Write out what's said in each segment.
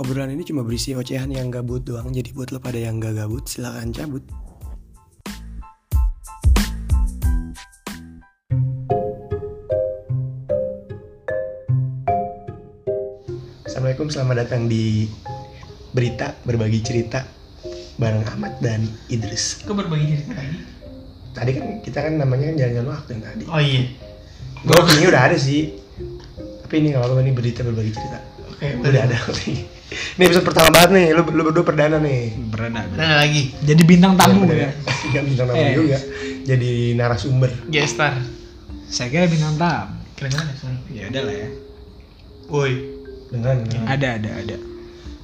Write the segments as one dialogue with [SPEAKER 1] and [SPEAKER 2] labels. [SPEAKER 1] Obrolan ini cuma berisi ocehan yang gabut doang, jadi buat lo pada yang gak gabut silahkan cabut. Assalamualaikum, selamat datang di Berita Berbagi Cerita bareng Ahmad dan Idris.
[SPEAKER 2] Kok berbagi cerita lagi?
[SPEAKER 1] Tadi kan kita kan namanya jalan-jalan waktu yang tadi.
[SPEAKER 2] Oh iya.
[SPEAKER 1] Gue ini udah ada sih, tapi ini nggak apa-apa ini berita berbagi cerita.
[SPEAKER 2] Oke,
[SPEAKER 1] Udah ada. ini episode pertama banget nih, lu, lu berdua perdana nih.
[SPEAKER 3] Berada.
[SPEAKER 2] Ada nggak lagi.
[SPEAKER 3] Nah,
[SPEAKER 2] Jadi bintang tamu.
[SPEAKER 3] gitu
[SPEAKER 1] Bener ya? Gak bintang tamu
[SPEAKER 2] Eh.
[SPEAKER 1] juga. Jadi narasumber.
[SPEAKER 2] Gestar.
[SPEAKER 3] Saya kira bintang tamu.
[SPEAKER 2] Keren-keren ya, sorry.
[SPEAKER 3] Ya udah lah ya.
[SPEAKER 2] Woi.
[SPEAKER 1] Beneran, beneran.
[SPEAKER 3] Ada ada ada.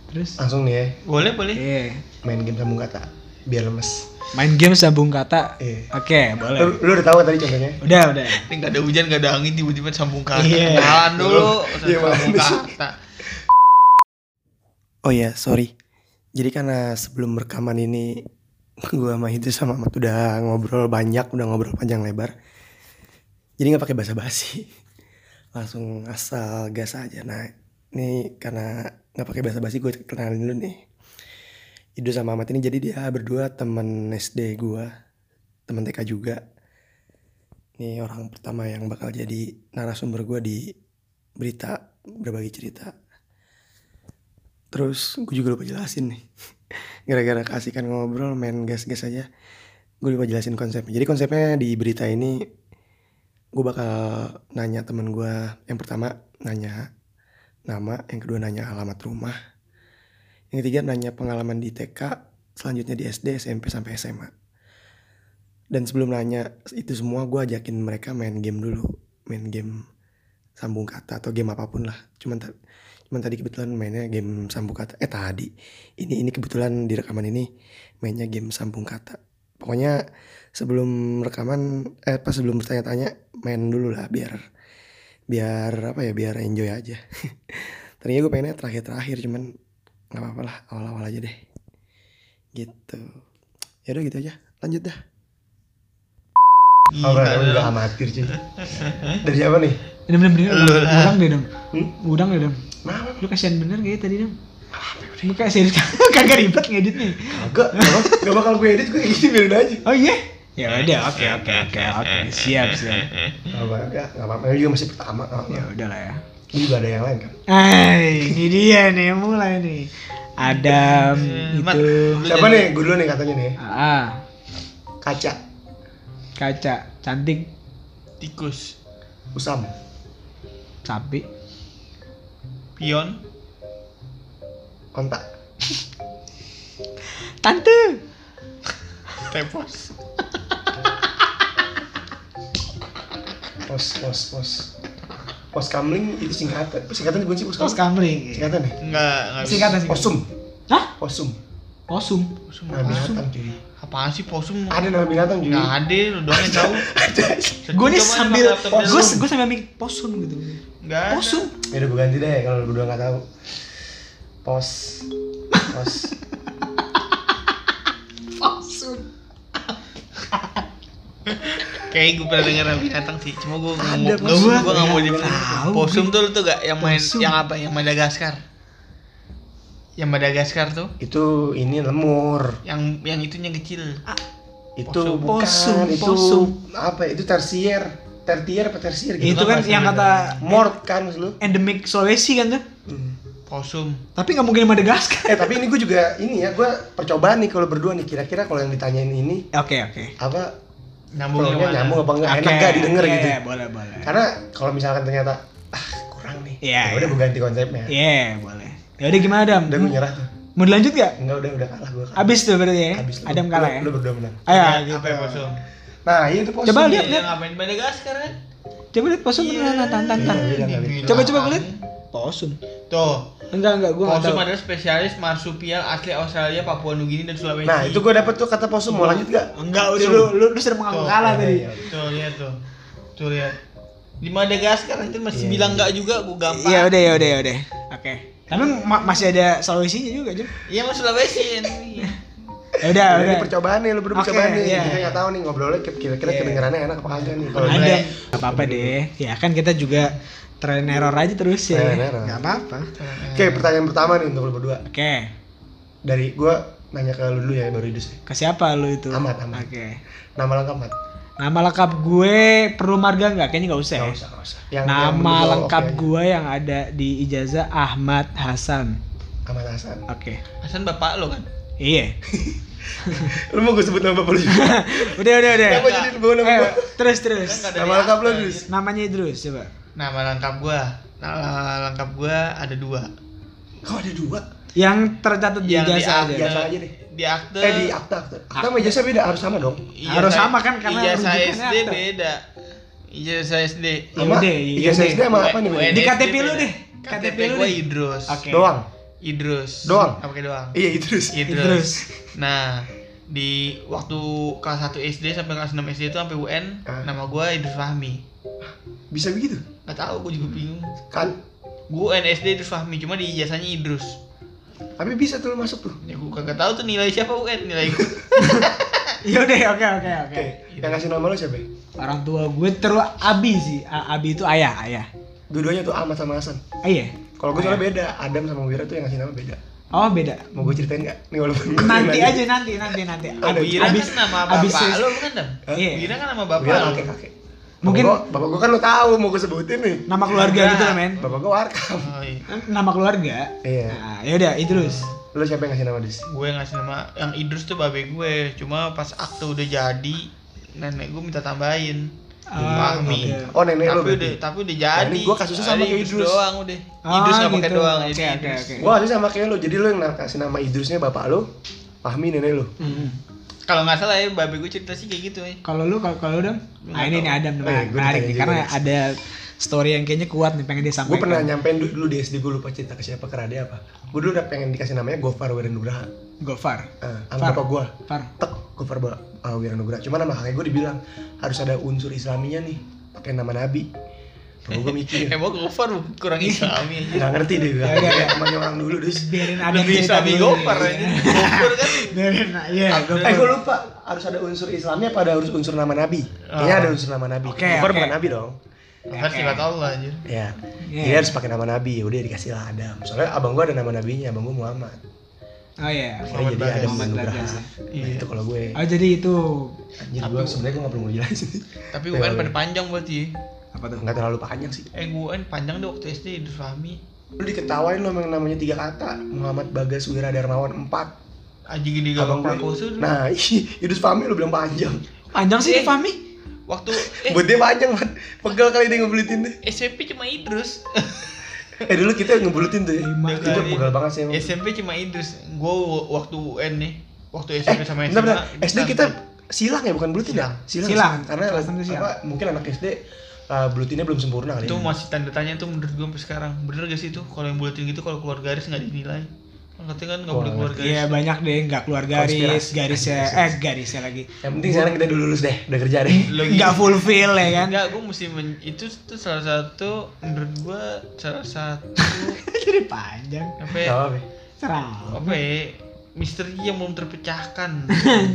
[SPEAKER 3] Terus?
[SPEAKER 1] Langsung nih ya,
[SPEAKER 2] Boleh, boleh.
[SPEAKER 3] Iya.
[SPEAKER 1] main game sambung kata. Biar lemes.
[SPEAKER 3] Main game sambung kata.
[SPEAKER 1] Iya.
[SPEAKER 3] Oke,
[SPEAKER 1] Lu,
[SPEAKER 3] boleh.
[SPEAKER 1] lu udah tahu kan tadi contohnya?
[SPEAKER 3] Udah udah.
[SPEAKER 2] Ini nggak ada hujan, nggak ada angin, tiba-tiba sambung kata.
[SPEAKER 3] Iya.
[SPEAKER 2] Kenalan dulu.
[SPEAKER 1] Iya,
[SPEAKER 2] sambung
[SPEAKER 1] makanya.
[SPEAKER 2] kata.
[SPEAKER 1] Oh ya, sorry. Jadi karena sebelum rekaman ini gue sama itu sama Ahmad udah ngobrol banyak, udah ngobrol panjang lebar. Jadi nggak pakai basa-basi. Langsung asal gas aja. Nah, ini karena nggak pakai basa-basi gue kenalin dulu nih. Ido sama Ahmad ini jadi dia berdua temen SD gue, temen TK juga. Nih orang pertama yang bakal jadi narasumber gue di berita berbagi cerita. Terus gue juga lupa jelasin nih Gara-gara keasikan ngobrol main gas-gas aja Gue lupa jelasin konsepnya Jadi konsepnya di berita ini Gue bakal nanya temen gue Yang pertama nanya nama Yang kedua nanya alamat rumah Yang ketiga nanya pengalaman di TK Selanjutnya di SD, SMP, sampai SMA Dan sebelum nanya itu semua Gue ajakin mereka main game dulu Main game sambung kata atau game apapun lah Cuman ta- Cuman tadi kebetulan mainnya game sambung kata. Eh tadi. Ini ini kebetulan di rekaman ini mainnya game sambung kata. Pokoknya sebelum rekaman eh pas sebelum bertanya-tanya main dulu lah biar biar apa ya biar enjoy aja. Tadinya gue pengennya terakhir-terakhir cuman nggak apa-apa lah awal-awal aja deh. Gitu. Ya udah gitu aja. Lanjut dah.
[SPEAKER 2] Gila, lu.
[SPEAKER 1] amatir sih. Dari siapa nih?
[SPEAKER 3] Dem dem dem.
[SPEAKER 2] Lu lah.
[SPEAKER 3] Udang deh dem.
[SPEAKER 1] Hmm?
[SPEAKER 3] Udang deh dem.
[SPEAKER 1] Kenapa?
[SPEAKER 3] Lu kasihan bener gak ya tadi dem? Lu kayak serius kagak ribet ngedit nih.
[SPEAKER 1] Agak, gak bakal gue edit gue gini biarin aja.
[SPEAKER 3] Oh iya. Ya udah, oke oke oke oke. Siap siap.
[SPEAKER 1] Gak apa-apa, gak apa-apa. Ini juga masih pertama. gak apa-apa.
[SPEAKER 3] Ya udah lah ya.
[SPEAKER 1] Ini juga ada yang lain kan?
[SPEAKER 3] Hai, ini dia nih mulai nih. Adam
[SPEAKER 2] Eh, Mat,
[SPEAKER 3] itu.
[SPEAKER 2] lu
[SPEAKER 1] Siapa
[SPEAKER 2] jadi-
[SPEAKER 1] nih? Gue dulu nih katanya nih.
[SPEAKER 3] Ah,
[SPEAKER 1] Kaca,
[SPEAKER 3] kaca cantik
[SPEAKER 2] Tikus.
[SPEAKER 1] Usam,
[SPEAKER 3] sapi
[SPEAKER 2] Pion.
[SPEAKER 1] Kontak,
[SPEAKER 3] tante
[SPEAKER 2] Tepos.
[SPEAKER 1] Pos, Pos, Pos. Pos Kamling itu singkatan. Oh, Singkatan bukan sih Pos
[SPEAKER 3] terus
[SPEAKER 1] Kamling?
[SPEAKER 3] kamling
[SPEAKER 1] Singkatan nih.
[SPEAKER 2] Nggak, nggak bisa.
[SPEAKER 3] singkatan singkatan
[SPEAKER 1] Posum.
[SPEAKER 3] Hah?
[SPEAKER 1] Posum.
[SPEAKER 3] posum
[SPEAKER 2] Posum.
[SPEAKER 1] Nah,
[SPEAKER 2] Posum.
[SPEAKER 1] binatang cuy.
[SPEAKER 2] Apaan sih posum?
[SPEAKER 1] Ada nama binatang cuy.
[SPEAKER 2] Nggak ada, lu doang yang tahu.
[SPEAKER 3] gue nih
[SPEAKER 2] Coba
[SPEAKER 3] sambil
[SPEAKER 2] buka laptop
[SPEAKER 3] gue
[SPEAKER 2] dulu.
[SPEAKER 3] gue sambil mikir posum gitu
[SPEAKER 2] Nggak ada.
[SPEAKER 3] posum
[SPEAKER 1] Ya udah gue ganti deh kalau lu berdua nggak tahu. Pos. Pos.
[SPEAKER 3] posum
[SPEAKER 2] Kayak gue pernah denger binatang sih, cuma gue nggak
[SPEAKER 3] Ada
[SPEAKER 2] mau,
[SPEAKER 3] posum.
[SPEAKER 2] gue gue nggak mau
[SPEAKER 3] Ada.
[SPEAKER 2] dibilang.
[SPEAKER 3] Tahu,
[SPEAKER 2] Posum
[SPEAKER 3] Bli.
[SPEAKER 2] tuh lu tuh gak yang main,
[SPEAKER 3] Posum.
[SPEAKER 2] yang apa, yang Madagaskar, yang Madagaskar tuh,
[SPEAKER 1] Itu ini lemur.
[SPEAKER 2] yang yang itunya kecil.
[SPEAKER 1] Itu
[SPEAKER 2] Posum.
[SPEAKER 1] bukan.
[SPEAKER 3] Posum,
[SPEAKER 1] itu
[SPEAKER 3] posum.
[SPEAKER 1] apa? ya? Itu tersier. Tertier apa tersier gitu?
[SPEAKER 3] itu kan
[SPEAKER 2] bahasa
[SPEAKER 3] yang kata
[SPEAKER 1] Mort kan maksud lu?
[SPEAKER 3] endemik Sulawesi kan tuh
[SPEAKER 2] Posum.
[SPEAKER 3] tapi nggak mungkin Madagaskar
[SPEAKER 1] Eh tapi ini gue juga ini ya gue percobaan nih kalau berdua nih kira-kira kalau yang ditanyain ini
[SPEAKER 3] oke oke
[SPEAKER 1] apa
[SPEAKER 2] Nyambung ya,
[SPEAKER 1] peluangnya nyambung apa enggak enak
[SPEAKER 3] Oke,
[SPEAKER 1] gak didengar
[SPEAKER 3] iya,
[SPEAKER 1] gitu.
[SPEAKER 3] iya, boleh boleh
[SPEAKER 1] Karena kalau misalkan ternyata ah kurang nih,
[SPEAKER 3] Iya,
[SPEAKER 1] ya udah
[SPEAKER 3] iya.
[SPEAKER 1] gue ganti konsepnya.
[SPEAKER 3] iya boleh ya udah gimana Adam
[SPEAKER 1] Udah gue nyerah tuh. Eh,
[SPEAKER 3] mau dilanjut gak
[SPEAKER 1] Enggak udah udah kalah gue. kalah.
[SPEAKER 3] abis tuh berarti ya
[SPEAKER 1] Abis lu.
[SPEAKER 3] Adam kalah
[SPEAKER 1] Lu-
[SPEAKER 3] ya
[SPEAKER 1] Lu berdua menang.
[SPEAKER 3] ayo
[SPEAKER 2] gitu ya posum.
[SPEAKER 1] Nah iya itu posisi.
[SPEAKER 3] Coba
[SPEAKER 2] Iya,
[SPEAKER 3] lihat lihat
[SPEAKER 2] yang ngapain Madagaskar kan?
[SPEAKER 3] coba lihat posum beneran tantan tantan
[SPEAKER 1] Iya, iya.
[SPEAKER 3] Coba, coba gue lihat. posum
[SPEAKER 2] Tuh,
[SPEAKER 3] enggak enggak gue nggak
[SPEAKER 2] posum
[SPEAKER 3] tahu
[SPEAKER 2] adalah spesialis marsupial asli Australia, Papua Nugini dan Sulawesi.
[SPEAKER 1] Nah itu gue dapet tuh kata posum mau lanjut gak?
[SPEAKER 3] enggak udah lu lu, lu sudah mengaku
[SPEAKER 2] Tuh,
[SPEAKER 3] Oh, kalah
[SPEAKER 1] iya,
[SPEAKER 3] tadi
[SPEAKER 1] iya.
[SPEAKER 2] Tuh lihat tuh. Tuh lihat. Di Madagaskar itu masih
[SPEAKER 1] Iya,
[SPEAKER 2] bilang
[SPEAKER 1] iya.
[SPEAKER 2] enggak juga, gue gampang.
[SPEAKER 3] Iya udah ya udah ya udah. Oke. Tapi ma- masih ada solusinya juga, Jim.
[SPEAKER 2] Iya, mau Sulawesi. ini.
[SPEAKER 3] Ya udah,
[SPEAKER 1] Jadi
[SPEAKER 3] udah.
[SPEAKER 1] Iya, ini percobaan nih, lu berdua
[SPEAKER 3] Oke,
[SPEAKER 1] percobaan nih.
[SPEAKER 3] iya.
[SPEAKER 1] Kita nggak tahu nih ngobrolnya kira-kira
[SPEAKER 3] Iya.
[SPEAKER 1] kedengerannya enak apa kagak nih. Kalau
[SPEAKER 3] Ada.
[SPEAKER 2] boleh.
[SPEAKER 3] Gak apa-apa deh. Ya kan kita juga Trial and error aja terus ya.
[SPEAKER 1] Trial and error.
[SPEAKER 3] Gak apa-apa.
[SPEAKER 1] Oke, pertanyaan pertama nih untuk lu berdua.
[SPEAKER 3] Oke.
[SPEAKER 1] Dari gua nanya ke lu dulu ya baru idus.
[SPEAKER 3] Ke siapa lu itu?
[SPEAKER 1] Ahmad, Ahmad.
[SPEAKER 3] Oke.
[SPEAKER 1] Nama lengkap Mat.
[SPEAKER 3] Nama lengkap gue perlu marga nggak? Kayaknya nggak usah. ya.
[SPEAKER 1] Nggak usah, nggak usah. Yang, yang
[SPEAKER 3] Nama
[SPEAKER 1] berdua
[SPEAKER 3] lengkap
[SPEAKER 1] oke aja.
[SPEAKER 3] gue yang ada di ijazah Ahmad Hasan.
[SPEAKER 1] Ahmad Hasan.
[SPEAKER 3] Oke.
[SPEAKER 2] Hasan bapak lo kan?
[SPEAKER 3] Iya.
[SPEAKER 1] Lu mau gue sebut nama bapak lu juga?
[SPEAKER 3] udah udah udah.
[SPEAKER 1] Kenapa jadi lu bawa nama
[SPEAKER 3] Eh,
[SPEAKER 1] gua?
[SPEAKER 3] terus terus.
[SPEAKER 2] Kan nggak ada
[SPEAKER 1] Nama
[SPEAKER 2] di
[SPEAKER 1] lengkap lu
[SPEAKER 2] akte.
[SPEAKER 1] Idus.
[SPEAKER 3] Namanya Idrus coba.
[SPEAKER 2] Nama lengkap gua. Nama lengkap gua ada dua.
[SPEAKER 1] Kok ada dua?
[SPEAKER 3] Yang tercatat di
[SPEAKER 2] Yang di
[SPEAKER 3] ijazah
[SPEAKER 2] akte-
[SPEAKER 3] aja.
[SPEAKER 1] Ijazah aja deh.
[SPEAKER 2] Di akte. iya,
[SPEAKER 1] Eh di akta akta. Akta sama ijazah beda, harus sama dong.
[SPEAKER 2] ijazah-
[SPEAKER 3] Harus sama kan, karena
[SPEAKER 2] ijazah
[SPEAKER 3] rujukannya
[SPEAKER 2] SD
[SPEAKER 3] akte.
[SPEAKER 2] beda. Iya, Ijazah SD.
[SPEAKER 3] Ya
[SPEAKER 1] Sama
[SPEAKER 3] udah, ya
[SPEAKER 1] ijazah
[SPEAKER 3] udah.
[SPEAKER 1] SD sama apa nih?
[SPEAKER 2] W-
[SPEAKER 1] beda?
[SPEAKER 3] Di
[SPEAKER 2] WNSD
[SPEAKER 3] KTP lu
[SPEAKER 2] beda.
[SPEAKER 3] deh.
[SPEAKER 2] KTP
[SPEAKER 3] KTP lu
[SPEAKER 2] gua
[SPEAKER 3] deh.
[SPEAKER 2] Idrus.
[SPEAKER 3] Oke.
[SPEAKER 1] Doang.
[SPEAKER 2] Idrus.
[SPEAKER 1] Doang?
[SPEAKER 2] Apa kayak doang?
[SPEAKER 1] Iya Idrus.
[SPEAKER 3] Idrus.
[SPEAKER 2] Idrus. Nah, di waktu kelas 1 SD sampai kelas 6 SD itu sampai UN,
[SPEAKER 1] Ah.
[SPEAKER 2] nama gua Idrus Fahmi.
[SPEAKER 1] Bisa begitu?
[SPEAKER 2] Gak tau, gua juga bingung.
[SPEAKER 1] Kan?
[SPEAKER 2] Gua UN SD Idrus Fahmi, cuma di ijazahnya Idrus.
[SPEAKER 1] Tapi bisa tuh lu masuk tuh.
[SPEAKER 2] Ya gua kagak tahu tuh nilai siapa UN, nilai gua.
[SPEAKER 3] Ya udah, oke oke oke.
[SPEAKER 1] Oke, yang ngasih nama lu siapa? ya?
[SPEAKER 3] Orang tua gue terus Abi sih. A- Abi itu ayah, ayah.
[SPEAKER 1] Dua-duanya tuh Ahmad sama Hasan.
[SPEAKER 3] Ayah.
[SPEAKER 1] Kalau gue soalnya beda, Adam sama Wira tuh yang ngasih nama beda.
[SPEAKER 3] Oh, beda.
[SPEAKER 1] Mau gue ceritain nggak? Nih walaupun gua
[SPEAKER 3] Nanti
[SPEAKER 1] nanya.
[SPEAKER 3] aja nanti nanti nanti.
[SPEAKER 1] Oh,
[SPEAKER 3] Abis-
[SPEAKER 2] Wira
[SPEAKER 3] abis-
[SPEAKER 2] kan nama
[SPEAKER 3] abis
[SPEAKER 2] bapak
[SPEAKER 3] ses-
[SPEAKER 2] lo bukan dam?
[SPEAKER 1] Hah?
[SPEAKER 3] Iya.
[SPEAKER 2] Wira kan nama bapak
[SPEAKER 1] Wira
[SPEAKER 2] lo.
[SPEAKER 1] kakek kakek.
[SPEAKER 3] Mungkin-
[SPEAKER 1] bapak gua, bapak gua kan lo tahu mau gue sebutin nih.
[SPEAKER 3] Nama keluarga gitu lah, men.
[SPEAKER 1] Bapak gua warkam.
[SPEAKER 2] Oh, iya.
[SPEAKER 3] Nama keluarga.
[SPEAKER 1] Iya.
[SPEAKER 3] Nah, ya udah, Idrus.
[SPEAKER 1] Lo siapa yang ngasih nama Dis?
[SPEAKER 2] Gue ngasih nama yang Idrus tuh babe gue, cuma pas akte udah jadi nenek gue minta tambahin.
[SPEAKER 3] Ah,
[SPEAKER 2] Fahmi.
[SPEAKER 3] oke.
[SPEAKER 1] Oh nenek lo.
[SPEAKER 2] tapi udah
[SPEAKER 1] berarti.
[SPEAKER 2] tapi udah jadi.
[SPEAKER 1] Ini gua kasusnya sama
[SPEAKER 2] Ada
[SPEAKER 1] kayak Idrus.
[SPEAKER 2] doang udah.
[SPEAKER 3] Ah,
[SPEAKER 2] Idrus nggak pakai
[SPEAKER 3] gitu.
[SPEAKER 2] doang.
[SPEAKER 3] Oke,
[SPEAKER 2] jadi
[SPEAKER 3] oke,
[SPEAKER 2] Idrus.
[SPEAKER 3] oke.
[SPEAKER 1] Gua ngasih sama kayak lo, jadi lo yang kasih nama Idrusnya bapak lo, Fahmi nenek lo.
[SPEAKER 3] Mm-mm.
[SPEAKER 2] Kalau nggak salah ya babe gue cerita sih kayak gitu ya.
[SPEAKER 3] Kalau lu kalau kalau lu dong?
[SPEAKER 2] Gua
[SPEAKER 3] Nah,
[SPEAKER 2] nggak
[SPEAKER 3] ini nih Adam
[SPEAKER 1] Eh,
[SPEAKER 3] nah,
[SPEAKER 1] gua
[SPEAKER 3] menarik
[SPEAKER 1] ditanya
[SPEAKER 3] nih
[SPEAKER 1] juga
[SPEAKER 3] karena
[SPEAKER 1] nih.
[SPEAKER 3] ada story yang kayaknya kuat nih pengen dia sampaikan.
[SPEAKER 1] Gue pernah nyampein du- dulu di SD gue lupa cerita ke siapa ke Rade apa. Gue dulu udah pengen dikasih namanya Gofar Wiranugraha.
[SPEAKER 3] Gofar.
[SPEAKER 1] Eh,
[SPEAKER 3] Far.
[SPEAKER 1] sama bapak gue.
[SPEAKER 3] Far.
[SPEAKER 1] Tek Gofar Ba- eh, Wiranugraha. Cuman nama kakek gue dibilang harus ada unsur Islaminya nih, pakai nama Nabi. Bapak gue mikir.
[SPEAKER 3] Iya.
[SPEAKER 2] Emang Gofar kurang islami aja.
[SPEAKER 1] Gak ngerti deh gue.
[SPEAKER 3] Ya, ya, ya.
[SPEAKER 1] Emangnya orang dulu dus.
[SPEAKER 3] Biarin Adam
[SPEAKER 2] Lebih
[SPEAKER 3] cerita
[SPEAKER 2] islami
[SPEAKER 3] dulu.
[SPEAKER 2] Gofar aja.
[SPEAKER 1] Iya.
[SPEAKER 2] Gofar kan
[SPEAKER 3] Biarin iya,
[SPEAKER 2] Ah,
[SPEAKER 1] Eh
[SPEAKER 3] Gofar.
[SPEAKER 1] gue lupa harus ada unsur Islamnya apa ada harus unsur nama Nabi? Kayaknya ada unsur nama Nabi.
[SPEAKER 3] Oke,
[SPEAKER 1] Gofar
[SPEAKER 3] oke.
[SPEAKER 1] bukan Nabi dong. Iya kan?
[SPEAKER 2] Gofar sifat Allah anjir.
[SPEAKER 1] Ya.
[SPEAKER 3] Iya.
[SPEAKER 1] Jadi harus pakai nama Nabi. Ya Udah dikasih lah Adam. Soalnya abang gue ada nama nabinya, abang gue Muhammad.
[SPEAKER 3] Oh iya.
[SPEAKER 1] Akhirnya jadi
[SPEAKER 2] Muhammad
[SPEAKER 1] Adam
[SPEAKER 3] Muhammad
[SPEAKER 1] Nugraha.
[SPEAKER 3] Bagas, ya.
[SPEAKER 1] Nah, itu kalau gue.
[SPEAKER 3] Oh jadi itu
[SPEAKER 1] Anjir gue sebenarnya gue gak perlu ngejelasin.
[SPEAKER 2] Tapi UN pada panjang buat ya.
[SPEAKER 3] apa tuh?
[SPEAKER 1] Gak terlalu panjang sih.
[SPEAKER 2] Eh UN panjang deh waktu SD Idrus Fahmi.
[SPEAKER 1] Lu diketawain lo yang namanya tiga kata. Muhammad Bagas Wira Darmawan 4.
[SPEAKER 2] Aji gini gak
[SPEAKER 1] Abang
[SPEAKER 2] bakal
[SPEAKER 1] gue.
[SPEAKER 2] khusus.
[SPEAKER 1] Nah, Idus Fahmi lu bilang panjang.
[SPEAKER 3] Panjang sih
[SPEAKER 2] Eh.
[SPEAKER 3] ini Fahmi.
[SPEAKER 2] waktu eh
[SPEAKER 1] Buat dia panjang, man. Pegel kali dia ngebelitin deh.
[SPEAKER 2] SMP cuma Idrus.
[SPEAKER 1] Eh dulu kita ngebulutin tuh ya.
[SPEAKER 3] Lima
[SPEAKER 1] Itu tuh
[SPEAKER 2] kali.
[SPEAKER 1] pegal banget sih. emang.
[SPEAKER 2] SMP cuma Idrus. Gue waktu UN nih. Waktu
[SPEAKER 1] Eh,
[SPEAKER 2] SMP sama SMA.
[SPEAKER 1] bentar, bentar.
[SPEAKER 2] Idrus
[SPEAKER 1] SD kita
[SPEAKER 2] Fahmi.
[SPEAKER 1] silang ya bukan bulutin ya?
[SPEAKER 3] Silang.
[SPEAKER 1] Karena
[SPEAKER 3] Kelas enam tuh silang.
[SPEAKER 1] apa, mungkin anak SD uh, bulutinnya belum sempurna kali.
[SPEAKER 2] itu
[SPEAKER 1] ya.
[SPEAKER 2] masih tanda tanya tuh menurut gue sampai sekarang. Bener gak sih itu kalau yang bulatin gitu kalau keluar garis nggak dinilai. Kan Katanya kan nggak
[SPEAKER 1] Wah,
[SPEAKER 2] boleh keluar garis.
[SPEAKER 3] Iya banyak deh nggak keluar garis
[SPEAKER 1] Konspirasi.
[SPEAKER 3] garisnya eh garisnya lagi
[SPEAKER 1] Yang penting sekarang kita dulu lulus deh, udah kerja deh.
[SPEAKER 2] Logis.
[SPEAKER 3] nggak fulfill ya kan?
[SPEAKER 2] Enggak, gue gitu. mesti men- itu tuh salah satu menurut gue salah satu
[SPEAKER 3] Jadi panjang
[SPEAKER 2] apa
[SPEAKER 1] Gak
[SPEAKER 2] ya,
[SPEAKER 1] apa-apa.
[SPEAKER 3] cerah.
[SPEAKER 2] apa ya, misteri yang belum terpecahkan.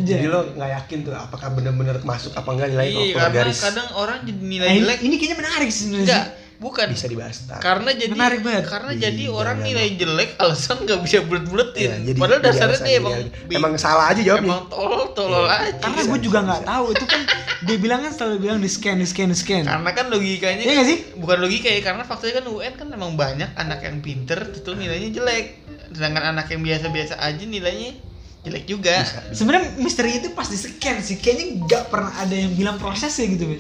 [SPEAKER 1] Jadi
[SPEAKER 3] Anjay.
[SPEAKER 1] lo nggak yakin tuh apakah bener-bener masuk apa enggak nilai kalau
[SPEAKER 2] Iya,
[SPEAKER 1] keluar
[SPEAKER 2] karena
[SPEAKER 1] garis. Nah,
[SPEAKER 2] kadang orang jadi nilai
[SPEAKER 3] Eh,
[SPEAKER 2] jelek.
[SPEAKER 3] ini kayaknya menarik sih
[SPEAKER 2] Enggak,
[SPEAKER 3] sebenarnya.
[SPEAKER 2] bukan.
[SPEAKER 1] Bisa dibahas ntar.
[SPEAKER 2] Karena jadi
[SPEAKER 3] Menarik banget.
[SPEAKER 2] karena
[SPEAKER 1] Ih,
[SPEAKER 2] jadi orang
[SPEAKER 1] jangan.
[SPEAKER 2] nilai jelek alasan nggak bisa bulet-buletin.
[SPEAKER 1] Iya, jadi-
[SPEAKER 2] Padahal
[SPEAKER 1] jadi
[SPEAKER 2] dasarnya
[SPEAKER 1] alasan,
[SPEAKER 2] dia
[SPEAKER 1] jadi
[SPEAKER 2] emang
[SPEAKER 1] alasan.
[SPEAKER 2] bi-
[SPEAKER 1] emang salah aja jawabnya.
[SPEAKER 2] emang tolol tolol
[SPEAKER 1] Iya.
[SPEAKER 2] aja.
[SPEAKER 3] Karena
[SPEAKER 1] Bisa,
[SPEAKER 3] gue juga
[SPEAKER 1] bisa,
[SPEAKER 3] nggak
[SPEAKER 1] bisa.
[SPEAKER 3] tahu itu kan dia bilang kan selalu bilang di scan di scan di
[SPEAKER 1] iya.
[SPEAKER 3] scan.
[SPEAKER 1] Ah,
[SPEAKER 2] Karena kan logikanya
[SPEAKER 3] Iya nggak sih?
[SPEAKER 2] bukan logika ya karena faktanya kan UN kan emang banyak anak yang pinter tentu nilainya jelek sedangkan anak yang biasa-biasa aja nilainya jelek juga
[SPEAKER 1] Bisa.
[SPEAKER 3] Sebenarnya misteri itu pas di scan sih kayaknya nggak pernah ada yang bilang prosesnya gitu men.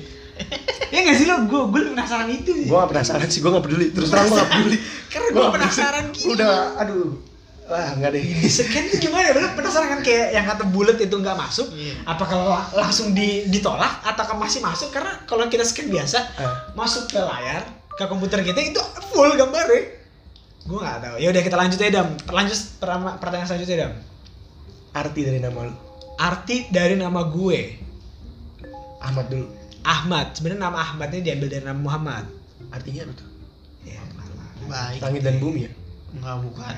[SPEAKER 3] ya nggak sih lo gue gue penasaran itu. sih.
[SPEAKER 1] Gue gak penasaran sih, gue gak peduli. Terus terang gue gak peduli.
[SPEAKER 3] Karena
[SPEAKER 1] Gua
[SPEAKER 3] gue
[SPEAKER 1] nggak peduli.
[SPEAKER 3] penasaran gitu.
[SPEAKER 1] Udah, aduh. Wah, enggak deh.
[SPEAKER 3] di scan itu gimana ya? Lu penasaran kan kayak yang kata bulat itu nggak masuk
[SPEAKER 2] Iya.
[SPEAKER 3] apa kalau la- langsung di- ditolak atau masih masuk karena kalau kita scan biasa
[SPEAKER 1] Eh.
[SPEAKER 3] masuk ke layar ke komputer kita itu full gambarnya gue nggak tahu ya udah kita lanjut ya dam lanjut pertama- pertanyaan selanjutnya dam
[SPEAKER 1] Arti dari nama lo.
[SPEAKER 3] arti dari nama gue
[SPEAKER 1] Ahmad dulu.
[SPEAKER 3] Ahmad sebenarnya nama Ahmadnya diambil dari nama Muhammad
[SPEAKER 1] Artinya apa tuh?
[SPEAKER 3] ya,
[SPEAKER 2] baik
[SPEAKER 1] Langit dan bumi ya?
[SPEAKER 2] nggak bukan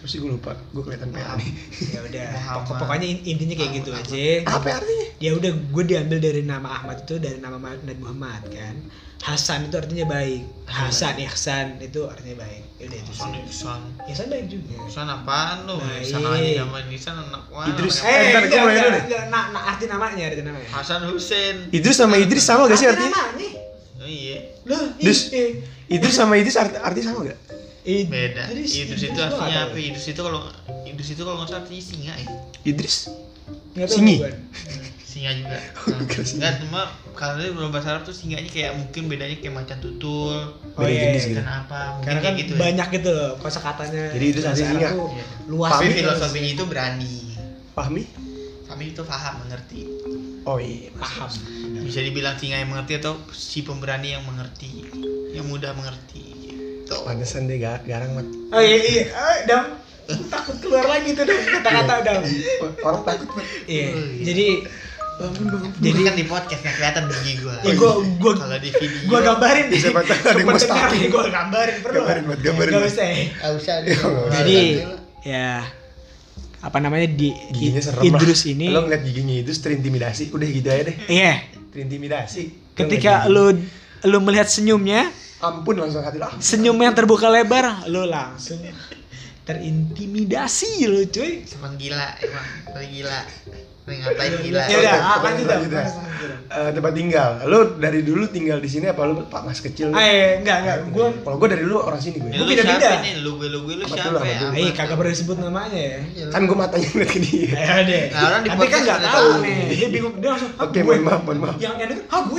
[SPEAKER 1] Apa sih gue lupa? Gue kelihatan PA nih.
[SPEAKER 3] ya udah
[SPEAKER 2] Muhammad.
[SPEAKER 3] pokok- pokoknya in- intinya kayak gitu
[SPEAKER 2] Muhammad.
[SPEAKER 3] aja
[SPEAKER 1] Apa artinya?
[SPEAKER 3] ya udah gue diambil dari nama Ahmad itu dari nama Ma- Nabi Muhammad kan Hasan itu artinya baik Hasan Ihsan itu artinya baik ya udah itu
[SPEAKER 2] Ihsan
[SPEAKER 3] sih
[SPEAKER 2] Ihsan
[SPEAKER 3] Ihsan baik juga
[SPEAKER 1] Eh,
[SPEAKER 3] Eh,
[SPEAKER 2] Ihsan apaan lu?
[SPEAKER 3] Baik.
[SPEAKER 2] Ihsan aja zaman Ihsan anak mana?
[SPEAKER 1] Idrus.
[SPEAKER 2] Pakai-
[SPEAKER 1] Nah, iya. Eh, ntar gua mulai dulu deh.
[SPEAKER 3] nah, nah, arti namanya, arti namanya.
[SPEAKER 2] Hasan Hussein.
[SPEAKER 1] Idris sama Idris sama gak sih artinya?
[SPEAKER 3] namanya.
[SPEAKER 2] Oh, iya.
[SPEAKER 3] Loh,
[SPEAKER 1] Dus.
[SPEAKER 3] ih, eh,
[SPEAKER 1] Idris sama Idris arti, artinya sama gak?
[SPEAKER 3] ih.
[SPEAKER 2] Beda.
[SPEAKER 3] Idris,
[SPEAKER 2] Idrus
[SPEAKER 3] Idris
[SPEAKER 2] itu
[SPEAKER 3] gua nggak
[SPEAKER 2] artinya
[SPEAKER 3] tahu.
[SPEAKER 2] apa?
[SPEAKER 1] ya?
[SPEAKER 2] Idrus itu kalau Idrus itu kalau nggak salah artinya singa ya.
[SPEAKER 1] Idris?
[SPEAKER 3] Nggak tahu
[SPEAKER 1] Singi.
[SPEAKER 3] gua.
[SPEAKER 2] Singa juga.
[SPEAKER 1] Oh,
[SPEAKER 2] Nah,
[SPEAKER 1] Enggak sih.
[SPEAKER 2] Enggak cuma karena di dalam bahasa Arab tuh singanya kayak mungkin bedanya kayak macan tutul.
[SPEAKER 3] Oh,
[SPEAKER 1] Beda
[SPEAKER 3] iya,
[SPEAKER 1] jenis
[SPEAKER 3] iya.
[SPEAKER 1] gitu.
[SPEAKER 2] Kenapa? Mungkin
[SPEAKER 3] Karena kan
[SPEAKER 2] kayak gitu ya.
[SPEAKER 3] banyak gitu loh kosakatanya.
[SPEAKER 1] Jadi Idris
[SPEAKER 3] Bahasa
[SPEAKER 1] artinya singa.
[SPEAKER 3] Arab tuh
[SPEAKER 2] Iya.
[SPEAKER 3] Luas
[SPEAKER 2] Tapi
[SPEAKER 1] ya?
[SPEAKER 3] gitu.
[SPEAKER 2] filosofinya itu berani.
[SPEAKER 1] Pahmi?
[SPEAKER 2] Kami itu paham mengerti.
[SPEAKER 1] Oh iya.
[SPEAKER 3] paham.
[SPEAKER 2] Bisa dibilang singa yang mengerti atau si pemberani yang mengerti, yang mudah mengerti. Gitu.
[SPEAKER 1] Pantesan deh ga- garang mat.
[SPEAKER 3] Oh iya iya, Eh, Dam takut keluar lagi tuh Dam
[SPEAKER 1] Iya.
[SPEAKER 3] kata-kata Dam.
[SPEAKER 1] Orang takut mat.
[SPEAKER 3] Iya.
[SPEAKER 2] Oh, iya.
[SPEAKER 3] Jadi
[SPEAKER 1] Bangun bangun.
[SPEAKER 2] Jadi
[SPEAKER 3] jadi
[SPEAKER 2] kan di podcast nggak kelihatan gigi gua.
[SPEAKER 3] ya gua gua
[SPEAKER 2] kalau di video
[SPEAKER 3] gua gambarin nih.
[SPEAKER 1] Iya. Siapa tahu ada yang mau
[SPEAKER 3] Pendengar
[SPEAKER 1] stalking.
[SPEAKER 3] nih, Gua gambarin perlu.
[SPEAKER 1] Gambarin, Mat, gambarin,
[SPEAKER 3] Nggak
[SPEAKER 1] Mat.
[SPEAKER 3] usah. ya.
[SPEAKER 2] Nggak Ah, usah.
[SPEAKER 1] Iya, nggak usah.
[SPEAKER 3] Jadi ya apa namanya di
[SPEAKER 1] Giginya
[SPEAKER 3] di-
[SPEAKER 1] serem
[SPEAKER 3] Idrus
[SPEAKER 1] lah.
[SPEAKER 3] ini
[SPEAKER 1] Lo ngeliat giginya Idrus terintimidasi. Udah gitu aja deh.
[SPEAKER 3] iya
[SPEAKER 1] Terintimidasi. Kan Lo
[SPEAKER 3] ketika
[SPEAKER 1] ngeliat giginya.
[SPEAKER 3] lu lu melihat senyumnya
[SPEAKER 1] ampun langsung hati lo. ah,
[SPEAKER 3] senyum yang terbuka lebar lu langsung terintimidasi lu cuy
[SPEAKER 2] Emang gila, emang paling gila. Paling ngapain gila.
[SPEAKER 3] ya udah
[SPEAKER 1] Lanjut,
[SPEAKER 3] lanjut
[SPEAKER 1] lanjut, lanjut,
[SPEAKER 3] Dam.
[SPEAKER 1] eh, tempat tinggal. Lo dari dulu tinggal di sini apa lo pak mas kecil? lo?
[SPEAKER 3] eh enggak enggak gua
[SPEAKER 1] Kalau gue dari dulu orang sini gue.
[SPEAKER 2] Ini
[SPEAKER 3] Gua
[SPEAKER 2] lu
[SPEAKER 3] pindah-pindah.
[SPEAKER 2] siapa nih? Lu gue lu gue lu
[SPEAKER 1] Apa
[SPEAKER 2] siapa
[SPEAKER 1] dulu, apa
[SPEAKER 2] ya?
[SPEAKER 1] dulu?
[SPEAKER 3] eh kagak perlu disebut namanya ya
[SPEAKER 1] Kan gue matanya ngeliat ke dia.
[SPEAKER 3] Ayo deh.
[SPEAKER 2] Nah, orang di
[SPEAKER 3] Eh, Tapi kan
[SPEAKER 2] podcast
[SPEAKER 3] nggak
[SPEAKER 2] udah
[SPEAKER 3] tahu
[SPEAKER 2] tahu.
[SPEAKER 3] nih. Dia bingung. Dia langsung. "Hah,
[SPEAKER 1] Oke,
[SPEAKER 3] gue?"
[SPEAKER 1] mohon maaf, mohon maaf.
[SPEAKER 3] Yang yang itu, ah gue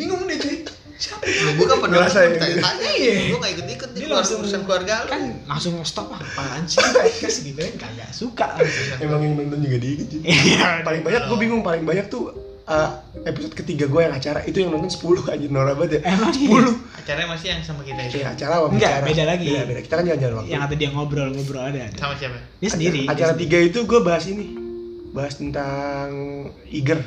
[SPEAKER 3] bingung deh cuy. Siapa?
[SPEAKER 2] Lu gue kan pernah
[SPEAKER 1] Ngerasa ya,
[SPEAKER 2] ikut,
[SPEAKER 1] gitu.
[SPEAKER 2] tanya.
[SPEAKER 3] Iya.
[SPEAKER 2] Gue nggak ikut ikut di
[SPEAKER 3] Dia
[SPEAKER 2] luar
[SPEAKER 3] langsung-
[SPEAKER 2] urusan keluarga lu.
[SPEAKER 3] Kan langsung stop ah, apaan sih podcast gitu kan kagak suka langsung.
[SPEAKER 1] Emang yang nonton juga dia gitu.
[SPEAKER 3] Iya.
[SPEAKER 1] Paling banyak gue bingung paling banyak tuh eh, episode ketiga gue yang acara itu yang nonton 10 aja Nora banget ya.
[SPEAKER 3] Emang iya.
[SPEAKER 1] 10.
[SPEAKER 2] Acaranya masih yang sama kita itu.
[SPEAKER 1] Iya, acara apa?
[SPEAKER 3] Enggak,
[SPEAKER 1] Bicara.
[SPEAKER 3] beda lagi.
[SPEAKER 1] Beda, beda. Kita kan jalan-jalan waktu.
[SPEAKER 3] Yang kata dia ngobrol-ngobrol ada. ada.
[SPEAKER 2] Sama siapa?
[SPEAKER 3] Dia sendiri. dia
[SPEAKER 1] Acara, acara
[SPEAKER 3] sendiri.
[SPEAKER 1] tiga itu gue bahas ini. Bahas tentang Iger.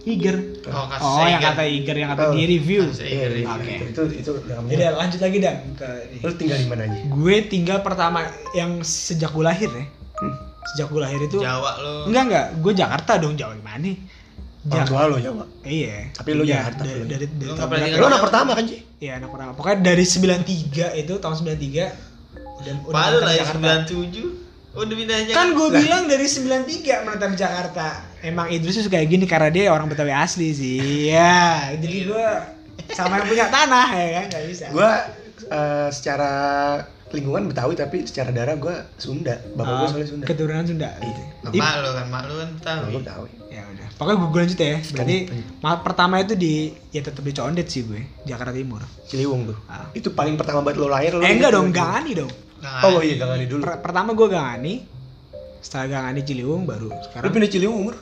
[SPEAKER 3] Iger.
[SPEAKER 2] Oh, kasus
[SPEAKER 3] Oh, yang
[SPEAKER 2] Eiger.
[SPEAKER 3] kata Iger yang kata
[SPEAKER 1] Tahu.
[SPEAKER 3] di review.
[SPEAKER 2] Kasus Eiger,
[SPEAKER 1] Iya,
[SPEAKER 2] iya.
[SPEAKER 3] Oke.
[SPEAKER 1] Itu itu dalam
[SPEAKER 3] Jadi lanjut lagi dan ke ini.
[SPEAKER 1] Lu tinggal di mana aja?
[SPEAKER 3] Gue tinggal pertama yang sejak gue lahir ya.
[SPEAKER 1] Hmm.
[SPEAKER 3] Sejak gue lahir itu
[SPEAKER 2] Jawa lu.
[SPEAKER 3] enggak enggak, gue Jakarta dong, Jawa gimana?
[SPEAKER 1] Orang
[SPEAKER 3] Jakarta.
[SPEAKER 1] tua lo Jawa.
[SPEAKER 3] Iya.
[SPEAKER 1] Tapi lu
[SPEAKER 3] Iya,
[SPEAKER 1] Jakarta,
[SPEAKER 3] dari
[SPEAKER 1] lu.
[SPEAKER 3] dari, dari
[SPEAKER 2] Lu nggak
[SPEAKER 3] tahun
[SPEAKER 2] pernah
[SPEAKER 3] berapa?
[SPEAKER 1] Lo anak pertama kan, Ci?
[SPEAKER 3] Iya, anak pertama. Pokoknya dari 93 itu tahun 93 udah udah
[SPEAKER 2] Malu
[SPEAKER 3] menetap
[SPEAKER 2] lah
[SPEAKER 3] di
[SPEAKER 2] ya
[SPEAKER 3] Jakarta.
[SPEAKER 2] 97. Udah pindah aja.
[SPEAKER 3] Kan gue bilang dari 93 menetap di Jakarta. Emang Idrus tuh kayak gini karena dia orang Betawi asli sih. Iya, jadi gue sama yang punya tanah ya kan nggak bisa.
[SPEAKER 1] Gue eh, secara lingkungan Betawi tapi secara darah gue Sunda. Bapak gue
[SPEAKER 3] Eh,
[SPEAKER 1] soalnya Sunda.
[SPEAKER 3] Keturunan Sunda.
[SPEAKER 1] Iya.
[SPEAKER 3] Ih,
[SPEAKER 2] Mak lu kan, mak lu kan tahu.
[SPEAKER 1] Bapak gue Betawi.
[SPEAKER 3] Ya udah. Pokoknya gue, gue lanjut ya. Berarti
[SPEAKER 1] Iya.
[SPEAKER 3] ma- pertama itu di ya tetap di Condet sih gue, Jakarta Timur.
[SPEAKER 1] Ciliwung tuh.
[SPEAKER 3] Ah.
[SPEAKER 1] Itu paling pertama banget lo lahir lo.
[SPEAKER 3] Eh enggak
[SPEAKER 1] gitu.
[SPEAKER 3] dong, Gangani dong.
[SPEAKER 2] Nah,
[SPEAKER 1] Oh iya Gangani dulu.
[SPEAKER 3] Per- pertama gue Gangani, setelah Gangani Ciliwung baru
[SPEAKER 1] Lu
[SPEAKER 3] sekarang
[SPEAKER 1] pindah Ciliwung umur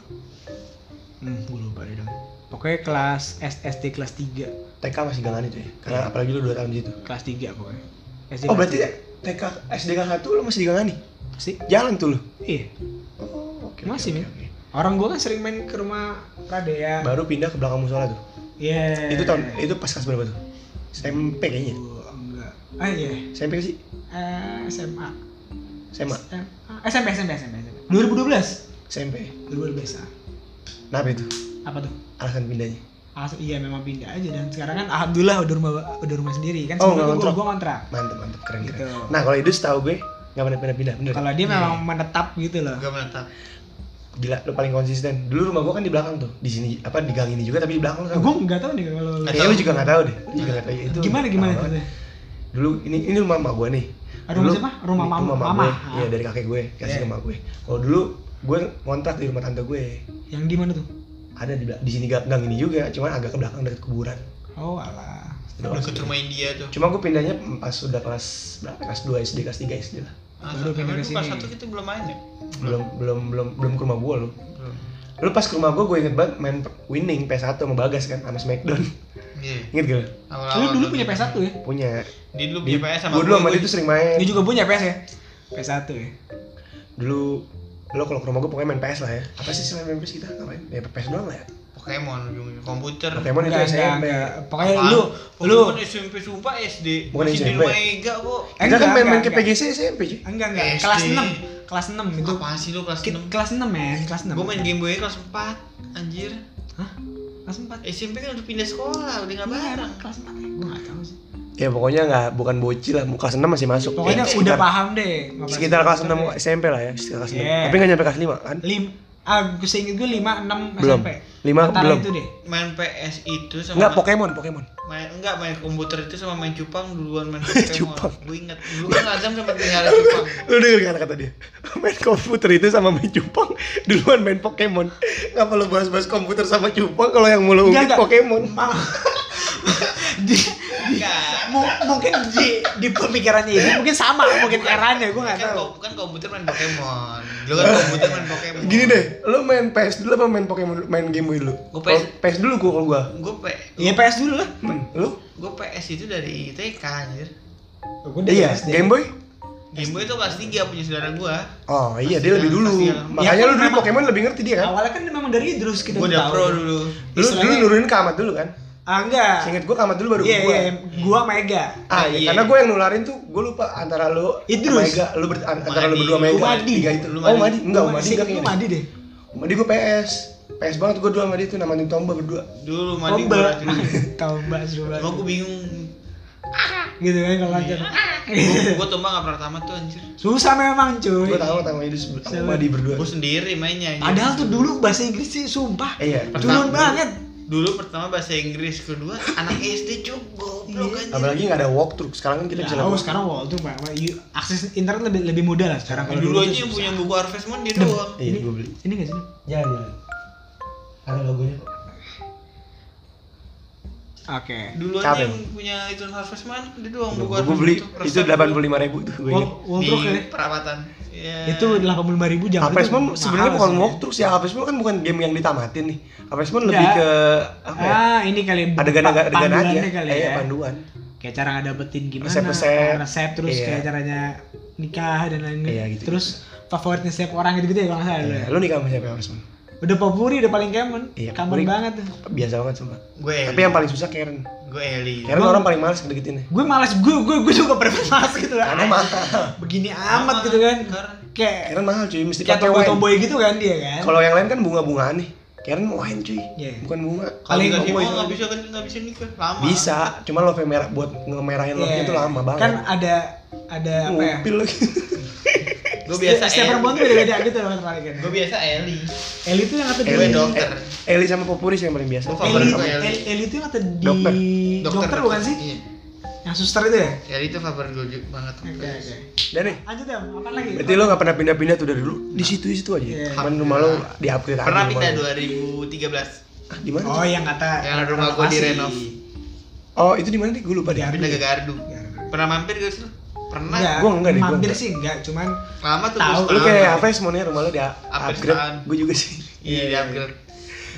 [SPEAKER 3] Hmm, gue lupa deh dong. Pokoknya kelas SST kelas 3,
[SPEAKER 1] TK masih Gangani tuh ya. Karena
[SPEAKER 3] Iya.
[SPEAKER 1] apalagi lu 2 tahun di situ.
[SPEAKER 3] kelas 3 pokoknya. SD
[SPEAKER 1] Oh
[SPEAKER 3] kelas
[SPEAKER 1] berarti
[SPEAKER 3] tiga.
[SPEAKER 1] TK SDK 1 lu masih di Gangani.
[SPEAKER 3] Masih?
[SPEAKER 1] Jalan tuh lu.
[SPEAKER 3] Iya.
[SPEAKER 1] Oh, oke.
[SPEAKER 3] Masih,
[SPEAKER 1] oke,
[SPEAKER 3] nih.
[SPEAKER 1] oke,
[SPEAKER 3] Orang gue kan sering main ke rumah Rade ya.
[SPEAKER 1] oke. Baru pindah ke belakang musola tuh.
[SPEAKER 3] Iya.
[SPEAKER 1] Itu tahun itu pas kelas berapa tuh? SMP kayaknya.
[SPEAKER 3] Gua enggak. Ah iya.
[SPEAKER 1] SMP sih?
[SPEAKER 3] Eh, SMA.
[SPEAKER 1] SMA.
[SPEAKER 3] SMA. SMP SMP SMP. 2012.
[SPEAKER 1] SMP.
[SPEAKER 3] 2012 ah.
[SPEAKER 1] Kenapa itu?
[SPEAKER 3] Apa tuh?
[SPEAKER 1] Alasan pindahnya.
[SPEAKER 3] Alas, iya memang pindah aja dan sekarang kan alhamdulillah udah rumah udah rumah sendiri kan
[SPEAKER 1] Oh,
[SPEAKER 3] sebelumnya
[SPEAKER 1] nggak
[SPEAKER 3] gue
[SPEAKER 1] kontrak.
[SPEAKER 3] gue kontrak.
[SPEAKER 1] Mantep, mantep, keren, keren.
[SPEAKER 3] Gitu.
[SPEAKER 1] Nah, kalau itu setahu gue nggak pernah pindah pindah bener.
[SPEAKER 3] Kalau dia
[SPEAKER 2] Iya.
[SPEAKER 3] memang menetap gitu loh.
[SPEAKER 2] Gak menetap.
[SPEAKER 1] Gila, lu paling konsisten. Dulu rumah gue kan di belakang tuh, di sini apa di gang ini juga tapi di belakang lu.
[SPEAKER 3] Gue Eh, nggak tahu nih kalau lu-
[SPEAKER 2] Nggak
[SPEAKER 1] Kayaknya lu juga nggak tahu deh. Lu juga nggak tahu ya, Eh, itu.
[SPEAKER 3] gimana gimana
[SPEAKER 1] tahu.
[SPEAKER 3] ceritanya?
[SPEAKER 1] Dulu ini ini rumah emak gue nih.
[SPEAKER 3] Ah, rumah siapa? Rumah
[SPEAKER 1] ini
[SPEAKER 3] mam-
[SPEAKER 1] rumah emak
[SPEAKER 3] mama.
[SPEAKER 1] gue.
[SPEAKER 3] Ah.
[SPEAKER 1] Iya, dari kakek gue, kasih
[SPEAKER 3] Iya.
[SPEAKER 1] ke emak gue. Kalau dulu gue ngontrak di rumah tante gue.
[SPEAKER 3] Yang di mana tuh?
[SPEAKER 1] Ada di bela- di sini gang gang ini juga, cuman agak ke belakang dekat kuburan.
[SPEAKER 3] Oh alah.
[SPEAKER 2] Deket rumah India tuh.
[SPEAKER 1] Cuma gue pindahnya pas sudah kelas berapa? Kelas 2 SD, kelas 3 SD
[SPEAKER 3] Hmm.
[SPEAKER 1] lah.
[SPEAKER 2] Ah, sampai
[SPEAKER 3] Baru pindah ke
[SPEAKER 2] dulu kelas
[SPEAKER 3] sini.
[SPEAKER 2] satu kita belum main ya?
[SPEAKER 1] Belum belum belum belum ke rumah gue lu.
[SPEAKER 2] Belum.
[SPEAKER 1] Lu pas ke rumah gue, gue inget banget main winning PS1 sama Bagas kan, sama Smackdown.
[SPEAKER 2] Iya.
[SPEAKER 1] Inget gak? lu?
[SPEAKER 2] Awal-awal
[SPEAKER 3] Lu
[SPEAKER 1] nah,
[SPEAKER 3] dulu
[SPEAKER 2] belum
[SPEAKER 3] punya
[SPEAKER 2] main.
[SPEAKER 3] PS1 ya?
[SPEAKER 1] Punya.
[SPEAKER 2] Dia dulu punya PS sama
[SPEAKER 1] Gue dulu sama dia tuh sering main.
[SPEAKER 3] Dia juga punya PS ya? PS1 ya?
[SPEAKER 1] Dulu lo kalau ke rumah gue pokoknya main PS lah ya. Apa sih selain main PS kita? Ngapain? Ya PS doang lah ya.
[SPEAKER 2] Pokemon ujungnya komputer
[SPEAKER 1] Pokemon itu
[SPEAKER 3] Enggak,
[SPEAKER 1] SMP.
[SPEAKER 3] enggak, enggak. Pokoknya
[SPEAKER 2] Apaan?
[SPEAKER 3] Eh, lu lu
[SPEAKER 2] Pokemon SMP sumpah SD
[SPEAKER 1] Bukan
[SPEAKER 2] masih di
[SPEAKER 1] SMP.
[SPEAKER 2] rumah Ega kok
[SPEAKER 1] Kita kan
[SPEAKER 3] enggak,
[SPEAKER 1] main-main ke
[SPEAKER 3] enggak, enggak.
[SPEAKER 1] PGC SMP cuy.
[SPEAKER 3] Enggak enggak,
[SPEAKER 2] SD.
[SPEAKER 3] kelas 6. Kelas 6 itu.
[SPEAKER 2] apaan sih lu kelas
[SPEAKER 3] Ki-
[SPEAKER 2] 6
[SPEAKER 3] Kelas 6 men, kelas 6.
[SPEAKER 2] gue main Game Boy kelas 4 anjir
[SPEAKER 3] Hah? Kelas 4.
[SPEAKER 1] Eh,
[SPEAKER 2] SMP kan udah pindah sekolah udah
[SPEAKER 3] Iya,
[SPEAKER 2] nggak bareng
[SPEAKER 3] kelas 4. Gua enggak tahu sih.
[SPEAKER 1] Ya pokoknya nggak bukan bocil lah, kelas 6 masih masuk.
[SPEAKER 3] Pokoknya
[SPEAKER 1] Ya,
[SPEAKER 3] udah
[SPEAKER 1] sekitar-
[SPEAKER 3] paham deh. Nggak
[SPEAKER 1] Sekitar
[SPEAKER 3] pernah-
[SPEAKER 1] kelas 6 SMP lah ya, sekitar kelas 6.
[SPEAKER 3] Iya.
[SPEAKER 1] Tapi nggak nyampe kelas 5 kan?
[SPEAKER 3] Lim ah gue seinget gue 5 6
[SPEAKER 1] Belum.
[SPEAKER 3] SMP.
[SPEAKER 1] 5
[SPEAKER 3] Antara
[SPEAKER 1] belum.
[SPEAKER 3] itu deh.
[SPEAKER 2] main PS itu sama
[SPEAKER 1] Enggak Pokemon, Pokemon.
[SPEAKER 2] main enggak main komputer itu sama main cupang duluan main Pokemon
[SPEAKER 1] Cupang.
[SPEAKER 2] gue inget dulu kan Azam sempat pelihara cupang
[SPEAKER 1] Lu denger kan kata dia? Main komputer itu sama main cupang duluan main Pokemon. Ngapa lu bahas-bahas komputer sama cupang kalau yang mulu ungkit
[SPEAKER 3] Enggak, enggak.
[SPEAKER 1] Pokemon?
[SPEAKER 3] Di-
[SPEAKER 2] enggak
[SPEAKER 3] mu- mungkin di, di pemikirannya ini mungkin sama mungkin eranya gue nggak
[SPEAKER 2] kan
[SPEAKER 3] tahu
[SPEAKER 2] kok bukan komputer main Pokemon lu kan komputer main Pokemon
[SPEAKER 1] Gini deh, lu main PS dulu apa main Pokemon main Game Boy dulu?
[SPEAKER 2] Gua PS.
[SPEAKER 1] Kalau PS dulu gua kalau gua.
[SPEAKER 2] gue P
[SPEAKER 3] ya PS dulu lah
[SPEAKER 1] Hmm, Lu?
[SPEAKER 2] gue PS itu dari TK anjir
[SPEAKER 3] gue
[SPEAKER 1] Iya, Game Boy?
[SPEAKER 2] Game Boy itu kelas 3 punya saudara gue
[SPEAKER 1] Oh iya, dia
[SPEAKER 2] Pasti
[SPEAKER 1] lebih
[SPEAKER 2] kan,
[SPEAKER 1] dulu.
[SPEAKER 2] pasti kan.
[SPEAKER 1] Makanya
[SPEAKER 3] Ya,
[SPEAKER 1] lu
[SPEAKER 3] kan
[SPEAKER 1] dulu
[SPEAKER 3] memang-
[SPEAKER 1] Pokemon lebih ngerti dia kan?
[SPEAKER 3] awalnya kan memang dari Idrus kita
[SPEAKER 2] gue
[SPEAKER 3] udah
[SPEAKER 2] udah
[SPEAKER 3] tahu.
[SPEAKER 2] pro ya. dulu
[SPEAKER 1] Lu dulu
[SPEAKER 3] Istilahnya-
[SPEAKER 1] nurunin ke Ahmad dulu kan?
[SPEAKER 3] ah enggak
[SPEAKER 1] Seinget gua ke Ahmad dulu baru
[SPEAKER 3] iya
[SPEAKER 1] ke
[SPEAKER 3] iya
[SPEAKER 1] gua.
[SPEAKER 3] gua Mega
[SPEAKER 1] Ah, iya.
[SPEAKER 2] Iya.
[SPEAKER 1] karena gue yang nularin tuh, gue lupa antara lu
[SPEAKER 3] Idrus.
[SPEAKER 1] Mega, lu ber- antara lu
[SPEAKER 2] Madi.
[SPEAKER 1] berdua Mega,
[SPEAKER 3] Umadi.
[SPEAKER 1] tiga itu.
[SPEAKER 2] Lu
[SPEAKER 1] Oh,
[SPEAKER 2] Madi.
[SPEAKER 1] Madi, enggak,
[SPEAKER 3] Gua-
[SPEAKER 1] Umadi
[SPEAKER 3] seinget
[SPEAKER 1] enggak
[SPEAKER 3] gua
[SPEAKER 1] kayaknya.
[SPEAKER 3] Madi deh
[SPEAKER 1] Madi gue PS. PS banget gue dua sama dia tuh nama tim Tomba berdua.
[SPEAKER 2] dulu mandi gue
[SPEAKER 3] Tomba Tomba seru banget
[SPEAKER 2] Cuma gue bingung
[SPEAKER 3] gitu kan
[SPEAKER 2] Iya.
[SPEAKER 3] kalau lancar
[SPEAKER 2] Gue tombak gak pernah tamat tuh anjir
[SPEAKER 3] susah memang cuy
[SPEAKER 1] Gue tahu sama Idrus sama
[SPEAKER 3] Seru.
[SPEAKER 1] Madi berdua.
[SPEAKER 2] Gue sendiri mainnya anjir.
[SPEAKER 3] padahal tuh dulu bahasa Inggris sih sumpah
[SPEAKER 1] Eh, Iya.
[SPEAKER 3] turun banget
[SPEAKER 2] Dulu pertama bahasa Inggris Kedua anak SD cukup Goblok
[SPEAKER 3] Iya.
[SPEAKER 2] anjir
[SPEAKER 1] Apalagi nggak ada walkthrough. Sekarang kan kita bisa
[SPEAKER 3] Oh sekarang wall tuh Pak. You- akses internet lebih lebih mudah lah sekarang kalau
[SPEAKER 2] Dulu
[SPEAKER 3] tuh
[SPEAKER 2] aja yang
[SPEAKER 3] susah.
[SPEAKER 2] punya buku Harvest Moon dia doang
[SPEAKER 1] Iya, gue beli.
[SPEAKER 3] ini nggak sih
[SPEAKER 1] Jangan, jangan. Ada logonya kok.
[SPEAKER 3] oke
[SPEAKER 2] Dulu
[SPEAKER 1] Kabel.
[SPEAKER 2] aja yang punya itu Harvest Moon dia doang buku
[SPEAKER 1] Gue
[SPEAKER 2] Harvest
[SPEAKER 1] beli
[SPEAKER 2] Moon
[SPEAKER 1] itu delapan puluh lima ribu tuh gue inget.
[SPEAKER 3] Wall- wall
[SPEAKER 2] Di
[SPEAKER 3] Walkthrough ya
[SPEAKER 2] perawatan Iya.
[SPEAKER 3] itu delapan puluh lima ribu jam
[SPEAKER 1] Harvest Moon
[SPEAKER 3] itu
[SPEAKER 1] sebenarnya
[SPEAKER 3] mahal
[SPEAKER 1] bukan
[SPEAKER 3] sih.
[SPEAKER 1] walkthrough sih. Harvest Moon kan bukan game yang ditamatin nih. Harvest Moon lebih
[SPEAKER 3] Nggak.
[SPEAKER 1] ke apa ya?
[SPEAKER 3] ah ini kali
[SPEAKER 1] Adegan-adegan adegan aja.
[SPEAKER 3] panduannya kali
[SPEAKER 1] Eh,
[SPEAKER 3] ya
[SPEAKER 1] iya, panduan.
[SPEAKER 3] kayak cara ngedapetin gimana
[SPEAKER 1] Resep-resep.
[SPEAKER 3] resep terus
[SPEAKER 1] Iya.
[SPEAKER 3] kayak caranya nikah dan lain-lain
[SPEAKER 1] Iya, gitu.
[SPEAKER 3] terus favoritnya setiap orang gitu gitu ya kalau nggak salah
[SPEAKER 1] Iya,
[SPEAKER 3] ya.
[SPEAKER 1] lu nikah sama siapa Harvest Moon?
[SPEAKER 3] udah popuri udah paling kemen
[SPEAKER 1] Iya,
[SPEAKER 3] kamen
[SPEAKER 1] popuri.
[SPEAKER 3] banget tuh
[SPEAKER 1] Biasa banget sumpah.
[SPEAKER 2] Gue
[SPEAKER 1] Tapi
[SPEAKER 2] Eli
[SPEAKER 1] yang paling susah Karen.
[SPEAKER 2] Gue Eli
[SPEAKER 1] Karen
[SPEAKER 3] Emang-
[SPEAKER 1] orang paling males ngedeketinnya.
[SPEAKER 3] gue malas gue gue gue juga pernah malas gitu lah
[SPEAKER 1] Karena mahal.
[SPEAKER 3] begini amat gitu kan
[SPEAKER 2] Karena-
[SPEAKER 3] kayak
[SPEAKER 1] Karen mahal cuy, mesti
[SPEAKER 3] kayak
[SPEAKER 1] pakai
[SPEAKER 3] tomboy
[SPEAKER 1] wine.
[SPEAKER 3] tomboy gitu kan dia kan
[SPEAKER 1] Kalau yang lain kan bunga-bungaan nih. Karen wine cuy,
[SPEAKER 3] Iya.
[SPEAKER 1] bukan bunga.
[SPEAKER 2] Kalau
[SPEAKER 3] Paling
[SPEAKER 2] dikasih
[SPEAKER 1] tomboy
[SPEAKER 2] mau gak
[SPEAKER 1] soalnya.
[SPEAKER 2] bisa kan gak bisa nikah Lama
[SPEAKER 1] Bisa, cuma love merah buat ngemerahin
[SPEAKER 3] Iya.
[SPEAKER 1] love itu lama banget.
[SPEAKER 3] kan ada ada apa ya
[SPEAKER 1] ngupil lagi.
[SPEAKER 2] Gue biasa
[SPEAKER 3] setiap
[SPEAKER 1] ya.
[SPEAKER 2] Eli
[SPEAKER 3] perempuan tuh beda-beda gitu loh tertarik kan
[SPEAKER 2] Gue biasa Eli
[SPEAKER 3] Eli tuh yang kata di
[SPEAKER 2] Eli dokter.
[SPEAKER 1] Eh, Eli sama Popuris yang paling biasa. Iya.
[SPEAKER 2] Gua
[SPEAKER 3] Eli,
[SPEAKER 2] favorit sama
[SPEAKER 1] Eli-
[SPEAKER 2] Eli
[SPEAKER 3] Eli, Eli tuh yang kata di
[SPEAKER 1] Dokter.
[SPEAKER 3] dokter, bukan sih?
[SPEAKER 2] Iya
[SPEAKER 3] Yang suster itu ya?
[SPEAKER 2] Eli itu favorit gue juga banget
[SPEAKER 3] Oke oke.
[SPEAKER 1] Dan nih,
[SPEAKER 3] Lanjut ya, apa lagi?
[SPEAKER 1] berarti lo nggak pernah pindah-pindah tuh dari dulu di situ di situ aja.
[SPEAKER 3] Iya.
[SPEAKER 1] Cuman rumah lo di upgrade
[SPEAKER 2] Pernah pindah 2013
[SPEAKER 1] Ah, Di mana?
[SPEAKER 3] Oh, yang kata
[SPEAKER 2] Yang rumah gua
[SPEAKER 3] renovasi.
[SPEAKER 2] direnov.
[SPEAKER 1] Oh, itu di mana nih? Gue lupa deh.
[SPEAKER 3] Di
[SPEAKER 2] pindah ke Gardu
[SPEAKER 3] Gardu.
[SPEAKER 2] pernah mampir gak sih lu? pernah
[SPEAKER 3] Enggak,
[SPEAKER 1] Gua enggak deh, gua
[SPEAKER 3] Mampir
[SPEAKER 1] enggak.
[SPEAKER 3] sih enggak, cuman
[SPEAKER 2] lama tuh
[SPEAKER 3] Iya. Tahu,
[SPEAKER 2] gua
[SPEAKER 1] Lu
[SPEAKER 2] setahun.
[SPEAKER 1] kayak apa ya semuanya rumah lo di
[SPEAKER 2] setaan.
[SPEAKER 1] upgrade. Gue juga sih.
[SPEAKER 2] iya di upgrade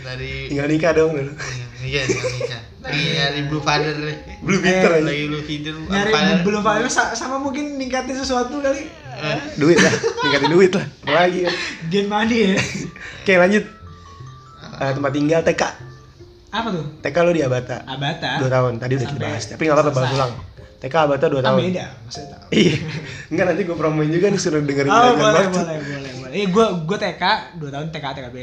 [SPEAKER 2] dari
[SPEAKER 1] Tinggal nikah dong gitu. dulu.
[SPEAKER 2] iya tinggal nikah lagi nyari Iya, blue father nih.
[SPEAKER 1] Blue Peter aja.
[SPEAKER 2] lagi blue feeder blue
[SPEAKER 3] nyari
[SPEAKER 2] father.
[SPEAKER 3] belum valid sa- sama mungkin ningkatin sesuatu kali.
[SPEAKER 2] Eh,
[SPEAKER 1] Duit lah, ningkatin duit lah. Apa Lagi ya.
[SPEAKER 3] Game money ya.
[SPEAKER 1] Oke lanjut. Eh, tempat tinggal TK.
[SPEAKER 3] apa tuh?
[SPEAKER 1] TK lo di Abata. Dua
[SPEAKER 3] Abata.
[SPEAKER 1] tahun. Tadi udah
[SPEAKER 3] Ah? Sampai
[SPEAKER 1] dibahas. Tapi nggak apa-apa bahas
[SPEAKER 3] selesai.
[SPEAKER 1] ulang. TK Abata dua
[SPEAKER 3] Kan
[SPEAKER 1] tahun.
[SPEAKER 3] beda, maksudnya tahu.
[SPEAKER 1] Iya. Enggak nanti gue promoin juga nih suruh dengerin
[SPEAKER 3] Oh,
[SPEAKER 1] kalian
[SPEAKER 3] boleh,
[SPEAKER 1] banget.
[SPEAKER 3] boleh, boleh, boleh. Eh, gua gua TK 2 tahun TK TKB.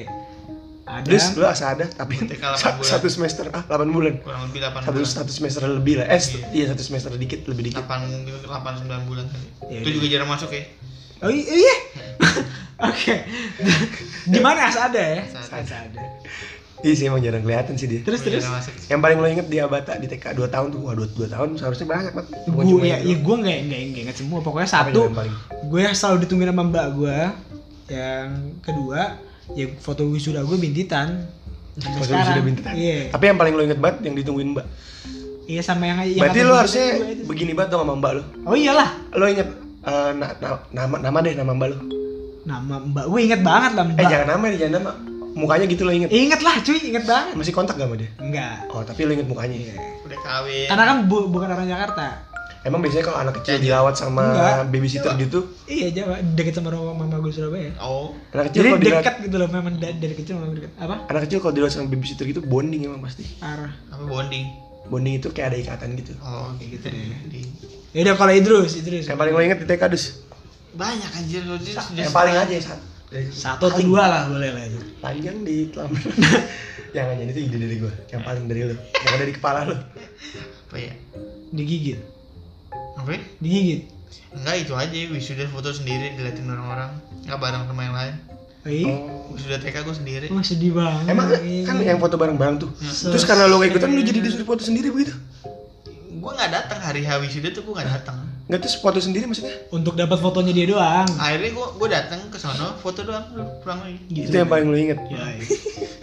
[SPEAKER 3] Ada
[SPEAKER 1] Terus lu asal ada tapi
[SPEAKER 2] TK delapan
[SPEAKER 1] sa-
[SPEAKER 2] bulan.
[SPEAKER 1] satu semester ah 8 bulan.
[SPEAKER 2] kurang lebih 8
[SPEAKER 1] Satu
[SPEAKER 2] bulan
[SPEAKER 1] satu semester lebih lah. Eh set-
[SPEAKER 2] Iya.
[SPEAKER 1] iya satu semester dikit lebih dikit.
[SPEAKER 2] 8 mungkin 8 9 bulan kali
[SPEAKER 3] Iya,
[SPEAKER 2] itu
[SPEAKER 3] iya.
[SPEAKER 2] juga jarang masuk ya
[SPEAKER 3] Oh i- iya. Oke. Di mana As ada ya?
[SPEAKER 2] As ada.
[SPEAKER 3] As ada.
[SPEAKER 1] Iya sih emang jarang kelihatan sih dia.
[SPEAKER 3] Terus terus.
[SPEAKER 2] jarang masuk
[SPEAKER 1] Yang paling lo inget di Abata di TK 2 tahun tuh. Wah, 2, tahun seharusnya banyak banget. Bukan
[SPEAKER 3] Gue
[SPEAKER 1] cuma
[SPEAKER 3] ya,
[SPEAKER 1] itu.
[SPEAKER 3] ya gue nggak nggak nggak inget semua. Pokoknya
[SPEAKER 1] Apa
[SPEAKER 3] satu,
[SPEAKER 1] yang paling?
[SPEAKER 3] gue selalu ditungguin sama mbak gue. Yang kedua, ya foto wisuda gue bintitan. Sampai
[SPEAKER 1] Foto
[SPEAKER 3] sekarang.
[SPEAKER 1] sudah bintitan.
[SPEAKER 3] Iya.
[SPEAKER 1] Tapi yang paling lo inget banget yang ditungguin Mbak.
[SPEAKER 3] Iya sama yang yang
[SPEAKER 1] Berarti
[SPEAKER 3] kata
[SPEAKER 1] lo
[SPEAKER 3] gua
[SPEAKER 1] harusnya
[SPEAKER 3] tadi gua itu.
[SPEAKER 1] begini banget dong sama Mbak lo.
[SPEAKER 3] Oh iyalah.
[SPEAKER 1] Lo inget eh, na- na- nama nama deh nama Mbak lo.
[SPEAKER 3] Nama mbak gue inget banget lah
[SPEAKER 1] Eh
[SPEAKER 3] mbak. Iya.
[SPEAKER 1] jangan nama deh, jangan nama. Mukanya gitu lo inget.
[SPEAKER 3] inget lah cuy, inget banget.
[SPEAKER 1] Masih kontak gak sama dia?
[SPEAKER 3] Enggak.
[SPEAKER 1] Oh, tapi lo inget mukanya.
[SPEAKER 3] Iya.
[SPEAKER 2] udah kawin
[SPEAKER 3] Karena kan bu- bukan orang Jakarta.
[SPEAKER 1] Emang biasanya kalau anak kecil
[SPEAKER 2] Iya,
[SPEAKER 1] dilawat sama
[SPEAKER 3] Enggak.
[SPEAKER 1] babysitter gitu,
[SPEAKER 3] Iya Jawa, deket sama rumah mama gue Surabaya.
[SPEAKER 2] Oh,
[SPEAKER 1] anak kecil
[SPEAKER 3] Jadi
[SPEAKER 1] kalau dilawat,
[SPEAKER 3] deket gitu loh, memang da- dari kecil memang deket. Apa?
[SPEAKER 1] anak kecil kalau dilawat sama babysitter gitu bonding emang pasti.
[SPEAKER 3] Arah.
[SPEAKER 2] apa bonding?
[SPEAKER 1] Bonding itu kayak ada ikatan gitu.
[SPEAKER 2] Oh, kayak gitu deh. Di-
[SPEAKER 3] Ya udah kalau Idrus, Idrus.
[SPEAKER 1] Yang paling lo inget di TK dus.
[SPEAKER 2] Banyak anjir lu di- di-
[SPEAKER 1] Yang paling aja satu.
[SPEAKER 3] Satu atau dua lah boleh lah itu.
[SPEAKER 1] panjang di telam. Jangan jangan itu ide dari gua. Yang paling dari lo. Yang ada di kepala lo.
[SPEAKER 2] Apa ya?
[SPEAKER 3] Digigit,
[SPEAKER 2] Apa ya?
[SPEAKER 3] digigit.
[SPEAKER 2] Enggak itu aja wisuda foto sendiri diliatin orang-orang. Enggak bareng sama yang lain.
[SPEAKER 3] Oh, iya.
[SPEAKER 1] Oh.
[SPEAKER 2] Wisuda TK gue sendiri.
[SPEAKER 3] Wah sedih banget. Iya.
[SPEAKER 1] Emang kan yang foto bareng-bareng tuh.
[SPEAKER 3] Ses-
[SPEAKER 1] Terus karena lo gak ikutan lo jadi disuruh foto sendiri begitu.
[SPEAKER 2] Gue nggak datang hari H wisuda tuh gue nggak datang.
[SPEAKER 1] Enggak terus foto sendiri maksudnya?
[SPEAKER 3] untuk dapat fotonya dia doang.
[SPEAKER 2] Akhirnya gue gue datang ke sono foto doang lu pulang lagi.
[SPEAKER 3] Gitu.
[SPEAKER 1] Itu yang paling lo inget.
[SPEAKER 3] Ya, iya.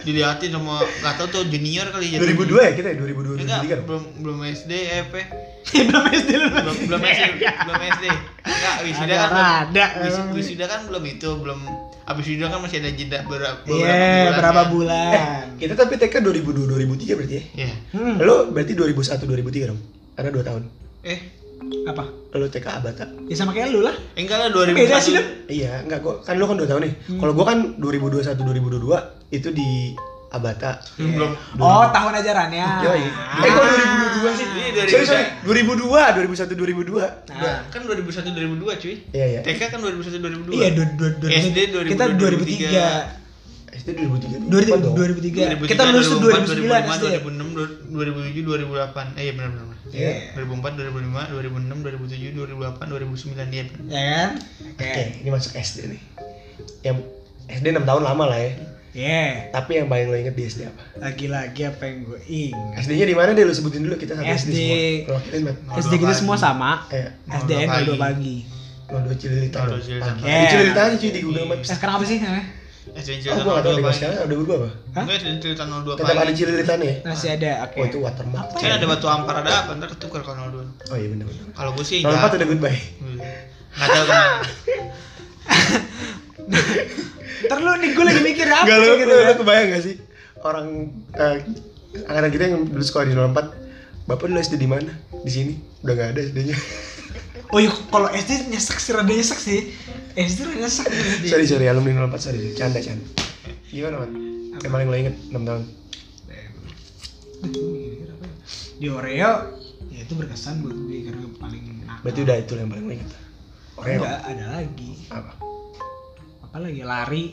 [SPEAKER 2] Diliatin sama nggak tahu tuh junior kali ya.
[SPEAKER 1] 2002 ya kita ya? 2002
[SPEAKER 2] Enggak,
[SPEAKER 1] 2003 dong.
[SPEAKER 2] belum belum SD, eh, apa ya?
[SPEAKER 3] Belum SD lu.
[SPEAKER 2] belum belum SD, belum SD. Enggak, wisuda
[SPEAKER 3] Iya. Ada
[SPEAKER 2] kan belum-
[SPEAKER 3] rada,
[SPEAKER 2] wis-
[SPEAKER 3] emang.
[SPEAKER 2] wisuda kan belum itu, belum abis wisuda kan masih ada jeda berapa
[SPEAKER 3] Iya, berapa bulan?
[SPEAKER 1] Kita tapi TK 2002 2003 berarti ya.
[SPEAKER 2] Iya.
[SPEAKER 3] Hmm.
[SPEAKER 1] Lo berarti 2001 2003 dong. Ada 2 tahun.
[SPEAKER 2] Eh,
[SPEAKER 3] Apa?
[SPEAKER 1] Lo TK Abata.
[SPEAKER 3] Ya sama kayak lu lah.
[SPEAKER 2] eh, enggak lah
[SPEAKER 3] Beda
[SPEAKER 2] 2001.
[SPEAKER 3] sih, Dem.
[SPEAKER 1] Iya, enggak gua kan lo kan 2 tahun nih.
[SPEAKER 3] Hmm.
[SPEAKER 1] Kalau gua kan 2021 2022 itu di Abata.
[SPEAKER 2] Belum belum.
[SPEAKER 3] Oh, tahun ajarannya.
[SPEAKER 1] Yoi. Eh, kok 2002 sih? Iya,
[SPEAKER 2] Ini
[SPEAKER 1] Sorry, sorry.
[SPEAKER 2] 2000.
[SPEAKER 1] 2002, 2001, 2002.
[SPEAKER 2] Nah,
[SPEAKER 3] Nah,
[SPEAKER 2] kan 2001 2002 cuy.
[SPEAKER 1] Iya, iya.
[SPEAKER 2] TK kan 2001 2002.
[SPEAKER 3] iya, dua, dua, dua,
[SPEAKER 2] SD
[SPEAKER 3] kita
[SPEAKER 2] 2003.
[SPEAKER 3] 2003.
[SPEAKER 1] SD 2003.
[SPEAKER 3] 2000
[SPEAKER 1] dong.
[SPEAKER 3] 2003. Kita lulus tuh 2009 SD.
[SPEAKER 2] 2006, 2007, 2008. Eh, iya benar benar.
[SPEAKER 3] Iya.
[SPEAKER 2] 2004, 2005, 2006, 2007, 2008, 2009 iya benar.
[SPEAKER 3] Ya kan? Oke.
[SPEAKER 1] Oke, ini masuk SD nih. Yang SD 6 tahun lama lah ya.
[SPEAKER 3] Yeah.
[SPEAKER 1] Tapi yang paling lo inget di SD apa?
[SPEAKER 3] Lagi-lagi apa yang gue ingat?
[SPEAKER 1] SD-nya di mana deh lo sebutin dulu kita satu SD,
[SPEAKER 3] SD.
[SPEAKER 1] semua. Kalau kita Matt.
[SPEAKER 2] Nol
[SPEAKER 3] SD kita
[SPEAKER 2] dua
[SPEAKER 3] semua
[SPEAKER 2] pagi.
[SPEAKER 3] sama.
[SPEAKER 1] kayak
[SPEAKER 3] SDN
[SPEAKER 2] dua
[SPEAKER 3] 02
[SPEAKER 2] pagi.
[SPEAKER 3] pagi.
[SPEAKER 1] Nol dua cililita
[SPEAKER 2] Nol
[SPEAKER 1] dong,
[SPEAKER 2] dua cililita.
[SPEAKER 1] pagi.
[SPEAKER 3] Yeah.
[SPEAKER 1] Ini Cililita aja cuy di Google
[SPEAKER 2] Iya.
[SPEAKER 1] Maps.
[SPEAKER 3] Eh, sekarang apa sih namanya?
[SPEAKER 2] SD
[SPEAKER 1] Oh
[SPEAKER 2] cerita
[SPEAKER 1] gua nggak tahu deh
[SPEAKER 2] 02
[SPEAKER 1] gua
[SPEAKER 2] pagi.
[SPEAKER 1] sekarang udah berubah apa?
[SPEAKER 3] Hah?
[SPEAKER 2] Enggak, SD cerita 02
[SPEAKER 1] Tetap ada
[SPEAKER 2] pagi.
[SPEAKER 1] cililita nih. ya?
[SPEAKER 3] Masih ada, oke.
[SPEAKER 1] Oh itu watermark.
[SPEAKER 3] Apa? ya?
[SPEAKER 2] Kan ada batu ampar ada apa ntar ketukar kalau 02.
[SPEAKER 1] Oh iya benar benar.
[SPEAKER 2] Kalau gue sih
[SPEAKER 1] Nol empat
[SPEAKER 2] enggak.
[SPEAKER 1] udah goodbye.
[SPEAKER 2] Enggak tahu kemana.
[SPEAKER 3] Ntar lu nih, gue lagi mikir apa
[SPEAKER 1] Enggak lu
[SPEAKER 3] gitu
[SPEAKER 1] lu-
[SPEAKER 3] kan.
[SPEAKER 1] lu kebayang gak sih orang eh, angkatan kita yang dulu sekolah di 04 Bapak dulu SD di mana? Di sini. Udah nggak ada SD-nya.
[SPEAKER 3] Oh iya, kalau SD nyesek sih, rada nyesek sih. SD rada nyesek.
[SPEAKER 1] sorry sorry alumni 04 sorry. Canda canda. Gimana man? Yang paling lo inget 6 tahun.
[SPEAKER 3] Di Oreo, ya itu berkesan buat gue karena paling nakal.
[SPEAKER 1] Berarti udah itu yang paling lo inget. Oreo.
[SPEAKER 3] Enggak, ada lagi.
[SPEAKER 1] Apa?
[SPEAKER 3] Apa lagi? Lari,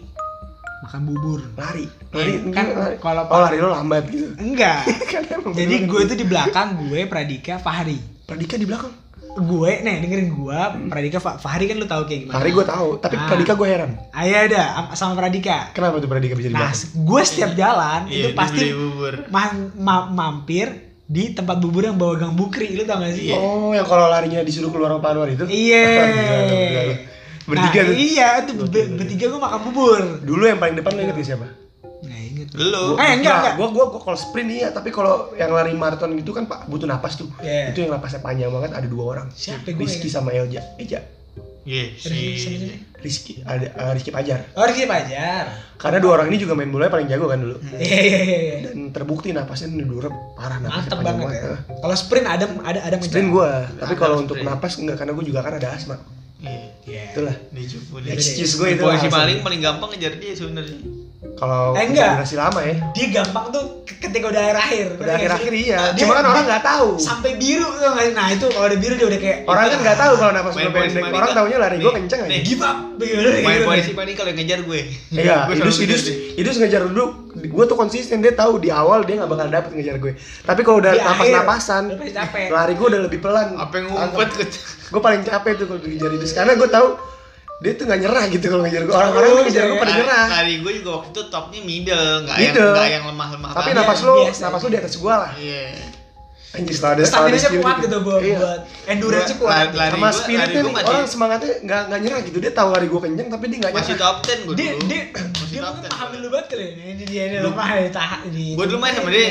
[SPEAKER 3] makan bubur.
[SPEAKER 1] Lari. Lari.
[SPEAKER 3] Iya, kan
[SPEAKER 1] lari.
[SPEAKER 3] kalau-
[SPEAKER 1] oh, lari lo lambat gitu.
[SPEAKER 3] Enggak.
[SPEAKER 1] Kan emang
[SPEAKER 3] Jadi
[SPEAKER 1] bener.
[SPEAKER 3] gue itu di belakang gue Pradika Fahri.
[SPEAKER 1] Pradika di belakang.
[SPEAKER 3] Gue, nih dengerin gue, Pradika Fa- Fahri kan lu tahu kayak gimana.
[SPEAKER 1] Lari gue Nah, tahu, tapi
[SPEAKER 3] Ah.
[SPEAKER 1] Pradika gue heran.
[SPEAKER 3] Ayah ada am- sama Pradika.
[SPEAKER 1] Kenapa tuh Pradika bisa di
[SPEAKER 3] Nah,
[SPEAKER 1] belakang?
[SPEAKER 3] gue setiap jalan
[SPEAKER 2] Iya,
[SPEAKER 3] itu pasti
[SPEAKER 2] dibeli bubur.
[SPEAKER 3] ma- ma- mampir di tempat bubur yang bawa gang bukri, lu tau gak sih? Nah,
[SPEAKER 1] Oh, yang kalau larinya disuruh keluar sama Anwar itu?
[SPEAKER 3] Iya.
[SPEAKER 1] Gila, gila, gila. Bertiga
[SPEAKER 3] nah,
[SPEAKER 1] tuh.
[SPEAKER 3] Iya, itu
[SPEAKER 1] Gokil,
[SPEAKER 3] be-
[SPEAKER 1] gokil.
[SPEAKER 3] bertiga gue makan bubur.
[SPEAKER 1] Dulu yang paling depan lo inget gak siapa?
[SPEAKER 3] Nah, inget.
[SPEAKER 2] Lu.
[SPEAKER 3] Eh, enggak, enggak.
[SPEAKER 1] Gue gua, gua kalau sprint iya, tapi kalau yang lari maraton gitu kan Pak butuh napas tuh.
[SPEAKER 3] Iya.
[SPEAKER 1] Itu yang napasnya panjang banget ada dua orang.
[SPEAKER 3] Siapa gua ya?
[SPEAKER 1] Rizky
[SPEAKER 3] ingat?
[SPEAKER 1] sama Elja. Eja.
[SPEAKER 2] Iya, si
[SPEAKER 1] Rizky ada eh, Rizky Pajar.
[SPEAKER 3] Oh, Rizky Pajar.
[SPEAKER 1] Karena dua orang ini juga main bola paling jago kan dulu.
[SPEAKER 3] Iya, iya, iya, iya.
[SPEAKER 1] Dan terbukti napasnya durep parah napasnya
[SPEAKER 3] Mantep
[SPEAKER 1] panjang
[SPEAKER 3] banget
[SPEAKER 1] banget.
[SPEAKER 3] ya.
[SPEAKER 1] Eh,
[SPEAKER 3] Kalau sprint ada ada ada
[SPEAKER 1] Sprint
[SPEAKER 3] mencar.
[SPEAKER 1] gue, tapi
[SPEAKER 2] Ada
[SPEAKER 1] kalau untuk
[SPEAKER 2] sprint.
[SPEAKER 1] napas enggak karena gue juga kan ada asma.
[SPEAKER 2] Iya.
[SPEAKER 3] Iya.
[SPEAKER 1] Itulah.
[SPEAKER 2] Dicupu dia.
[SPEAKER 1] Excuse gue itu.
[SPEAKER 2] Polisi
[SPEAKER 1] alasan.
[SPEAKER 2] maling paling gampang ngejar dia sebenarnya.
[SPEAKER 1] Kalau
[SPEAKER 3] Eh, enggak.
[SPEAKER 1] durasi lama ya.
[SPEAKER 3] Dia gampang tuh ke- ketika udah akhir-akhir.
[SPEAKER 1] Udah akhir-akhir iya.
[SPEAKER 3] Nah, Dia-
[SPEAKER 1] Cuma kan orang nggak tahu.
[SPEAKER 3] sampai biru tuh nggak sih? Nah, itu kalau udah biru dia udah kayak
[SPEAKER 1] Orang kan nggak tahu kalau napas
[SPEAKER 2] Main
[SPEAKER 1] gue
[SPEAKER 2] polisi
[SPEAKER 1] pendek.
[SPEAKER 2] maling
[SPEAKER 1] Orang
[SPEAKER 2] kan?
[SPEAKER 1] taunya lari gue
[SPEAKER 2] Nih,
[SPEAKER 1] kenceng aja.
[SPEAKER 2] nih.
[SPEAKER 3] give up gitu, begitu.
[SPEAKER 2] Main polisi paling kalau yang ngejar gue.
[SPEAKER 1] Iya,
[SPEAKER 2] Gue selalu
[SPEAKER 1] idus
[SPEAKER 2] ngejar
[SPEAKER 1] idus
[SPEAKER 2] dia.
[SPEAKER 1] idus ngejar dulu. Gue tuh konsisten dia tahu di awal dia nggak bakal dapet ngejar gue. Tapi kalau udah
[SPEAKER 3] Di
[SPEAKER 1] napas napasan,
[SPEAKER 3] akhir, lu pasti capek.
[SPEAKER 1] lari gue udah lebih pelan.
[SPEAKER 2] Apa yang ngumpet ke
[SPEAKER 1] Gue paling capek tuh kalau dikejar idus karena gue tahu dia tuh nggak nyerah gitu kalau ngejar gue. Orang-orang
[SPEAKER 3] Oh,
[SPEAKER 1] tuh ngejar gue
[SPEAKER 3] iya.
[SPEAKER 2] Nah,
[SPEAKER 1] pada nyerah.
[SPEAKER 2] Lari gue juga waktu itu topnya middle, enggak yang
[SPEAKER 1] Middle.
[SPEAKER 2] enggak yang lemah-lemah
[SPEAKER 1] Tapi
[SPEAKER 2] banget.
[SPEAKER 1] napas lo,
[SPEAKER 3] Biasa.
[SPEAKER 1] napas lo di atas gue lah.
[SPEAKER 2] Iya.
[SPEAKER 1] Anjir, setelah ada setelah ada
[SPEAKER 3] Stamina-nya
[SPEAKER 1] skill
[SPEAKER 3] kuat gitu buat
[SPEAKER 1] Iya.
[SPEAKER 3] buat endurance-nya
[SPEAKER 2] Gua
[SPEAKER 3] kuat.
[SPEAKER 2] lari- lari
[SPEAKER 1] sama
[SPEAKER 2] gua-
[SPEAKER 1] spiritnya
[SPEAKER 2] lari
[SPEAKER 1] nih,
[SPEAKER 2] gua
[SPEAKER 1] orang
[SPEAKER 2] masih-
[SPEAKER 1] semangatnya nggak nggak nyerah gitu dia tahu lari gue kenceng tapi dia nggak
[SPEAKER 2] masih
[SPEAKER 1] nyerah
[SPEAKER 2] top 10 gue
[SPEAKER 3] dia
[SPEAKER 2] dulu.
[SPEAKER 3] dia
[SPEAKER 2] Masih
[SPEAKER 3] dia
[SPEAKER 2] top
[SPEAKER 3] mungkin
[SPEAKER 2] 10
[SPEAKER 3] paham
[SPEAKER 2] gua.
[SPEAKER 3] lu banget kali ya. ini dia dia lemah ya tahan di Iya,
[SPEAKER 2] Gue dulu main sama dia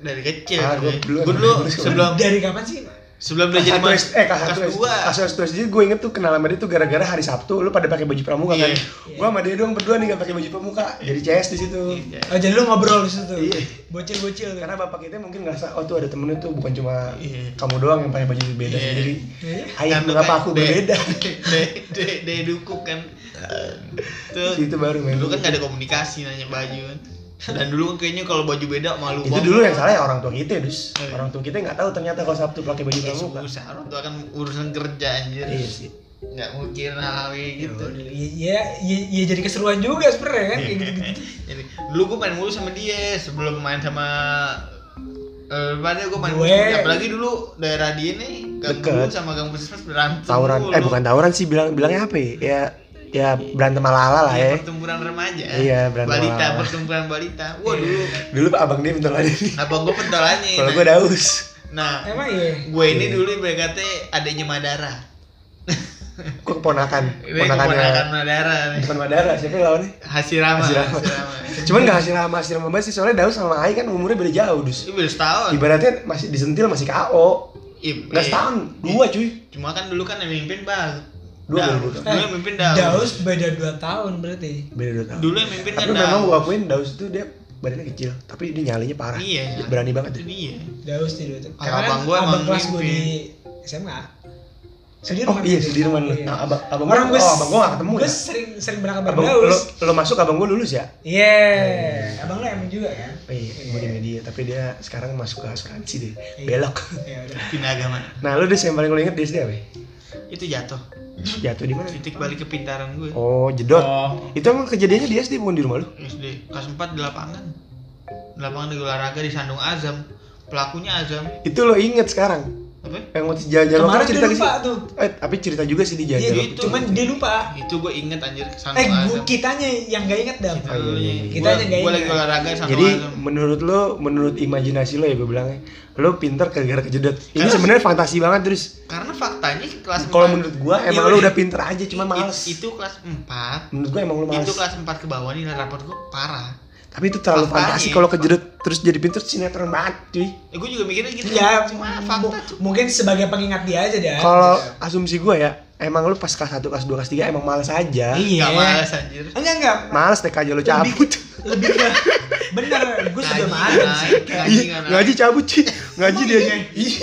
[SPEAKER 2] dari kecil.
[SPEAKER 1] Ah, gua
[SPEAKER 2] gue
[SPEAKER 1] duluan.
[SPEAKER 2] dulu
[SPEAKER 1] Gua duluan.
[SPEAKER 2] sebelum
[SPEAKER 3] dari kapan sih
[SPEAKER 2] Sebelum dia
[SPEAKER 1] kelas
[SPEAKER 2] jadi
[SPEAKER 1] satu
[SPEAKER 2] mas-
[SPEAKER 1] S- eh kelas satu
[SPEAKER 2] kelas
[SPEAKER 1] S-
[SPEAKER 2] dua.
[SPEAKER 1] kelas satu SD gue inget tuh kenal sama dia tuh gara-gara hari Sabtu lu pada pakai baju pramuka kan
[SPEAKER 2] Iya.
[SPEAKER 1] gue sama dia doang berdua nih gak pakai baju pramuka jadi CS di situ
[SPEAKER 2] Iya.
[SPEAKER 3] Oh jadi lu ngobrol di situ.
[SPEAKER 1] Iya.
[SPEAKER 3] Bocil-bocil tuh.
[SPEAKER 1] karena bapak kita mungkin ngerasa oh tuh ada temennya tuh bukan cuma
[SPEAKER 2] Iya.
[SPEAKER 1] kamu doang yang pakai baju beda
[SPEAKER 2] Iya.
[SPEAKER 1] jadi
[SPEAKER 3] Iya.
[SPEAKER 1] ayah
[SPEAKER 2] Dan lu
[SPEAKER 1] mengapa
[SPEAKER 2] kayak
[SPEAKER 1] aku
[SPEAKER 2] de-
[SPEAKER 1] berbeda
[SPEAKER 2] de- de- de- de dukuk kan
[SPEAKER 1] Terus itu baru main
[SPEAKER 2] dulu kan gak ada komunikasi nanya baju kan dan dulu kan kayaknya kalau baju beda malu
[SPEAKER 1] itu dulu yang salah ya orang tua kita dus
[SPEAKER 2] Iya.
[SPEAKER 1] orang tua kita nggak tahu ternyata kalau Sabtu pakai baju pramuka
[SPEAKER 2] Ya susah orang tuh akan urusan kerja anjir
[SPEAKER 1] iya sih
[SPEAKER 2] nggak mungkin hal kayak gitu
[SPEAKER 3] Iya, iya iya jadi keseruan juga sebenarnya kan kayak gitu-gitu.
[SPEAKER 2] Jadi, dulu gue main mulu sama dia sebelum main sama eh mana gue main mulu
[SPEAKER 3] Gue-
[SPEAKER 2] sama- apalagi dulu daerah dia nih Gang
[SPEAKER 1] Deket.
[SPEAKER 2] Dulu sama Gang Puskesmas berantem
[SPEAKER 1] tawuran
[SPEAKER 2] mulu.
[SPEAKER 1] eh bukan tawuran sih bilang bilangnya apa ya ya, ya berantem ala-ala lah
[SPEAKER 2] Iya,
[SPEAKER 1] ya
[SPEAKER 2] pertempuran remaja
[SPEAKER 1] Iya, berantem
[SPEAKER 2] balita
[SPEAKER 1] awal-awal.
[SPEAKER 2] pertempuran balita wah dulu Nah,
[SPEAKER 1] dulu abang dia bentar lagi
[SPEAKER 2] abang gue pentolannya
[SPEAKER 1] kalau gue daus
[SPEAKER 2] nah
[SPEAKER 3] Emang iya.
[SPEAKER 2] gue ini dulu berkata adanya Madara
[SPEAKER 1] gue keponakan
[SPEAKER 2] ini keponakan
[SPEAKER 1] keponakannya
[SPEAKER 2] Madara nih
[SPEAKER 1] bukan Madara siapa yang lawannya
[SPEAKER 2] Hasirama
[SPEAKER 1] Hasirama.
[SPEAKER 2] Hasirama
[SPEAKER 1] cuman gak hasil sama hasil sama banget sih soalnya daus sama Ai kan umurnya beda jauh dus
[SPEAKER 2] itu baru setahun
[SPEAKER 1] ibaratnya masih disentil masih KO
[SPEAKER 2] Im-
[SPEAKER 1] nggak
[SPEAKER 2] iya.
[SPEAKER 1] setahun dua cuy
[SPEAKER 2] cuma kan dulu kan yang mimpin bang
[SPEAKER 1] Dua
[SPEAKER 2] Daus.
[SPEAKER 1] dulu.
[SPEAKER 2] dulu yang mimpin Daus.
[SPEAKER 3] Eh, Daus beda 2 tahun berarti.
[SPEAKER 1] beda dua tahun
[SPEAKER 2] dulu yang mimpin kan
[SPEAKER 1] tapi memang gue akuin daus itu dia badannya kecil tapi dia nyalinya parah
[SPEAKER 2] iya
[SPEAKER 1] Dia berani banget
[SPEAKER 2] itu
[SPEAKER 1] ya.
[SPEAKER 2] dia
[SPEAKER 3] Daus di dua tahun.
[SPEAKER 2] Kalau abang gua emang
[SPEAKER 3] kelas gue
[SPEAKER 2] mimpi.
[SPEAKER 3] di SMA.
[SPEAKER 1] oh
[SPEAKER 3] Sudirman.
[SPEAKER 1] iya Sudirman lu
[SPEAKER 3] Iya.
[SPEAKER 1] nah, abang abang
[SPEAKER 3] Orang
[SPEAKER 1] gua,
[SPEAKER 3] gue
[SPEAKER 1] oh, abang gue gak ketemu
[SPEAKER 3] Gue
[SPEAKER 1] ya
[SPEAKER 3] sering sering berangkat bareng
[SPEAKER 1] abang lo,
[SPEAKER 3] Daus.
[SPEAKER 1] lo masuk abang gue lulus ya
[SPEAKER 3] Iya. Abang lo emang juga kan?
[SPEAKER 1] Oh iya, gue di media, tapi dia sekarang masuk ke asuransi deh,
[SPEAKER 3] Iya.
[SPEAKER 1] belok.
[SPEAKER 3] Ya udah.
[SPEAKER 2] pindah agama
[SPEAKER 1] Nah, lu Des yang paling lo inget Des dia apa? ya?
[SPEAKER 2] itu jatuh
[SPEAKER 1] Jatuh di mana?
[SPEAKER 2] titik balik kepintaran gue
[SPEAKER 1] Oh, jedot.
[SPEAKER 3] Oh.
[SPEAKER 1] Itu emang kejadiannya di SD bukan di rumah lu?
[SPEAKER 2] SD kelas 4 di lapangan di lapangan di olahraga di Sandung Azam pelakunya Azam
[SPEAKER 1] Itu lo inget sekarang?
[SPEAKER 2] apa
[SPEAKER 1] Yang waktu jalan-jalan
[SPEAKER 3] Kemarin
[SPEAKER 1] waktu
[SPEAKER 3] dia
[SPEAKER 1] ke
[SPEAKER 3] lupa
[SPEAKER 1] sini?
[SPEAKER 3] tuh.
[SPEAKER 1] Eh, tapi cerita juga sih di
[SPEAKER 3] Iya,
[SPEAKER 1] jalan-jalan.
[SPEAKER 2] gitu.
[SPEAKER 3] cuman dia lupa.
[SPEAKER 2] itu gue inget anjir ke Sandung
[SPEAKER 3] Eh, gua,
[SPEAKER 2] Azam
[SPEAKER 3] kitanya yang gak inget dam.
[SPEAKER 2] Gitu,
[SPEAKER 1] Oh, iya, iya, iya.
[SPEAKER 2] gua,
[SPEAKER 3] Kitanya nggak
[SPEAKER 2] gua
[SPEAKER 3] ingat.
[SPEAKER 2] lagi olahraga di Sandung
[SPEAKER 1] Jadi
[SPEAKER 2] Azam
[SPEAKER 1] menurut lo, menurut imajinasi lo ya gue bilangnya, lo pinter gara-gara kejedot. Ini sebenarnya fantasi banget terus.
[SPEAKER 2] karena faktanya kelas
[SPEAKER 1] Kalau
[SPEAKER 2] empat-
[SPEAKER 1] menurut gua
[SPEAKER 2] Iya,
[SPEAKER 1] emang lo udah pinter aja, cuma
[SPEAKER 2] i-
[SPEAKER 1] males.
[SPEAKER 2] itu kelas 4
[SPEAKER 1] menurut gua emang lo males.
[SPEAKER 2] itu kan kelas 4 ke bawah nih rapor gue parah
[SPEAKER 1] Tapi itu terlalu
[SPEAKER 2] Faktanya.
[SPEAKER 1] fantasi kalau kejedot terus jadi pinter sinetron banget, cuy.
[SPEAKER 2] eh, gue juga mikirnya gitu
[SPEAKER 3] Ya,
[SPEAKER 2] cuma
[SPEAKER 3] mu-
[SPEAKER 2] fakta cuma
[SPEAKER 3] mungkin sebagai pengingat dia aja dam.
[SPEAKER 1] Kalau asumsi gua ya, emang lu pas kelas 1, kelas 2, kelas 3 emang males aja.
[SPEAKER 3] Iya.
[SPEAKER 2] Gak males anjir
[SPEAKER 3] Enggak enggak.
[SPEAKER 1] Males TK aja lu cabut. Iya,
[SPEAKER 3] Lebih ke bener. Gue
[SPEAKER 2] Ngaji,
[SPEAKER 3] sudah marah. sih.
[SPEAKER 2] naik, ngaji,
[SPEAKER 1] Iya,
[SPEAKER 2] naik.
[SPEAKER 1] ngaji cabut, Ci. Ngaji dia.
[SPEAKER 3] iya?
[SPEAKER 1] Ih,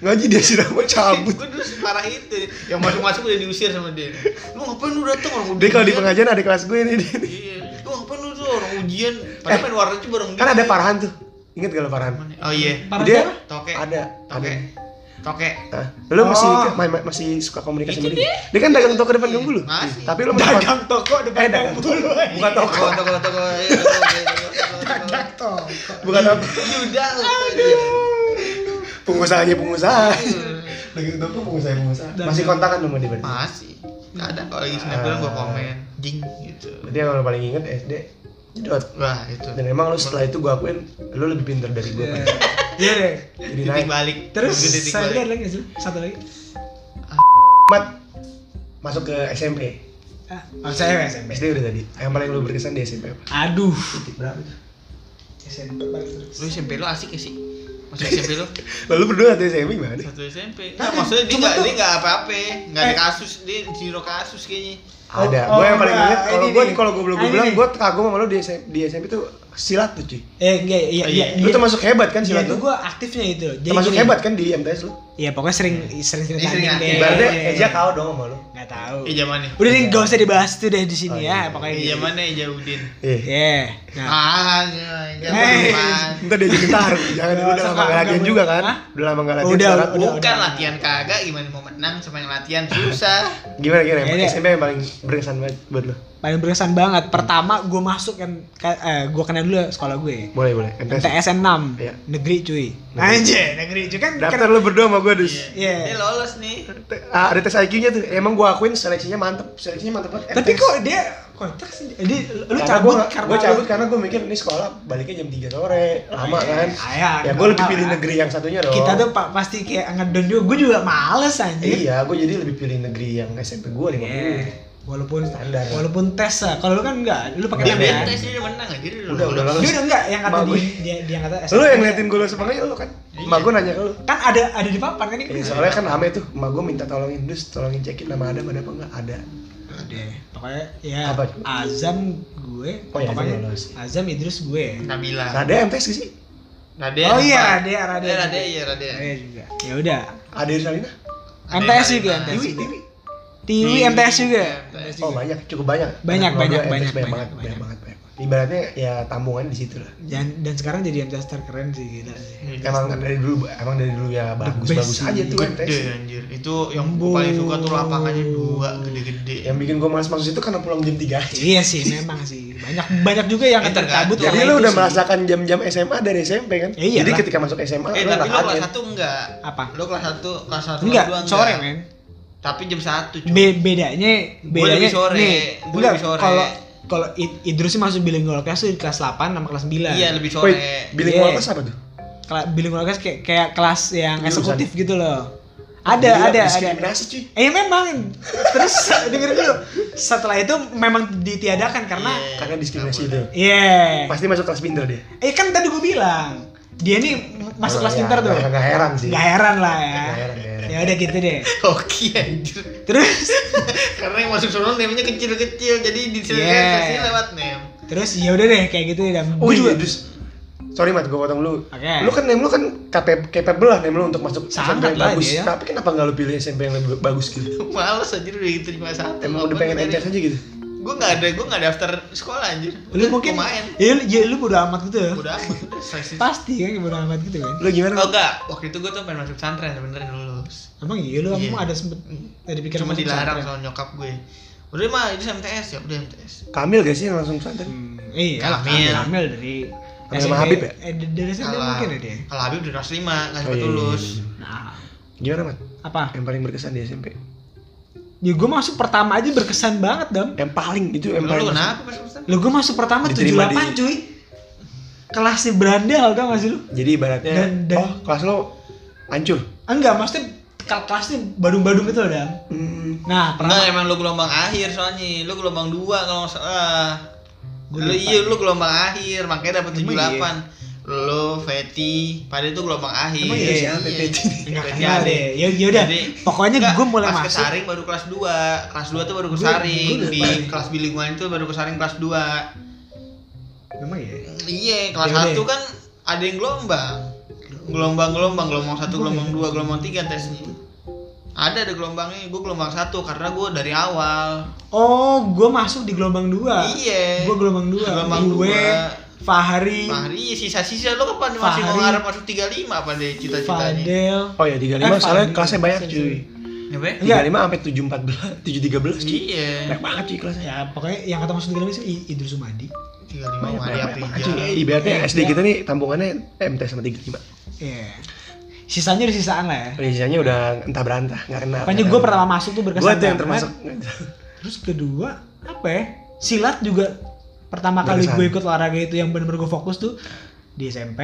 [SPEAKER 1] Ngaji dia sih mau cabut.
[SPEAKER 2] gue dulu separah itu yang masuk-masuk udah diusir sama dia lu ngapain lu dateng orang
[SPEAKER 1] Dia kalau di
[SPEAKER 2] ujian.
[SPEAKER 1] pengajian ada kelas gue ini. dia nih.
[SPEAKER 2] iya lu ngapain lu tuh orang ujian padahal main warnet tuh bareng
[SPEAKER 1] Kan
[SPEAKER 2] dia.
[SPEAKER 1] ada Farhan tuh. Ingat gak lo Farhan?
[SPEAKER 2] oh iya
[SPEAKER 3] Parah
[SPEAKER 1] Dia-
[SPEAKER 3] siapa?
[SPEAKER 2] toke
[SPEAKER 1] Ada, ada.
[SPEAKER 2] toke toke
[SPEAKER 1] Hah? Lu masih
[SPEAKER 3] Oh.
[SPEAKER 1] ma- ma- masih suka komunikasi
[SPEAKER 2] Itu
[SPEAKER 1] sama dia. Dia kan dagang toko depan kamu lu.
[SPEAKER 2] Masih.
[SPEAKER 1] Tapi lu masih
[SPEAKER 3] Dagang toko
[SPEAKER 1] eh
[SPEAKER 3] depan
[SPEAKER 1] dagang
[SPEAKER 3] kampung
[SPEAKER 1] toko.
[SPEAKER 3] lu.
[SPEAKER 1] Bukan toko.
[SPEAKER 2] toko toko toko iya, toko, iya, toko, toko, toko.
[SPEAKER 3] Dagang toko.
[SPEAKER 1] Bukan toko.
[SPEAKER 2] Yaudah, lu
[SPEAKER 1] Pengusahanya pengusaha.
[SPEAKER 2] Iya.
[SPEAKER 1] Dagang toko pengusaha pengusaha.
[SPEAKER 3] Dagang.
[SPEAKER 1] Masih kontakan sama dia berarti.
[SPEAKER 2] masih kadang kalau lagi snapgram gue komen jing gitu
[SPEAKER 1] Berarti yang lo paling inget SD jedot.
[SPEAKER 2] wah itu
[SPEAKER 1] Dan emang lo setelah itu gue akuin lo lebih pintar dari gue.
[SPEAKER 3] Iya. Iya deh.
[SPEAKER 1] Jadi
[SPEAKER 2] titik
[SPEAKER 1] naik
[SPEAKER 2] balik
[SPEAKER 3] Terus
[SPEAKER 2] Itu titik
[SPEAKER 3] saya
[SPEAKER 2] balik
[SPEAKER 3] ada lagi nggak sih? Satu lagi.
[SPEAKER 1] mat masuk ke SMP.
[SPEAKER 3] Ah, oh, saya SMP.
[SPEAKER 1] SD udah tadi. Yang paling lo berkesan di SMP apa?
[SPEAKER 3] Aduh.
[SPEAKER 1] Titik berapa tuh?
[SPEAKER 3] SMP balik terus.
[SPEAKER 2] lu SMP lu asik ya sih masuk SMP lu
[SPEAKER 1] Lalu berdua satu SMP gimana?
[SPEAKER 2] satu SMP nah,
[SPEAKER 3] Tapi,
[SPEAKER 2] maksudnya dia
[SPEAKER 3] cuma
[SPEAKER 2] nggak
[SPEAKER 3] tuh-
[SPEAKER 2] dia nggak apa-apa nggak ada
[SPEAKER 3] Eh.
[SPEAKER 2] kasus dia zero kasus kayaknya
[SPEAKER 1] Ada.
[SPEAKER 3] Oh,
[SPEAKER 1] gue yang paling
[SPEAKER 3] enggak.
[SPEAKER 1] inget kalau
[SPEAKER 3] Ini
[SPEAKER 1] gue
[SPEAKER 3] nih.
[SPEAKER 1] kalau gue belum
[SPEAKER 3] Ah, ini
[SPEAKER 1] bilang
[SPEAKER 3] nih.
[SPEAKER 1] gue kagum sama lo di SMP, di SMP tuh silat tuh cuy.
[SPEAKER 3] Eh, enggak, iya,
[SPEAKER 2] Oh,
[SPEAKER 3] iya.
[SPEAKER 2] iya.
[SPEAKER 1] Lo
[SPEAKER 3] iya.
[SPEAKER 1] termasuk hebat kan
[SPEAKER 3] Iya,
[SPEAKER 1] silat
[SPEAKER 3] itu
[SPEAKER 1] lo?
[SPEAKER 3] gue aktifnya itu. Jadi
[SPEAKER 1] Termasuk
[SPEAKER 3] gini,
[SPEAKER 1] hebat kan di MTS lo?
[SPEAKER 3] Iya, pokoknya sering sering sering
[SPEAKER 2] Iya, sering
[SPEAKER 3] tanding
[SPEAKER 2] aktif.
[SPEAKER 3] deh.
[SPEAKER 1] Berarti
[SPEAKER 3] iya. Iya.
[SPEAKER 1] Eja kau dong sama lo.
[SPEAKER 3] Nggak tahu.
[SPEAKER 2] eh zamannya
[SPEAKER 3] Oh. Udah nih, gak usah dibahas itu deh di
[SPEAKER 1] Oh,
[SPEAKER 3] sini ya,
[SPEAKER 1] iya.
[SPEAKER 3] pokoknya.
[SPEAKER 2] eh
[SPEAKER 3] gitu.
[SPEAKER 2] zamannya ya Udin
[SPEAKER 1] Iya.
[SPEAKER 3] Iya. Nah,
[SPEAKER 2] ah ya ya,
[SPEAKER 3] Hey.
[SPEAKER 2] apaan.
[SPEAKER 1] Ntar dia jadi taruh, jangan
[SPEAKER 3] Nggak
[SPEAKER 1] udah
[SPEAKER 3] usah,
[SPEAKER 1] lama
[SPEAKER 3] Kak.
[SPEAKER 1] gak latihan
[SPEAKER 3] Nggak
[SPEAKER 1] juga
[SPEAKER 3] boleh.
[SPEAKER 1] kan?
[SPEAKER 3] Hah?
[SPEAKER 1] Udah lama gak latihan
[SPEAKER 3] Udah,
[SPEAKER 1] sekarang.
[SPEAKER 3] udah.
[SPEAKER 2] bukan latihan kagak gimana mau menang sama yang latihan susah
[SPEAKER 1] Gimana gimana?
[SPEAKER 3] Iya, iya.
[SPEAKER 1] SMP yang paling berkesan banget buat lo?
[SPEAKER 3] paling berkesan banget. Pertama, gue masuk kan, ka- eh, gue kenal dulu sekolah gue.
[SPEAKER 1] Boleh boleh. MTS.
[SPEAKER 3] MTSN 6,
[SPEAKER 1] Iya.
[SPEAKER 3] negeri cuy.
[SPEAKER 1] Negeri.
[SPEAKER 3] Anjir, negeri cuy kan.
[SPEAKER 1] Daftar lu berdua sama gue dus.
[SPEAKER 3] Iya.
[SPEAKER 2] dia lolos nih
[SPEAKER 1] Te- ah, ada tes IQ-nya tuh. Emang gua akuin seleksinya mantep, seleksinya mantep banget. Eh,
[SPEAKER 3] Tapi kok dia kontrak sih? Jadi lu
[SPEAKER 1] Karena
[SPEAKER 3] cabut
[SPEAKER 1] gua,
[SPEAKER 3] karena
[SPEAKER 1] gua
[SPEAKER 3] lu- Oh,
[SPEAKER 1] cabut kan? karena gua mikir ini sekolah baliknya jam 3 sore, lama
[SPEAKER 3] iya,
[SPEAKER 1] kan.
[SPEAKER 3] Ayah,
[SPEAKER 1] Ya gua lebih
[SPEAKER 3] normal
[SPEAKER 1] pilih
[SPEAKER 3] lah.
[SPEAKER 1] negeri yang satunya dong.
[SPEAKER 3] Kita tuh pa- pasti kayak ngedown juga. Gue juga males anjir.
[SPEAKER 1] Oh. Iya, gua jadi lebih pilih negeri yang SMP gua lima
[SPEAKER 3] Iya. Walaupun
[SPEAKER 1] Standar.
[SPEAKER 3] walaupun tes lah. Kalau lu kan enggak, lu pakai
[SPEAKER 1] Iya.
[SPEAKER 2] dia
[SPEAKER 3] tes.
[SPEAKER 2] bentes dia udah menang aja dia
[SPEAKER 1] Udah, udah
[SPEAKER 2] lolos
[SPEAKER 1] lolos.
[SPEAKER 3] Dia udah enggak yang kata
[SPEAKER 1] Bagus.
[SPEAKER 3] dia dia, dia yang kata
[SPEAKER 1] Lu yang ngeliatin gua lu semangat lu kan.
[SPEAKER 2] Iya.
[SPEAKER 1] Emak gua nanya ke lu.
[SPEAKER 3] kan ada ada di papan kan ini.
[SPEAKER 1] Iya, soalnya kan Ame tuh, emak gue minta tolongin, dus tolongin cekin nama Adam ada apa enggak? Ada.
[SPEAKER 3] Ada. Pokoknya ya
[SPEAKER 1] Apa?
[SPEAKER 3] Azam gue,
[SPEAKER 1] Oh, iya, Azam
[SPEAKER 3] pokoknya
[SPEAKER 1] lolos.
[SPEAKER 3] Azam Idrus gue.
[SPEAKER 2] Nabila.
[SPEAKER 1] Ada MTS gak sih?
[SPEAKER 2] Radea.
[SPEAKER 3] Oh iya,
[SPEAKER 2] Pak.
[SPEAKER 3] Radea, Radea.
[SPEAKER 2] Eh, Radea, iya Radea.
[SPEAKER 3] Iya juga. Ya udah.
[SPEAKER 1] Ada Irsalina?
[SPEAKER 2] Ada
[SPEAKER 3] MTS
[SPEAKER 2] yang
[SPEAKER 3] juga,
[SPEAKER 2] lain.
[SPEAKER 3] MTS.
[SPEAKER 1] Tiwi, Tiwi.
[SPEAKER 3] Tiwi MTS juga.
[SPEAKER 2] MTS
[SPEAKER 1] Oh banyak, cukup banyak.
[SPEAKER 3] Iya. Banyak,
[SPEAKER 1] Anak
[SPEAKER 3] banyak,
[SPEAKER 1] keluarga
[SPEAKER 3] banyak,
[SPEAKER 1] MTS banyak,
[SPEAKER 3] banyak,
[SPEAKER 1] banget, banyak,
[SPEAKER 3] banyak.
[SPEAKER 1] banget, banyak. Ibaratnya ya tambungan di situ lah.
[SPEAKER 3] Dan, dan sekarang jadi MTS terkeren sih gila sih.
[SPEAKER 2] Iya,
[SPEAKER 1] Emang dari dulu, emang dari dulu ya bagus-bagus
[SPEAKER 3] best gitu.
[SPEAKER 1] aja
[SPEAKER 3] sih.
[SPEAKER 1] tuh MTS.
[SPEAKER 2] Gede anjir. Itu yang
[SPEAKER 3] Bo.
[SPEAKER 2] gua paling suka tuh lapangannya dua gede-gede.
[SPEAKER 1] Yang bikin gue malas masuk situ karena pulang jam 3 aja.
[SPEAKER 3] Iya sih, memang sih. Banyak banyak juga yang
[SPEAKER 2] Itu kan.
[SPEAKER 3] terkabut
[SPEAKER 1] Jadi
[SPEAKER 3] karena
[SPEAKER 1] lu
[SPEAKER 3] Iya, itu
[SPEAKER 1] udah
[SPEAKER 3] sih.
[SPEAKER 1] merasakan jam-jam SMA dari SMP kan?
[SPEAKER 3] Ya iyalah.
[SPEAKER 1] Jadi ketika masuk SMA
[SPEAKER 2] Eh
[SPEAKER 1] lu
[SPEAKER 2] tapi
[SPEAKER 1] anak
[SPEAKER 2] lo kelas
[SPEAKER 1] ATM.
[SPEAKER 2] satu enggak?
[SPEAKER 3] Apa?
[SPEAKER 2] Lo kelas satu, kelas satu
[SPEAKER 3] Enggak,
[SPEAKER 2] kelas dua
[SPEAKER 3] sore men. Iya.
[SPEAKER 2] Tapi jam satu cuy.
[SPEAKER 3] Be bedanya
[SPEAKER 2] Gua
[SPEAKER 3] bedanya
[SPEAKER 2] lebih sore,
[SPEAKER 3] nih.
[SPEAKER 2] gua
[SPEAKER 3] Enggak,
[SPEAKER 2] lebih sore.
[SPEAKER 3] kalau kalau Id- Idrus sih masuk bilingual class tuh di kelas 8 sama kelas 9.
[SPEAKER 2] Iya lebih
[SPEAKER 1] Wait,
[SPEAKER 2] sore.
[SPEAKER 1] bilik
[SPEAKER 3] Iya.
[SPEAKER 1] yeah. apa tuh?
[SPEAKER 3] Kela bilingual class kayak kayak kelas yang
[SPEAKER 1] Jurusan.
[SPEAKER 3] eksekutif gitu loh. Ada,
[SPEAKER 1] Gila,
[SPEAKER 3] ada, ada.
[SPEAKER 1] Diskriminasi cuy.
[SPEAKER 3] Eh memang terus dengerin dulu. Setelah itu memang ditiadakan karena
[SPEAKER 2] Iya,
[SPEAKER 1] Karena diskriminasi
[SPEAKER 2] nggak
[SPEAKER 1] itu.
[SPEAKER 2] boleh.
[SPEAKER 3] yeah.
[SPEAKER 1] Pasti masuk kelas pinter dia.
[SPEAKER 3] Eh kan tadi gue bilang dia nih masuk
[SPEAKER 1] Oh,
[SPEAKER 3] kelas
[SPEAKER 1] ya,
[SPEAKER 3] pintar tuh.
[SPEAKER 1] ya, Gak heran sih.
[SPEAKER 3] Gak heran lah ya.
[SPEAKER 1] Gak heran, gak heran.
[SPEAKER 3] Ya udah gitu deh.
[SPEAKER 2] Hoki anjir.
[SPEAKER 3] Terus
[SPEAKER 2] Karena yang masuk sono nemnya kecil-kecil jadi di sini
[SPEAKER 3] Iya.
[SPEAKER 2] lewat nem.
[SPEAKER 3] terus ya udah deh kayak gitu dan
[SPEAKER 1] Oh
[SPEAKER 3] gua
[SPEAKER 1] iya, dus. Sorry mat, gue potong lu.
[SPEAKER 3] Oke.
[SPEAKER 1] Lu kan nem lu kan KP, capable lah nem lu untuk masuk
[SPEAKER 3] Sangat
[SPEAKER 1] SMP yang
[SPEAKER 3] lah
[SPEAKER 1] bagus.
[SPEAKER 3] dia. ya.
[SPEAKER 1] Tapi kenapa nggak lu pilih SMP yang lebih bagus gitu?
[SPEAKER 2] Males anjir udah gitu cuma satu.
[SPEAKER 1] Emang udah pengen MTS
[SPEAKER 3] ya.
[SPEAKER 1] aja gitu.
[SPEAKER 2] Gue nggak ada, gue nggak daftar sekolah anjir.
[SPEAKER 3] lu mungkin
[SPEAKER 2] main.
[SPEAKER 3] ya, lu- ya lu bodo amat gitu ya.
[SPEAKER 2] Udah amat, udah seleksi.
[SPEAKER 3] pasti kan bodo amat gitu kan
[SPEAKER 1] Lu gimana?
[SPEAKER 2] Oh enggak, waktu itu gue tuh pengen masuk pesantren sebenernya lulus
[SPEAKER 3] emang iya lu
[SPEAKER 2] Iya.
[SPEAKER 3] emang ada sempet ada pikiran
[SPEAKER 2] Cuma
[SPEAKER 3] masuk
[SPEAKER 2] dilarang
[SPEAKER 3] pesantren?
[SPEAKER 2] soal nyokap gue Udah mah itu MTS, ya udah MTS
[SPEAKER 1] Kamil gak sih yang langsung pesantren?
[SPEAKER 3] hmm, iya
[SPEAKER 2] Kamil.
[SPEAKER 3] lah Kamil Kamil dari
[SPEAKER 1] Kamil sama Habib ya?
[SPEAKER 3] eh, dari- dari SMP
[SPEAKER 2] Kalah.
[SPEAKER 3] mungkin ya dia
[SPEAKER 2] Kalau Habib udah kelas 5, kan
[SPEAKER 1] Oh, iya, iya,
[SPEAKER 2] lulus
[SPEAKER 1] iya,
[SPEAKER 3] nah
[SPEAKER 1] Gimana mat?
[SPEAKER 3] apa
[SPEAKER 1] Yang paling berkesan di SMP?
[SPEAKER 3] ya gue masuk pertama aja berkesan banget dam
[SPEAKER 1] Yang paling itu yang
[SPEAKER 2] Emang
[SPEAKER 1] paling.
[SPEAKER 2] lu kenapa pas pesantren?
[SPEAKER 3] lu gue masuk pertama tujuh
[SPEAKER 1] Diterima
[SPEAKER 3] delapan
[SPEAKER 1] di-
[SPEAKER 3] cuy kelasnya berandal tau gak sih lu
[SPEAKER 1] Jadi ibaratnya
[SPEAKER 3] Dan- dan-
[SPEAKER 1] oh kelas lo hancur.
[SPEAKER 3] enggak maksudnya kel- kelasnya badung-badung gitu loh dam
[SPEAKER 1] Hmm.
[SPEAKER 3] nah
[SPEAKER 2] Enggak,
[SPEAKER 3] pertama
[SPEAKER 2] emang lu gelombang akhir soalnya Lu gelombang 2 kalau nggak salah
[SPEAKER 3] Gua
[SPEAKER 2] Lu
[SPEAKER 3] lupa.
[SPEAKER 2] iya, lu gelombang akhir, makanya dapat
[SPEAKER 3] Emang iya?
[SPEAKER 2] 78 Lu, Feti, pada itu gelombang akhir
[SPEAKER 1] Emang iya, siapa Feti?
[SPEAKER 3] Enggak
[SPEAKER 2] Feti
[SPEAKER 3] kenal
[SPEAKER 2] Ade.
[SPEAKER 3] deh. Ya ya udah.
[SPEAKER 2] Jadi,
[SPEAKER 3] Pokoknya
[SPEAKER 2] Enggak,
[SPEAKER 3] gue mulai
[SPEAKER 2] pas
[SPEAKER 3] masuk.
[SPEAKER 2] kesaring baru kelas 2 kelas 2 tuh baru
[SPEAKER 3] Gua-
[SPEAKER 2] kesaring
[SPEAKER 3] gua udah
[SPEAKER 2] di
[SPEAKER 3] balik.
[SPEAKER 2] kelas bilingual itu baru kesaring kelas 2
[SPEAKER 3] Memang ya.
[SPEAKER 2] iya kelas
[SPEAKER 3] Ya udah.
[SPEAKER 2] 1 kan ada yang gelombang gelombang gelombang gelombang 1 gelombang 2 gelombang 3 tesnya ada ada gelombangnya gue gelombang 1 karena gue dari awal
[SPEAKER 3] Oh, gue masuk di gelombang dua.
[SPEAKER 2] iya
[SPEAKER 3] Gue gelombang dua.
[SPEAKER 2] Gelombang
[SPEAKER 3] gue,
[SPEAKER 2] dua.
[SPEAKER 3] Fahri,
[SPEAKER 2] Fahri sisa-sisa lo kapan masih mau
[SPEAKER 3] Fahri.
[SPEAKER 2] ngarep masuk 35 apa deh cita-citanya
[SPEAKER 3] Fadel.
[SPEAKER 1] Oh ya 35
[SPEAKER 3] Eh,
[SPEAKER 1] soalnya
[SPEAKER 3] paling-
[SPEAKER 1] kelasnya banyak
[SPEAKER 3] sorry,
[SPEAKER 1] cuy.
[SPEAKER 2] Apa ya?
[SPEAKER 3] Enggak.
[SPEAKER 1] 35 sampai 714, 713 cuy.
[SPEAKER 2] iya
[SPEAKER 1] Banyak banget cuy kelasnya.
[SPEAKER 3] Ya pokoknya yang kata masuk di gelombang itu I- Idrus Sumadi.
[SPEAKER 2] 35 mau
[SPEAKER 1] Banyak
[SPEAKER 2] ada
[SPEAKER 1] banget cuy. Eh, Ibaratnya
[SPEAKER 3] Iya.
[SPEAKER 1] SD kita nih eh, tampungannya MTS sama 35.
[SPEAKER 3] Iya. Sisanya udah sisaan lah ya.
[SPEAKER 1] Rinciannya udah entah berantah, nggak kenal.
[SPEAKER 3] Pokoknya gue pertama masuk kan? tuh berkesan
[SPEAKER 1] Gue tuh yang
[SPEAKER 3] banget.
[SPEAKER 1] termasuk.
[SPEAKER 3] Terus kedua apa ya? Silat juga pertama kali
[SPEAKER 1] Berkesan.
[SPEAKER 3] gue ikut olahraga itu yang bener-bener gue fokus tuh di SMP.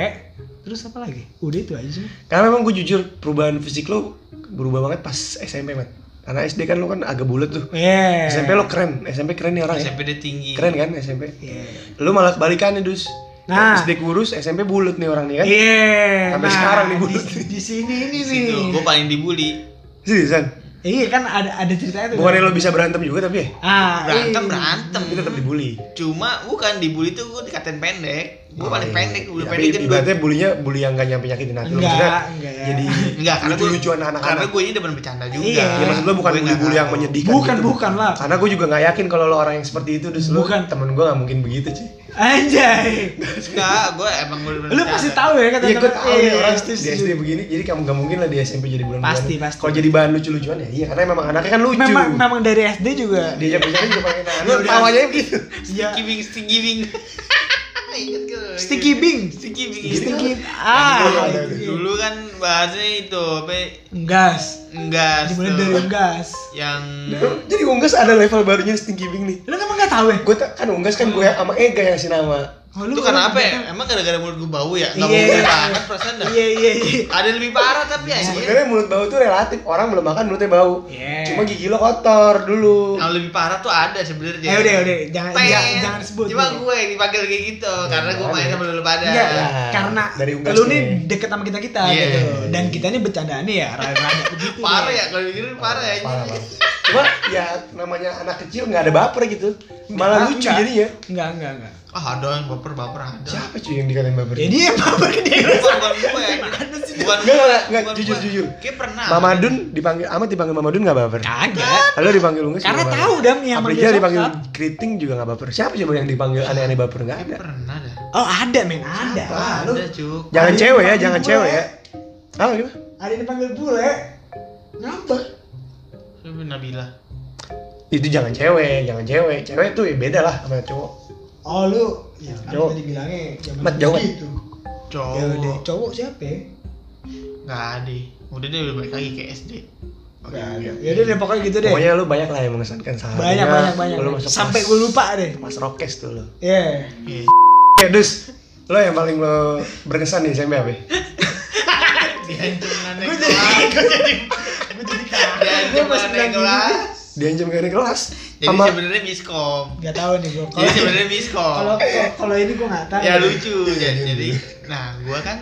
[SPEAKER 3] Terus apa lagi? Udah itu aja sih.
[SPEAKER 1] Karena memang gue jujur perubahan fisik lo berubah banget pas SMP mat. Karena SD kan lo kan agak bulat tuh.
[SPEAKER 3] Eh.
[SPEAKER 1] SMP lo keren, SMP keren nih orang ya.
[SPEAKER 2] SMP dia tinggi
[SPEAKER 1] Keren kan SMP?
[SPEAKER 3] Iya.
[SPEAKER 1] Lu malah kebalikannya, Dus.
[SPEAKER 3] Nah.
[SPEAKER 1] SD kurus, SMP bulut nih
[SPEAKER 2] Ya?
[SPEAKER 1] orang nih kan.
[SPEAKER 3] Iya.
[SPEAKER 1] Sampai sekarang nih, Bu.
[SPEAKER 3] Di, di sini ini nih.
[SPEAKER 2] gue paling dibully
[SPEAKER 1] Seriusan.
[SPEAKER 3] Iya kan ada ada ceritanya tuh.
[SPEAKER 1] Bukannya lo bisa berantem juga tapi ya.
[SPEAKER 3] Ah,
[SPEAKER 2] berantem
[SPEAKER 3] iya.
[SPEAKER 2] berantem
[SPEAKER 1] Tapi tetap dibully.
[SPEAKER 2] cuma bukan dibully tuh gue dikatain pendek gue
[SPEAKER 1] Oh,
[SPEAKER 2] paling
[SPEAKER 1] iya.
[SPEAKER 2] pendek gue
[SPEAKER 1] Tapi
[SPEAKER 2] pendek
[SPEAKER 1] Ibaratnya bulinya bully yang gak nyampe nyakitin hati lo.
[SPEAKER 3] Enggak,
[SPEAKER 1] Maksudnya
[SPEAKER 3] enggak.
[SPEAKER 1] Jadi
[SPEAKER 2] enggak karena gue
[SPEAKER 1] lucu-lucuan
[SPEAKER 2] karena
[SPEAKER 1] anak-anak.
[SPEAKER 2] gue ini demen bercanda juga
[SPEAKER 3] Iya.
[SPEAKER 1] Ya maksud lo bukan
[SPEAKER 2] Gue nggak
[SPEAKER 1] bully-bully yang
[SPEAKER 2] tahu.
[SPEAKER 1] menyedihkan
[SPEAKER 3] Bukan,
[SPEAKER 1] gitu.
[SPEAKER 3] bukan lah.
[SPEAKER 1] Karena gue juga gak yakin kalau lo orang yang seperti itu, Dus. Lo
[SPEAKER 3] Bukan.
[SPEAKER 1] temen gue gak mungkin begitu, Ci.
[SPEAKER 3] Anjay.
[SPEAKER 2] enggak gue emang gue
[SPEAKER 3] Lu pasti tahu ya kata
[SPEAKER 1] Iya, gue tau nih orang
[SPEAKER 3] pasti
[SPEAKER 1] di SD begini, jadi kamu gak mungkin lah di SMP jadi bulan
[SPEAKER 3] iya. Pasti, pasti.
[SPEAKER 1] Kalau jadi bahan lucu-lucuan ya, iya. Karena memang anaknya kan lucu.
[SPEAKER 3] Memang memang dari SD juga.
[SPEAKER 1] Diajak bicara juga pakai tangan.
[SPEAKER 2] Ya
[SPEAKER 1] Lo
[SPEAKER 2] udah.
[SPEAKER 1] tau aja gitu.
[SPEAKER 3] Iya.
[SPEAKER 2] sticky wing sticky wing Ingat ke lu?
[SPEAKER 3] Sticky Bing.
[SPEAKER 2] sticky wing
[SPEAKER 3] Sticky.
[SPEAKER 1] Dulu
[SPEAKER 3] Ah.
[SPEAKER 1] ada
[SPEAKER 3] iya.
[SPEAKER 2] dulu kan bahasnya itu apa ya?
[SPEAKER 3] Enggas.
[SPEAKER 2] enggak
[SPEAKER 3] Dimulai
[SPEAKER 2] tuh.
[SPEAKER 3] dari enggas.
[SPEAKER 2] yang
[SPEAKER 1] Jadi Unggas ada level barunya Stinky Bing nih.
[SPEAKER 3] Lu emang enggak tahu ya?
[SPEAKER 1] Gue kan Unggas kan gue sama Ega yang si nama.
[SPEAKER 3] Oh,
[SPEAKER 2] Itu
[SPEAKER 3] kan
[SPEAKER 2] karena apa ya? Emang gara-gara mulut gue bau ya? Gak
[SPEAKER 3] Iya.
[SPEAKER 2] mungkin banget perasaan dah
[SPEAKER 3] Iya iya iya.
[SPEAKER 2] Ada yang lebih parah tapi ya
[SPEAKER 1] Sebenarnya mulut bau tuh relatif. Orang belum makan mulutnya bau.
[SPEAKER 3] Iya. Oh,
[SPEAKER 1] Cuma gigi lo kotor dulu.
[SPEAKER 2] Yang lebih parah tuh ada sebenarnya.
[SPEAKER 3] Eh, udah, udah. Jangan-
[SPEAKER 2] Pen.
[SPEAKER 3] jangan- jangan sebut. Iya,
[SPEAKER 2] Cuma gue yang dipanggil kayak gitu
[SPEAKER 1] Iya,
[SPEAKER 2] karena gue main sama lu pada.
[SPEAKER 3] Enggak,
[SPEAKER 1] Nah,
[SPEAKER 3] karena
[SPEAKER 1] dari
[SPEAKER 3] lu
[SPEAKER 1] ungkasnya.
[SPEAKER 3] nih deket sama kita kita
[SPEAKER 2] Iya.
[SPEAKER 3] gitu, dan kita nih bercandaannya ya rada-rada begitu.
[SPEAKER 2] Parah ya kalau dikirim parah ya.
[SPEAKER 1] Parah banget. Cuma ya namanya anak kecil nggak ada baper gitu. Malah lucu
[SPEAKER 3] Enggak, Nah,
[SPEAKER 1] ya.
[SPEAKER 3] enggak.
[SPEAKER 1] jadinya.
[SPEAKER 3] Enggak, enggak, enggak.
[SPEAKER 2] Ah ada yang baper baper ada.
[SPEAKER 1] Siapa cuy yang dikatain baper?
[SPEAKER 3] Jadi ya baper ke dia.
[SPEAKER 2] Bukan bukan gue ya. Bukan
[SPEAKER 1] Enggak, enggak, enggak.
[SPEAKER 2] bukan
[SPEAKER 1] Jujur,
[SPEAKER 2] gue.
[SPEAKER 1] jujur.
[SPEAKER 2] Kayak pernah.
[SPEAKER 1] Mama Dun dipanggil Amat dipanggil Mama Dun nggak baper.
[SPEAKER 3] Kagak.
[SPEAKER 1] Halo dipanggil Unges
[SPEAKER 3] Karena
[SPEAKER 1] juga
[SPEAKER 3] tahu
[SPEAKER 1] baper.
[SPEAKER 3] Dam yang
[SPEAKER 1] Aprija
[SPEAKER 3] manggil
[SPEAKER 1] dipanggil
[SPEAKER 3] sokap.
[SPEAKER 1] Kriting juga nggak baper. Siapa coba yang dipanggil aneh-aneh baper nggak
[SPEAKER 2] Kayak
[SPEAKER 1] ada.
[SPEAKER 2] pernah dah.
[SPEAKER 3] Oh ada men, ada.
[SPEAKER 1] Siapa? Lu-
[SPEAKER 2] Ada cuk.
[SPEAKER 1] Jangan
[SPEAKER 3] Ada yang
[SPEAKER 1] cewek ya,
[SPEAKER 3] dipanggil
[SPEAKER 1] jangan
[SPEAKER 3] gue.
[SPEAKER 1] cewek ya. Ah, gimana?
[SPEAKER 3] Ada yang dipanggil bule. Ngapa?
[SPEAKER 2] Tapi Nabila.
[SPEAKER 1] Itu jangan cewek, jangan cewek. Cewek tuh ya beda lah sama cowok.
[SPEAKER 3] Oh lu, ya kan
[SPEAKER 1] Jauh.
[SPEAKER 3] tadi bilangnya zaman
[SPEAKER 1] Mat, jauh, Mat.
[SPEAKER 3] gitu. Ya udah,
[SPEAKER 2] Cowok.
[SPEAKER 3] cowok siapa ya?
[SPEAKER 2] Enggak ada. Udah deh lebih baik lagi ke SD.
[SPEAKER 1] Oke, oke.
[SPEAKER 3] Ya udah deh, pokoknya gitu deh.
[SPEAKER 1] Pokoknya lu banyak lah yang mengesankan salah.
[SPEAKER 3] Banyak, banyak, banyak.
[SPEAKER 1] Lu masuk
[SPEAKER 3] Sampai
[SPEAKER 1] kelas-
[SPEAKER 3] gue lupa deh.
[SPEAKER 1] Mas Rokes tuh lu.
[SPEAKER 3] Iya.
[SPEAKER 2] Iya.
[SPEAKER 1] Ya, Dus. Lo yang paling lo berkesan di SMP apa?
[SPEAKER 2] Diancam aneh
[SPEAKER 3] Gue jadi-
[SPEAKER 2] kelas. Gue jadi
[SPEAKER 3] Gue jadi kaget. Gue
[SPEAKER 2] diancam
[SPEAKER 3] pas
[SPEAKER 2] aneh
[SPEAKER 3] bilang gini.
[SPEAKER 2] kelas.
[SPEAKER 1] Diancam gak ada kelas.
[SPEAKER 2] Jadi sebenarnya miskom.
[SPEAKER 3] Gak tau nih gue.
[SPEAKER 1] Iya.
[SPEAKER 2] Jadi sebenarnya miskom.
[SPEAKER 3] Kalau Iya, kalau- kalau ini gue nggak tahu.
[SPEAKER 2] Ya lucu. Jadi, jadi nah gua kan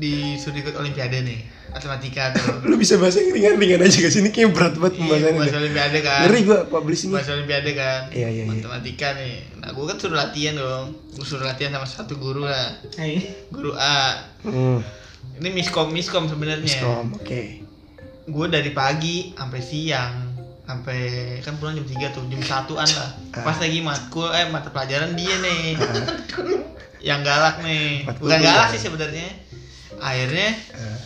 [SPEAKER 2] disuruh ikut olimpiade nih. Matematika tuh.
[SPEAKER 1] lu bisa bahasa yang ringan-ringan aja gak sih? Ini kayaknya berat banget
[SPEAKER 2] Iya,
[SPEAKER 1] pembahasannya.
[SPEAKER 2] Bahasa
[SPEAKER 1] deh.
[SPEAKER 2] olimpiade kan.
[SPEAKER 1] Ngeri gua publishingnya.
[SPEAKER 2] Bahasa olimpiade kan.
[SPEAKER 1] Iya, iya, iya.
[SPEAKER 2] Matematika nih. Nah, gua kan suruh latihan dong. Gua suruh latihan sama satu guru lah.
[SPEAKER 3] Eh,
[SPEAKER 2] Guru A.
[SPEAKER 1] Hmm.
[SPEAKER 2] Ini miskom miskom sebenarnya.
[SPEAKER 1] Miskom, oke.
[SPEAKER 2] Gua dari pagi sampai siang sampai kan pulang jam 3 tuh jam satuan lah
[SPEAKER 1] Ah.
[SPEAKER 2] pas lagi matkul eh mata pelajaran dia nih yang galak nih
[SPEAKER 1] Matkul
[SPEAKER 2] bukan
[SPEAKER 1] tuh galak.
[SPEAKER 2] galak sih sebenarnya akhirnya
[SPEAKER 1] Ah.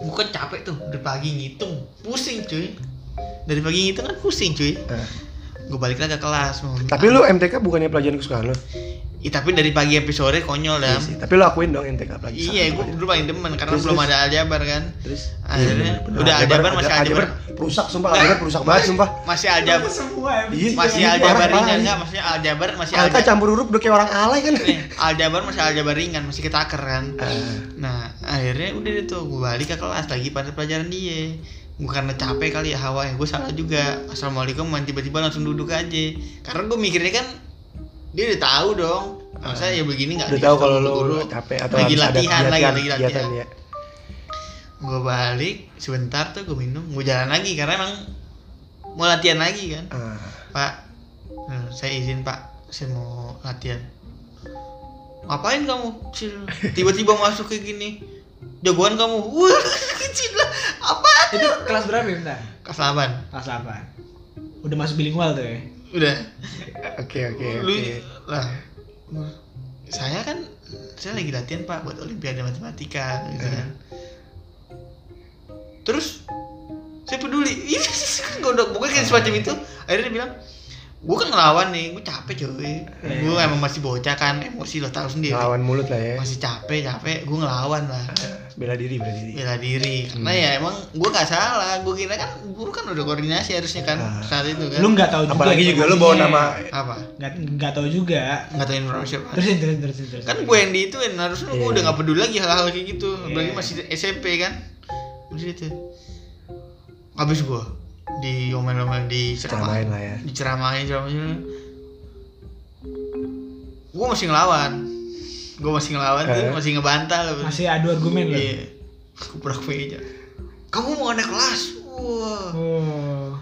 [SPEAKER 2] gue kan capek tuh dari pagi ngitung pusing cuy dari pagi ngitung kan pusing cuy
[SPEAKER 1] Ah.
[SPEAKER 2] gue balik lagi ke kelas mau
[SPEAKER 1] Tapi lu MTK bukannya pelajaran kesukaan lo?
[SPEAKER 2] Iya. Ih, tapi dari pagi sampai sore konyol
[SPEAKER 1] Iya
[SPEAKER 2] dah
[SPEAKER 1] sih. Tapi lu akuin dong MTK pelajaran.
[SPEAKER 2] iya gue dulu paling demen karena
[SPEAKER 1] Terus,
[SPEAKER 2] belum
[SPEAKER 1] terus.
[SPEAKER 2] ada aljabar kan
[SPEAKER 1] Terus
[SPEAKER 2] Akhirnya,
[SPEAKER 1] Iya, bener-bener.
[SPEAKER 2] udah aljabar, masih aljabar.
[SPEAKER 1] Rusak sumpah aljabar rusak banget sumpah.
[SPEAKER 2] masih aljabar
[SPEAKER 3] semua
[SPEAKER 1] Iya,
[SPEAKER 2] masih
[SPEAKER 1] iya,
[SPEAKER 2] aljabar
[SPEAKER 1] parah,
[SPEAKER 2] ringan
[SPEAKER 1] parah.
[SPEAKER 2] nggak maksudnya aljabar masih
[SPEAKER 1] Angka
[SPEAKER 2] aljabar Iya, Eh,
[SPEAKER 1] campur huruf udah kayak orang alay kan.
[SPEAKER 2] aljabar masih aljabar ringan masih ketaker kan
[SPEAKER 1] Eh.
[SPEAKER 2] nah akhirnya udah deh tuh gue balik ke kelas lagi pada pelajaran dia gue karena capek kali ya hawa ya gue salah juga assalamualaikum man tiba-tiba langsung duduk aja karena gue mikirnya kan dia udah tahu dong masa ya begini
[SPEAKER 1] Udah
[SPEAKER 2] nggak dikasih
[SPEAKER 1] tahu
[SPEAKER 2] tau
[SPEAKER 1] kalau lu
[SPEAKER 2] guru.
[SPEAKER 1] capek atau
[SPEAKER 2] lagi
[SPEAKER 1] habis ada
[SPEAKER 2] latihan lagi
[SPEAKER 1] kegiatan-
[SPEAKER 2] lagi
[SPEAKER 1] kegiatan,
[SPEAKER 2] latihan
[SPEAKER 1] ya.
[SPEAKER 2] gue balik sebentar tuh gue minum gue jalan lagi karena emang mau latihan lagi kan
[SPEAKER 1] Ah.
[SPEAKER 2] pak eh, saya izin pak saya mau latihan ngapain kamu kecil tiba-tiba masuk kayak gini jagoan kamu wah kecil lah apa
[SPEAKER 3] Itu kelas berapa ya, bentar?
[SPEAKER 2] kelas 8
[SPEAKER 3] Kelas 8. Udah masuk bilingual tuh ya.
[SPEAKER 2] udah
[SPEAKER 1] Oke oke.
[SPEAKER 2] lu
[SPEAKER 1] oke.
[SPEAKER 2] lah saya kan saya lagi latihan pak buat olimpiade matematika gitu
[SPEAKER 1] Eh.
[SPEAKER 2] kan terus saya peduli Iya, ini godok pokoknya kayak semacam itu akhirnya dia bilang gue kan ngelawan nih gue capek cuy gue emang masih bocah kan emosi lo tahu
[SPEAKER 1] Eh.
[SPEAKER 2] sendiri
[SPEAKER 1] Ngelawan Eh. mulut lah ya.
[SPEAKER 2] masih capek capek gue ngelawan lah
[SPEAKER 1] Bela diri bela diri.
[SPEAKER 2] bela diri karena
[SPEAKER 1] Hmm.
[SPEAKER 2] ya emang gue nggak salah gue kira kan guru kan udah koordinasi harusnya kan
[SPEAKER 1] Ah.
[SPEAKER 2] saat itu kan
[SPEAKER 3] Lu nggak tahu juga.
[SPEAKER 1] Apalagi juga lu bawa nama
[SPEAKER 2] apa
[SPEAKER 3] Nggak nggak tahu juga.
[SPEAKER 2] nggak tahu informasi apa
[SPEAKER 3] Terusin terusin terusin terusin.
[SPEAKER 2] kan gue yang di itu harusnya gue
[SPEAKER 1] Iya.
[SPEAKER 2] udah gak peduli lagi hal-hal kayak gitu
[SPEAKER 3] Iya.
[SPEAKER 2] apalagi masih SMP kan masih itu habis gue di omel-omel di
[SPEAKER 1] ceramain lah ya.
[SPEAKER 2] diceramahin ceramahin gue masih ngelawan gue masih ngelawan tuh
[SPEAKER 1] Eh.
[SPEAKER 2] masih ngebantah loh
[SPEAKER 3] masih adu argumen lu.
[SPEAKER 2] iya kuprak meja kamu mau naik kelas wah
[SPEAKER 3] Oh.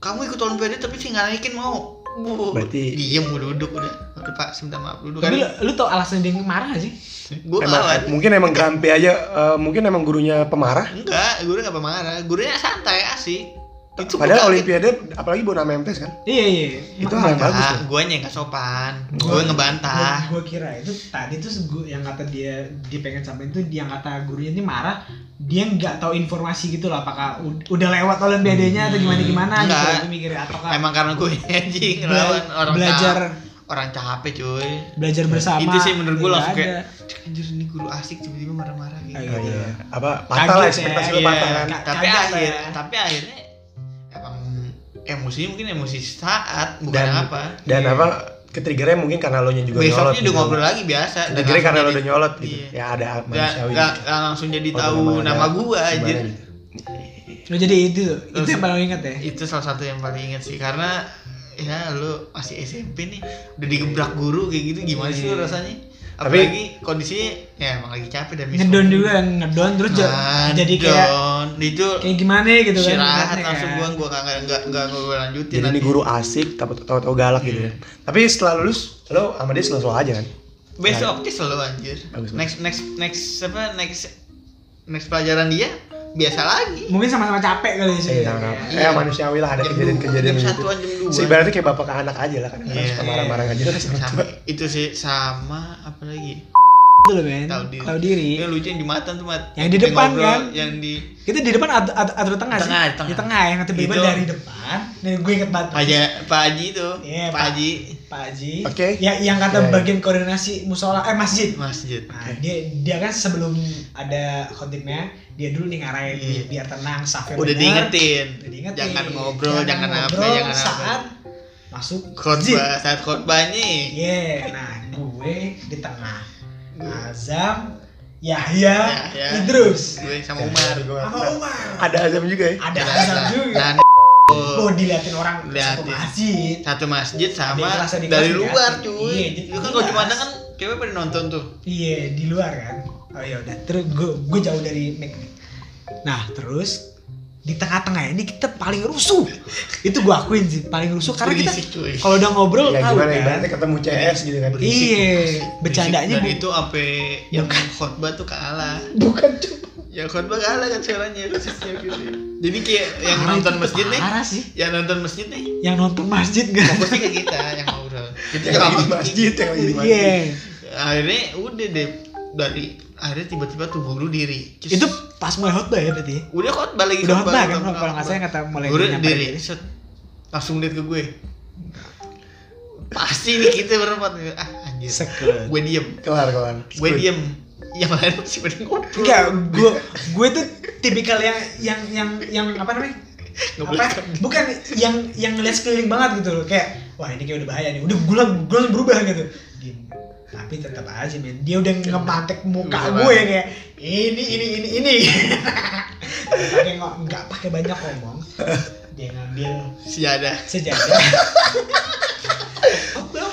[SPEAKER 2] kamu ikut olimpiade tapi sih nggak naikin mau Wuh,
[SPEAKER 1] Berarti-
[SPEAKER 2] diem gue duduk udah udah pak saya minta maaf duduk
[SPEAKER 3] Tapi lu,
[SPEAKER 2] kan
[SPEAKER 3] lu tau alasan dia marah nggak sih?
[SPEAKER 2] gue
[SPEAKER 1] Emang,
[SPEAKER 2] ngelawan
[SPEAKER 1] mungkin emang grampi aja, eh, mungkin emang gurunya pemarah.
[SPEAKER 2] Enggak, gurunya gak pemarah. Gurunya santai, asik. Itu
[SPEAKER 1] Padahal
[SPEAKER 2] bukan-
[SPEAKER 1] Olimpiade, apalagi bawa nama MTs kan.
[SPEAKER 3] Iya iya.
[SPEAKER 1] Itu hal yang
[SPEAKER 2] Enggak,
[SPEAKER 1] bagus. tuh.
[SPEAKER 2] guanya yang gak sopan. Gue ngebantah.
[SPEAKER 3] Gue kira itu tadi tuh gua- yang kata dia dia pengen sampein tuh yang kata gurunya ini marah dia nggak tahu informasi gitu loh apakah u- udah lewat olimpiadenya atau gimana gimana gitu
[SPEAKER 2] Enggak.
[SPEAKER 3] gue mikir atau
[SPEAKER 2] Hmm. Emang karena gue anjing
[SPEAKER 3] Bela-
[SPEAKER 2] ngelawan orang
[SPEAKER 3] belajar
[SPEAKER 2] cap- orang capek, cuy.
[SPEAKER 3] belajar bersama
[SPEAKER 2] Itu sih menurut gue
[SPEAKER 3] Nggak
[SPEAKER 2] langsung
[SPEAKER 3] ada.
[SPEAKER 2] kayak "Cek, anjir ini guru asik tiba-tiba marah-marah gitu.
[SPEAKER 3] Ayo.
[SPEAKER 1] Oh, iya iya.
[SPEAKER 3] Iya.
[SPEAKER 1] Apa patah lah
[SPEAKER 3] Kaget ya,
[SPEAKER 1] ekspektasi lu
[SPEAKER 3] iya.
[SPEAKER 1] patah kan.
[SPEAKER 3] Ka-
[SPEAKER 2] tapi
[SPEAKER 3] kaget
[SPEAKER 2] akhir,
[SPEAKER 3] lah.
[SPEAKER 2] tapi akhirnya emang emosinya mungkin emosi saat bukan
[SPEAKER 1] Dan-
[SPEAKER 2] apa.
[SPEAKER 1] Dan
[SPEAKER 3] Iya.
[SPEAKER 1] apa ketriggernya mungkin karena lo nya juga nyolot.
[SPEAKER 2] besoknya udah
[SPEAKER 1] gitu.
[SPEAKER 2] ngobrol lagi biasa dan
[SPEAKER 1] Ketriggernya
[SPEAKER 2] langsung
[SPEAKER 1] karena lo
[SPEAKER 2] jadi-
[SPEAKER 1] udah nyolot gitu.
[SPEAKER 2] Iya.
[SPEAKER 1] Ya ada hak
[SPEAKER 2] Gak,
[SPEAKER 1] manusiawi.
[SPEAKER 2] gak, gak langsung jadi
[SPEAKER 1] Kalau
[SPEAKER 2] tahu
[SPEAKER 1] memang ada
[SPEAKER 2] nama gua
[SPEAKER 1] gimana
[SPEAKER 2] aja
[SPEAKER 1] gitu.
[SPEAKER 3] Lu Oh, jadi itu tuh, itu
[SPEAKER 2] Terus-
[SPEAKER 3] yang paling inget ya.
[SPEAKER 2] itu salah satu yang paling inget sih karena ya lu masih SMP nih udah digebrak guru kayak gitu gimana sih lu
[SPEAKER 3] Iya.
[SPEAKER 2] rasanya
[SPEAKER 1] Tapi-
[SPEAKER 2] apalagi kondisinya ya emang lagi capek dan miskin.
[SPEAKER 3] Ngedon juga, ngedon terus ja- jadi kayak
[SPEAKER 2] Ngedon. itu
[SPEAKER 3] kayak gimana gitu kan.
[SPEAKER 2] istirahat
[SPEAKER 3] ibaratnya
[SPEAKER 2] langsung
[SPEAKER 3] kan.
[SPEAKER 2] gua gua kagak nggak nggak gua lanjutin
[SPEAKER 1] Jadi ini
[SPEAKER 2] nanti. Iya.
[SPEAKER 1] guru asik, tapi tahu-tahu galak gitu ya. Tapi setelah lulus, lo sama dia slow-slow aja kan?
[SPEAKER 2] besoknya selalu anjir
[SPEAKER 1] Bagus, bagus.
[SPEAKER 2] next next next apa next next pelajaran dia biasa lagi
[SPEAKER 3] Mungkin sama-sama capek kali sih.
[SPEAKER 1] Iya,
[SPEAKER 3] Kayak,
[SPEAKER 1] eh manusiawi lah ada
[SPEAKER 2] Jam
[SPEAKER 1] kejadian-kejadian
[SPEAKER 2] dua, jam
[SPEAKER 1] gitu.
[SPEAKER 2] satuan, jam dua.
[SPEAKER 1] Sebenarnya kayak bapak ke anak aja lah kadang-kadang
[SPEAKER 2] Iya.
[SPEAKER 1] suka marah-marah aja lah sama
[SPEAKER 2] Sama-
[SPEAKER 1] tua.
[SPEAKER 2] itu sih sama apa lagi
[SPEAKER 3] Itu gitu loh men,
[SPEAKER 2] tahu diri.
[SPEAKER 3] tahu diri.
[SPEAKER 2] Yang Eh, lucu yang di matan tuh mat.
[SPEAKER 3] Yang di
[SPEAKER 2] Kita
[SPEAKER 3] depan,
[SPEAKER 2] ngobrol,
[SPEAKER 3] kan?
[SPEAKER 2] Yang di
[SPEAKER 3] Itu di depan atau atau, atau tengah, sih?
[SPEAKER 2] Tengah, tengah.
[SPEAKER 3] Di tengah yang tiba-tiba
[SPEAKER 2] Itu-
[SPEAKER 3] dari depan. Nih gue inget banget.
[SPEAKER 2] Pak Haji- Pak Haji itu.
[SPEAKER 3] Iya,
[SPEAKER 2] Pak
[SPEAKER 3] Pak.
[SPEAKER 2] Haji
[SPEAKER 3] Pak Haji.
[SPEAKER 1] Oke.
[SPEAKER 3] Ya, yang
[SPEAKER 1] Iya,
[SPEAKER 3] kata
[SPEAKER 1] iya.
[SPEAKER 3] bagian koordinasi musola eh masjid.
[SPEAKER 2] masjid.
[SPEAKER 3] Nah, dia dia kan sebelum ada khotibnya, dia dulu nih ngarahin
[SPEAKER 2] Iya.
[SPEAKER 3] bi- biar tenang, safir
[SPEAKER 2] Udah diingetin.
[SPEAKER 3] Udah diingetin.
[SPEAKER 2] Jangan ngobrol, jangan, apa,
[SPEAKER 3] ngobrol
[SPEAKER 2] jangan apa.
[SPEAKER 3] saat masuk masjid.
[SPEAKER 2] Khotbah saat khotbahnya.
[SPEAKER 3] Iya, nah gue di tengah. Azam,
[SPEAKER 2] Ya,
[SPEAKER 3] Yahya,
[SPEAKER 2] ya.
[SPEAKER 3] Idrus,
[SPEAKER 2] Gue
[SPEAKER 3] Iya.
[SPEAKER 2] sama Umar.
[SPEAKER 1] Nah, Iya.
[SPEAKER 3] sama Umar.
[SPEAKER 1] Ada azam juga ya?
[SPEAKER 3] Ada
[SPEAKER 2] nah,
[SPEAKER 3] Azam juga.
[SPEAKER 2] Dan
[SPEAKER 3] Oh, diliatin orang satu
[SPEAKER 2] Liatin.
[SPEAKER 3] masjid.
[SPEAKER 2] satu masjid
[SPEAKER 3] Ada yang
[SPEAKER 2] sama
[SPEAKER 3] kelas, ada yang
[SPEAKER 2] dari
[SPEAKER 3] kelas,
[SPEAKER 2] luar
[SPEAKER 3] ya. Iya,
[SPEAKER 2] cuy.
[SPEAKER 3] jadi
[SPEAKER 2] Itu kan kalau
[SPEAKER 3] kelas.
[SPEAKER 2] cuma ada kan cewek pada nonton tuh.
[SPEAKER 3] Iya, di luar kan. Oh ya udah, terus gue gue jauh dari mic. Nah, terus di tengah-tengah ini kita paling rusuh. Itu gue akuin sih, paling rusuh karena kita
[SPEAKER 2] Berisik, cuy.
[SPEAKER 3] kalau udah ngobrol
[SPEAKER 1] Ya
[SPEAKER 3] tahu
[SPEAKER 1] gimana
[SPEAKER 3] kan.
[SPEAKER 1] ibaratnya ketemu CS gitu kan?
[SPEAKER 3] Iya,
[SPEAKER 2] Berisik.
[SPEAKER 3] bercandanya
[SPEAKER 2] Dan
[SPEAKER 3] bu-
[SPEAKER 2] itu apa yang khotbah tuh kalah.
[SPEAKER 1] Bukan coba.
[SPEAKER 2] Ya khotbah kalah kan suaranya khususnya gitu. Jadi kayak yang
[SPEAKER 3] parah,
[SPEAKER 2] nonton
[SPEAKER 3] itu
[SPEAKER 2] masjid nih,
[SPEAKER 3] Parah sih.
[SPEAKER 2] yang nonton masjid nih
[SPEAKER 3] Yang nonton masjid kan.
[SPEAKER 2] fokusnya ke kita yang ngobrol. Kita
[SPEAKER 1] Yang lagi di masjid, yang lagi di masjid.
[SPEAKER 3] Iya.
[SPEAKER 2] Akhirnya udah deh dari akhirnya tiba-tiba tuh bunuh diri. Cus.
[SPEAKER 3] Itu pas mulai khotbah ya berarti.
[SPEAKER 2] udah khotbah lagi
[SPEAKER 3] Udah khotbah kan
[SPEAKER 2] Iya, khotbah,
[SPEAKER 3] kalau nggak salah yang kata mulai
[SPEAKER 2] Bunuh
[SPEAKER 3] nyampe
[SPEAKER 2] diri.
[SPEAKER 3] diri.
[SPEAKER 2] Set. Langsung lihat ke gue. Pasti nih kita berempat nih. Ah anjir.
[SPEAKER 3] Sekut.
[SPEAKER 2] Gue diem.
[SPEAKER 1] Kelar kelar.
[SPEAKER 2] Gue diem. Yang lain masih pada ngobrol.
[SPEAKER 3] Enggak, gue gue tuh tipikal yang yang yang yang apa namanya?
[SPEAKER 2] Nggak
[SPEAKER 3] apa?
[SPEAKER 2] boleh.
[SPEAKER 3] Bukan yang yang ngeliat sekeliling banget gitu loh kayak wah ini kayak udah bahaya nih. Udah gue lang- gue langsung berubah gitu. Diem. Tapi tetap aja men. Dia udah ngepantek muka
[SPEAKER 2] Nggak
[SPEAKER 3] gue
[SPEAKER 2] apa-apa.
[SPEAKER 3] kayak ini ini ini ini. Pakai nggak nggak pakai banyak ngomong. Dia ngambil
[SPEAKER 2] Si ada.
[SPEAKER 3] sejadah. Khotbah.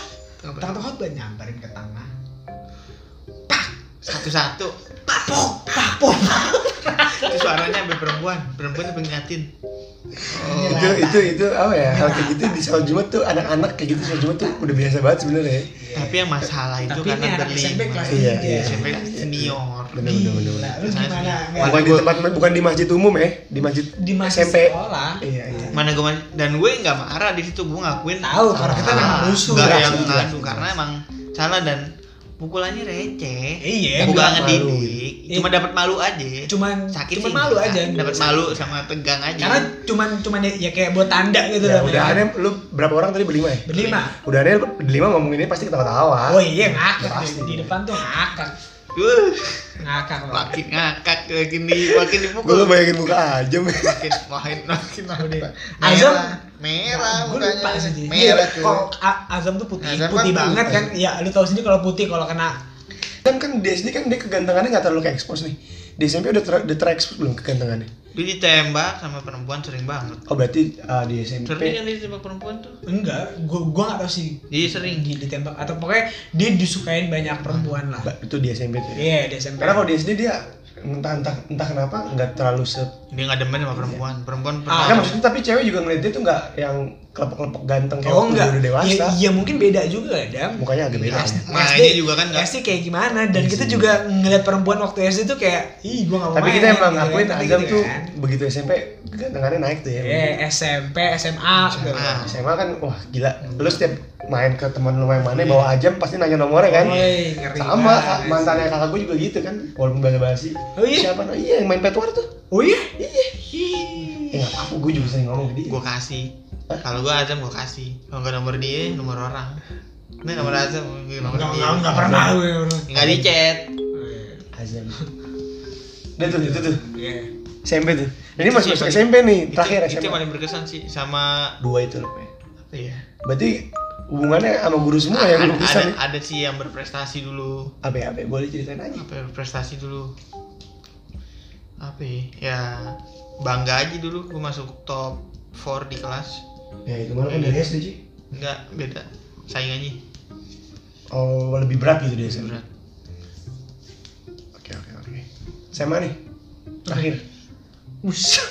[SPEAKER 3] Tangan khotbah nyamperin ke tengah.
[SPEAKER 2] Satu-satu.
[SPEAKER 3] Papok, papok.
[SPEAKER 2] Itu suaranya sampai perempuan. Perempuan sampai ngeliatin. Oh.
[SPEAKER 1] Itu itu itu apa ya? Hal kayak gitu di sholat Jumat tuh anak-anak kayak gitu sholat Jumat tuh udah biasa banget sebenarnya.
[SPEAKER 3] Iya.
[SPEAKER 1] ya.
[SPEAKER 2] Tapi yang masalah itu
[SPEAKER 3] Tapi ini
[SPEAKER 2] karena
[SPEAKER 3] anak
[SPEAKER 2] berlima.
[SPEAKER 3] SMP kelas
[SPEAKER 1] Iya,
[SPEAKER 3] tiga.
[SPEAKER 1] iya.
[SPEAKER 2] SMP kelas senior.
[SPEAKER 1] Bener bener bener.
[SPEAKER 3] Gila,
[SPEAKER 1] bener.
[SPEAKER 3] lu gimana?
[SPEAKER 1] Bukan di tempat bukan di masjid umum ya, di masjid
[SPEAKER 3] di masjid
[SPEAKER 1] SMP.
[SPEAKER 3] sekolah.
[SPEAKER 1] Iya iya.
[SPEAKER 2] Mana gue dan gue nggak marah di situ gue ngakuin.
[SPEAKER 3] Tahu, karena kita
[SPEAKER 2] salah.
[SPEAKER 3] memang musuh.
[SPEAKER 2] Nggak
[SPEAKER 1] Jelas,
[SPEAKER 2] yang
[SPEAKER 1] jelas,
[SPEAKER 2] ngadu
[SPEAKER 1] jelas.
[SPEAKER 2] karena emang salah dan pukulannya receh.
[SPEAKER 3] Iya,
[SPEAKER 2] Gue
[SPEAKER 3] enggak
[SPEAKER 2] nggak
[SPEAKER 1] malu.
[SPEAKER 2] ngedidik,
[SPEAKER 3] Iya.
[SPEAKER 2] cuma dapat malu aja.
[SPEAKER 3] Cuman
[SPEAKER 2] sakit
[SPEAKER 3] cuman
[SPEAKER 2] sih,
[SPEAKER 3] malu
[SPEAKER 2] nggak.
[SPEAKER 3] aja.
[SPEAKER 2] Dapat malu sama tegang aja.
[SPEAKER 3] Karena cuman cuman ya, ya kayak buat tanda gitu
[SPEAKER 1] Ya
[SPEAKER 3] loh.
[SPEAKER 1] udah
[SPEAKER 3] men.
[SPEAKER 1] aneh lu berapa orang tadi berlima ya?
[SPEAKER 3] berlima.
[SPEAKER 1] Udah aneh berlima ngomonginnya pasti ketawa-tawa.
[SPEAKER 3] Oh iya
[SPEAKER 1] Ya,
[SPEAKER 3] ngakak
[SPEAKER 1] Pasti.
[SPEAKER 3] di, di depan tuh ngakak.
[SPEAKER 2] Uh,
[SPEAKER 3] Ngakak loh.
[SPEAKER 2] makin ngakak, makin di, makin
[SPEAKER 1] Gue
[SPEAKER 2] dipukul.
[SPEAKER 1] lu bayangin muka aja. men.
[SPEAKER 2] makin makin makin
[SPEAKER 3] Udah.
[SPEAKER 2] merah
[SPEAKER 3] Azam.
[SPEAKER 2] merah
[SPEAKER 3] Gue
[SPEAKER 2] mukanya.
[SPEAKER 3] lupa sih.
[SPEAKER 2] merah
[SPEAKER 3] Iya,
[SPEAKER 2] cuy.
[SPEAKER 3] kalau A- Azam tuh putih,
[SPEAKER 2] Azam kan
[SPEAKER 3] putih banget
[SPEAKER 2] putih.
[SPEAKER 3] kan. Ya lu tahu sendiri kalau putih kalau kena
[SPEAKER 1] Kan kan di SD kan dia kegantengannya nggak terlalu ke expose nih. Di SMP udah ter udah terekspos belum kegantengannya?
[SPEAKER 2] dia ditembak sama perempuan sering banget
[SPEAKER 1] Oh berarti uh, di
[SPEAKER 2] sering
[SPEAKER 1] SMP
[SPEAKER 2] kan dia ditembak perempuan tuh
[SPEAKER 3] enggak, gua gua enggak tahu sih
[SPEAKER 2] dia sering
[SPEAKER 3] tinggi ditembak atau pokoknya dia disukain banyak perempuan lah.
[SPEAKER 1] Ba- itu di SMP tuh. Ya.
[SPEAKER 3] Iya, di SMP.
[SPEAKER 1] Karena kalau di SD dia entah entah entah kenapa nggak terlalu se
[SPEAKER 2] dia nggak demen sama perempuan perempuan
[SPEAKER 3] Ah,
[SPEAKER 1] Karena
[SPEAKER 2] pernah
[SPEAKER 1] maksudnya tapi cewek juga ngeliat dia tuh nggak yang kelepek-kelepek ganteng kayak
[SPEAKER 3] Oh
[SPEAKER 1] waktu
[SPEAKER 3] enggak,
[SPEAKER 1] dia udah dewasa.
[SPEAKER 3] Ya, ya mungkin beda juga Dam.
[SPEAKER 1] Mukanya agak beda.
[SPEAKER 2] Iya.
[SPEAKER 3] SD,
[SPEAKER 2] Nah,
[SPEAKER 3] SD,
[SPEAKER 2] ini juga kan nggak-
[SPEAKER 3] SD kayak gimana dan kita juga ngeliat perempuan waktu SD tuh kayak ih gua nggak mau
[SPEAKER 1] Iya Tapi
[SPEAKER 3] main,
[SPEAKER 1] kita emang
[SPEAKER 3] gitu
[SPEAKER 1] ngakuin
[SPEAKER 3] kan,
[SPEAKER 1] Azam
[SPEAKER 3] gitu
[SPEAKER 1] tuh
[SPEAKER 3] kan.
[SPEAKER 1] begitu SMP kegantengannya naik tuh ya.
[SPEAKER 3] ya SMP SMA gitu.
[SPEAKER 2] Ah.
[SPEAKER 1] SMA kan wah gila. Lu setiap main ke teman lu yang mana
[SPEAKER 3] Iya.
[SPEAKER 1] bawa Ajam pasti nanya nomornya kan.
[SPEAKER 3] Woi, ngeri
[SPEAKER 1] Sama
[SPEAKER 3] banget.
[SPEAKER 1] kak, mantannya kakak gue juga gitu kan. Walaupun basa-basi.
[SPEAKER 3] Iya. Oh iya?
[SPEAKER 1] Siapa? Oh, iya yang main petuar tuh.
[SPEAKER 3] oh iya
[SPEAKER 1] Ya enggak apa-apa gue juga sering ngomong ke dia.
[SPEAKER 2] gue kasih kalau gue azam gue kasih kalau nggak nomor dia nomor orang ini nomor azam gue nomor
[SPEAKER 3] nggak
[SPEAKER 2] dia
[SPEAKER 3] nggak nggak pernah
[SPEAKER 1] Iya.
[SPEAKER 3] gue
[SPEAKER 2] nggak di chat
[SPEAKER 1] Azam. Dia tuh, itu tuh.
[SPEAKER 3] Iya.
[SPEAKER 1] SMP tuh. Ini
[SPEAKER 2] Itu
[SPEAKER 1] masih
[SPEAKER 2] sih
[SPEAKER 1] masuk
[SPEAKER 2] paling-
[SPEAKER 1] SMP nih,
[SPEAKER 2] itu,
[SPEAKER 1] terakhir
[SPEAKER 2] itu
[SPEAKER 1] SMP.
[SPEAKER 2] paling berkesan sih sama
[SPEAKER 1] Dua itu loh. Pe.
[SPEAKER 2] apa ya
[SPEAKER 1] Berarti hubungannya sama guru semua ya
[SPEAKER 2] ada,
[SPEAKER 1] guru
[SPEAKER 2] ada,
[SPEAKER 1] pisah nih.
[SPEAKER 2] ada sih yang berprestasi dulu
[SPEAKER 1] Abe abe boleh ceritain aja.
[SPEAKER 2] apa ya, berprestasi dulu apa ya, ya bangga aja dulu gue masuk top 4 di kelas
[SPEAKER 1] Ya itu mana kan dari SD sih.
[SPEAKER 2] enggak beda saingannya
[SPEAKER 1] Oh lebih berat gitu dia
[SPEAKER 2] berat
[SPEAKER 1] Oke oke oke. SMA nih terakhir
[SPEAKER 3] Buset.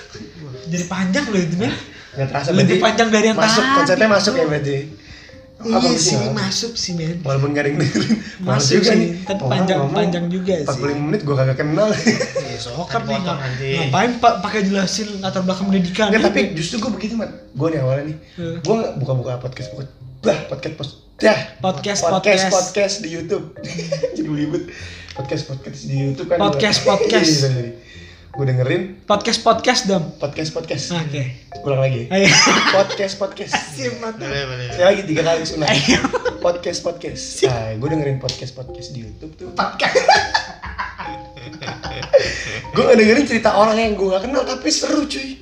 [SPEAKER 3] Jadi panjang loh itu men.
[SPEAKER 1] nggak terasa berarti
[SPEAKER 3] Lebih panjang dari yang
[SPEAKER 1] masuk
[SPEAKER 3] tadi.
[SPEAKER 1] konsepnya masuk ya berarti. Apa
[SPEAKER 3] Iya sih
[SPEAKER 1] bisa?
[SPEAKER 3] masuk sih men.
[SPEAKER 1] Walaupun gak ada yang dengerin. Males
[SPEAKER 3] Masuk
[SPEAKER 1] juga
[SPEAKER 3] sih.
[SPEAKER 1] nih.
[SPEAKER 3] Tapi
[SPEAKER 1] Orang ngomong
[SPEAKER 3] panjang-panjang juga sih.
[SPEAKER 1] 45 menit gue kagak kenal.
[SPEAKER 3] Iya sokap
[SPEAKER 2] Kan
[SPEAKER 3] nih.
[SPEAKER 2] potong, anjing.
[SPEAKER 3] Ngapain pak pakai jelasin latar belakang pendidikan?
[SPEAKER 1] Nggak, tapi justru gue begitu man. Gue nih awalnya nih.
[SPEAKER 3] Hmm.
[SPEAKER 1] Gue buka-buka podcast buka. Bah podcast post. Dah. podcast
[SPEAKER 3] Podcast, podcast.
[SPEAKER 1] podcast di YouTube. Jadi ribet. Podcast podcast di YouTube kan.
[SPEAKER 3] Podcast,
[SPEAKER 1] gua-
[SPEAKER 3] podcast.
[SPEAKER 1] Iya, sorry. Gue dengerin
[SPEAKER 3] podcast podcast dam.
[SPEAKER 1] podcast podcast.
[SPEAKER 3] Oke.
[SPEAKER 1] Ulang lagi.
[SPEAKER 3] Ayo.
[SPEAKER 1] Podcast podcast.
[SPEAKER 2] boleh boleh
[SPEAKER 1] Sekali lagi tiga kali sunat. Podcast podcast. Nah, gue dengerin podcast podcast di YouTube tuh. Podcast. gue nggak dengerin cerita orang yang gue gak kenal tapi seru cuy.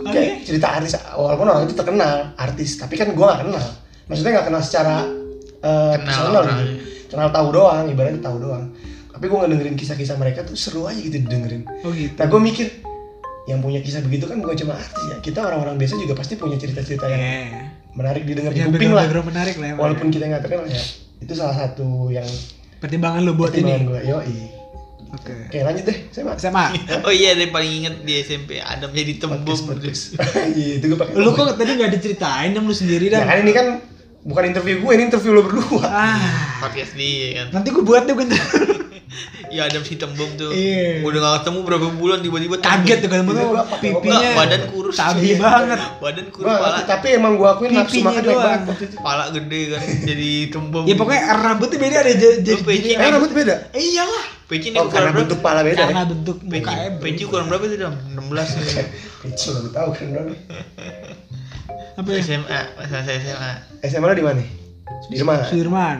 [SPEAKER 1] Gua Kayak
[SPEAKER 3] Oke.
[SPEAKER 1] cerita artis walaupun orang itu terkenal artis tapi kan gue gak kenal. Maksudnya gak kenal secara eh,
[SPEAKER 2] Kenal
[SPEAKER 1] personal gitu.
[SPEAKER 2] orangnya.
[SPEAKER 1] Kenal tahu doang, ibaratnya tahu doang. Tapi gue ngedengerin kisah-kisah mereka tuh seru aja gitu didengerin.
[SPEAKER 3] Oh gitu.
[SPEAKER 1] Nah gue mikir yang punya kisah begitu kan bukan cuma artis ya kita orang-orang biasa juga pasti punya cerita-cerita yang
[SPEAKER 3] Iya.
[SPEAKER 1] menarik didengar di
[SPEAKER 3] Punya
[SPEAKER 1] kuping lah
[SPEAKER 3] background menarik lah. emang.
[SPEAKER 1] walaupun kita nggak terkenal ya itu salah satu yang
[SPEAKER 3] pertimbangan lo Iya. buat ini.
[SPEAKER 1] gue yo
[SPEAKER 3] Oke.
[SPEAKER 1] oke lanjut deh saya mas
[SPEAKER 3] SMA.
[SPEAKER 2] oh iya ada yang paling inget di SMP Adam jadi tembok
[SPEAKER 1] podcast podcast Iya, itu gue pakai
[SPEAKER 3] Lu kok tadi nggak diceritain dam lu sendiri
[SPEAKER 1] ya
[SPEAKER 3] dam?
[SPEAKER 1] kan ini kan bukan interview gue ini interview lo berdua
[SPEAKER 3] Ah.
[SPEAKER 2] podcast dia kan
[SPEAKER 3] Nanti gue buat deh gue
[SPEAKER 2] ya Adam si tembok tuh
[SPEAKER 3] Iya.
[SPEAKER 2] udah gak ketemu berapa bulan tiba-tiba
[SPEAKER 3] kaget tuh
[SPEAKER 2] tembok.
[SPEAKER 3] kan
[SPEAKER 1] Itu
[SPEAKER 3] mau
[SPEAKER 1] gua pakai
[SPEAKER 2] Enggak,
[SPEAKER 3] pipinya.
[SPEAKER 2] badan kurus
[SPEAKER 3] Sabi
[SPEAKER 2] Iya.
[SPEAKER 3] banget.
[SPEAKER 2] badan kurus
[SPEAKER 1] Gua-
[SPEAKER 2] pala
[SPEAKER 1] tapi emang gue akuin nafsu
[SPEAKER 3] Pipinya
[SPEAKER 1] makan naik
[SPEAKER 3] doang.
[SPEAKER 1] banget waktu itu
[SPEAKER 2] pala gede kan jadi tembok
[SPEAKER 3] Ya pokoknya rambutnya beda deh jadi jadi
[SPEAKER 2] Lu peci.
[SPEAKER 3] jadi-
[SPEAKER 1] eh rambut beda
[SPEAKER 3] Eh, iyalah.
[SPEAKER 2] peci nih
[SPEAKER 1] oh karena
[SPEAKER 2] ukuran berapa
[SPEAKER 1] bentuk pala beda ya
[SPEAKER 3] Karena bentuk
[SPEAKER 2] peci
[SPEAKER 3] mukanya
[SPEAKER 2] peci ukuran berapa tuh dam 16 tuh.
[SPEAKER 1] Kecil, lo tau kan dong
[SPEAKER 3] apa ya?
[SPEAKER 2] SMA masa saya SMA
[SPEAKER 1] SMA Eh, lo di mana di rumah
[SPEAKER 3] Sudirman.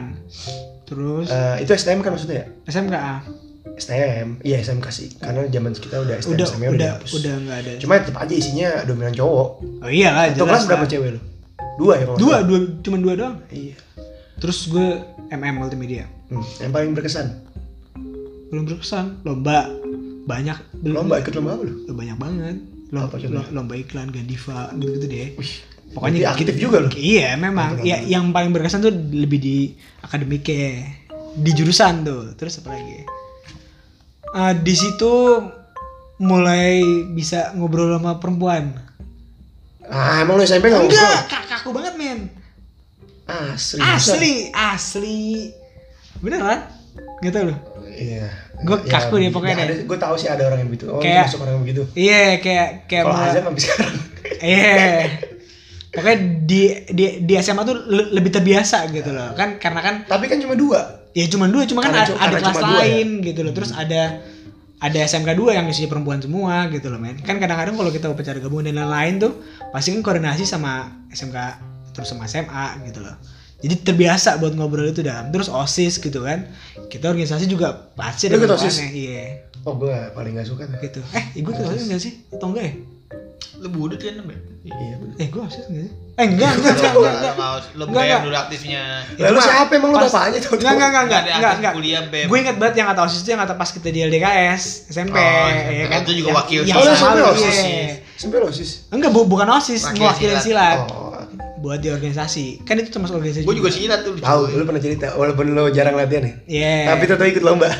[SPEAKER 3] Terus
[SPEAKER 1] Eh, itu STM kan maksudnya ya
[SPEAKER 3] SMKA.
[SPEAKER 1] STM iya SMK sih karena zaman kita udah STM
[SPEAKER 3] Udah
[SPEAKER 1] STM-nya
[SPEAKER 3] udah
[SPEAKER 1] dihapus.
[SPEAKER 3] udah nggak ada.
[SPEAKER 1] cuma tetap aja isinya dominan cowok
[SPEAKER 3] Oh iya lah.
[SPEAKER 1] Satu
[SPEAKER 3] jelas
[SPEAKER 1] kelas
[SPEAKER 3] lah.
[SPEAKER 1] berapa cewek lu? Dua ya kalau
[SPEAKER 3] Dua,
[SPEAKER 1] nggak
[SPEAKER 3] dua, cuman dua
[SPEAKER 1] salah?
[SPEAKER 3] doang.
[SPEAKER 1] Iya.
[SPEAKER 3] Terus gue MM multimedia.
[SPEAKER 1] Hmm, yang paling berkesan.
[SPEAKER 3] Belum berkesan. Lomba banyak. belum-
[SPEAKER 1] Lomba ikut lomba apa lu?
[SPEAKER 3] Lu banyak banget lomba,
[SPEAKER 1] Apa contohnya?
[SPEAKER 3] lomba iklan Gandiva gitu-gitu deh
[SPEAKER 1] Wih.
[SPEAKER 3] pokoknya
[SPEAKER 1] berarti aktif
[SPEAKER 3] kita-
[SPEAKER 1] juga lu.
[SPEAKER 3] iya memang
[SPEAKER 1] Aktif
[SPEAKER 3] ya, yang paling berkesan tuh lebih di akademiknya di jurusan tuh terus apa lagi Ah, di situ mulai bisa ngobrol sama perempuan
[SPEAKER 1] Ah, emang lu SMP enggak ngobrol?
[SPEAKER 3] enggak kak- kaku banget men
[SPEAKER 1] Asli.
[SPEAKER 3] asli asli Iya. beneran nggak tau loh
[SPEAKER 1] Iya.
[SPEAKER 3] Gua kaku deh pokoknya deh.
[SPEAKER 1] Gue tahu sih ada orang yang begitu. Oh,
[SPEAKER 3] Kayak-
[SPEAKER 1] masuk orang yang begitu.
[SPEAKER 3] iya kayak kayak
[SPEAKER 1] Kalau gitu.
[SPEAKER 3] mulai-
[SPEAKER 1] Azam habis sekarang.
[SPEAKER 3] Iya. Pokoknya di di di SMA tuh le- lebih terbiasa gitu loh. Kan karena kan
[SPEAKER 1] Tapi kan cuma dua.
[SPEAKER 3] ya cuma dua, cuma kan
[SPEAKER 1] Karena
[SPEAKER 3] ada,
[SPEAKER 1] cu-
[SPEAKER 3] ada
[SPEAKER 1] karena
[SPEAKER 3] kelas
[SPEAKER 1] cuma dua ya.
[SPEAKER 3] lain gitu loh. Terus ada ada SMK 2 yang isinya perempuan semua gitu loh men kan kadang-kadang kalau kita upacara gabungan dan lain-lain tuh pasti kan koordinasi sama SMK terus sama SMA gitu loh jadi terbiasa buat ngobrol itu dalam terus osis gitu kan kita organisasi juga pasti
[SPEAKER 1] Lu ikut
[SPEAKER 3] perempuannya,
[SPEAKER 1] OSIS?
[SPEAKER 3] iya
[SPEAKER 1] Oh, gue paling gak suka tuh.
[SPEAKER 3] gitu eh gue ikut osis nggak sih atau enggak ya
[SPEAKER 2] lu budut kan Dam, ya
[SPEAKER 1] Iya. bener.
[SPEAKER 3] eh gue osis nggak sih eh enggak enggak enggak
[SPEAKER 2] Lu
[SPEAKER 3] enggak, enggak.
[SPEAKER 2] mau- lu
[SPEAKER 3] Enggak,
[SPEAKER 2] bayar
[SPEAKER 3] enggak.
[SPEAKER 2] dulu aktifnya
[SPEAKER 3] Itu
[SPEAKER 1] Lalu
[SPEAKER 3] mah
[SPEAKER 1] siapa emang lu
[SPEAKER 3] pas-
[SPEAKER 1] apa aja tuh?
[SPEAKER 3] Enggak, enggak, enggak, enggak,
[SPEAKER 2] Ada
[SPEAKER 3] enggak,
[SPEAKER 2] aktif
[SPEAKER 3] enggak.
[SPEAKER 2] kuliah BEM.
[SPEAKER 3] Gue inget banget yang kata OSIS itu yang kata pas kita di LDKS, SMP.
[SPEAKER 2] Oh,
[SPEAKER 3] ya
[SPEAKER 2] itu juga
[SPEAKER 3] Yang-
[SPEAKER 2] wakil
[SPEAKER 3] yang
[SPEAKER 1] Oh, lu
[SPEAKER 2] Iya.
[SPEAKER 1] SMP
[SPEAKER 3] sama lu,
[SPEAKER 1] OSIS.
[SPEAKER 3] iya.
[SPEAKER 1] SMP lu OSIS.
[SPEAKER 3] Enggak, bu, bukan OSIS,
[SPEAKER 2] Wakil
[SPEAKER 3] mewakilin
[SPEAKER 2] silat.
[SPEAKER 3] silat.
[SPEAKER 1] Oh.
[SPEAKER 3] Buat di organisasi. Kan itu termasuk organisasi.
[SPEAKER 2] gue juga silat tuh
[SPEAKER 1] Tahu, lu pernah cerita walaupun lu jarang latihan ya.
[SPEAKER 3] Iya.
[SPEAKER 1] Tapi tetap ikut lomba.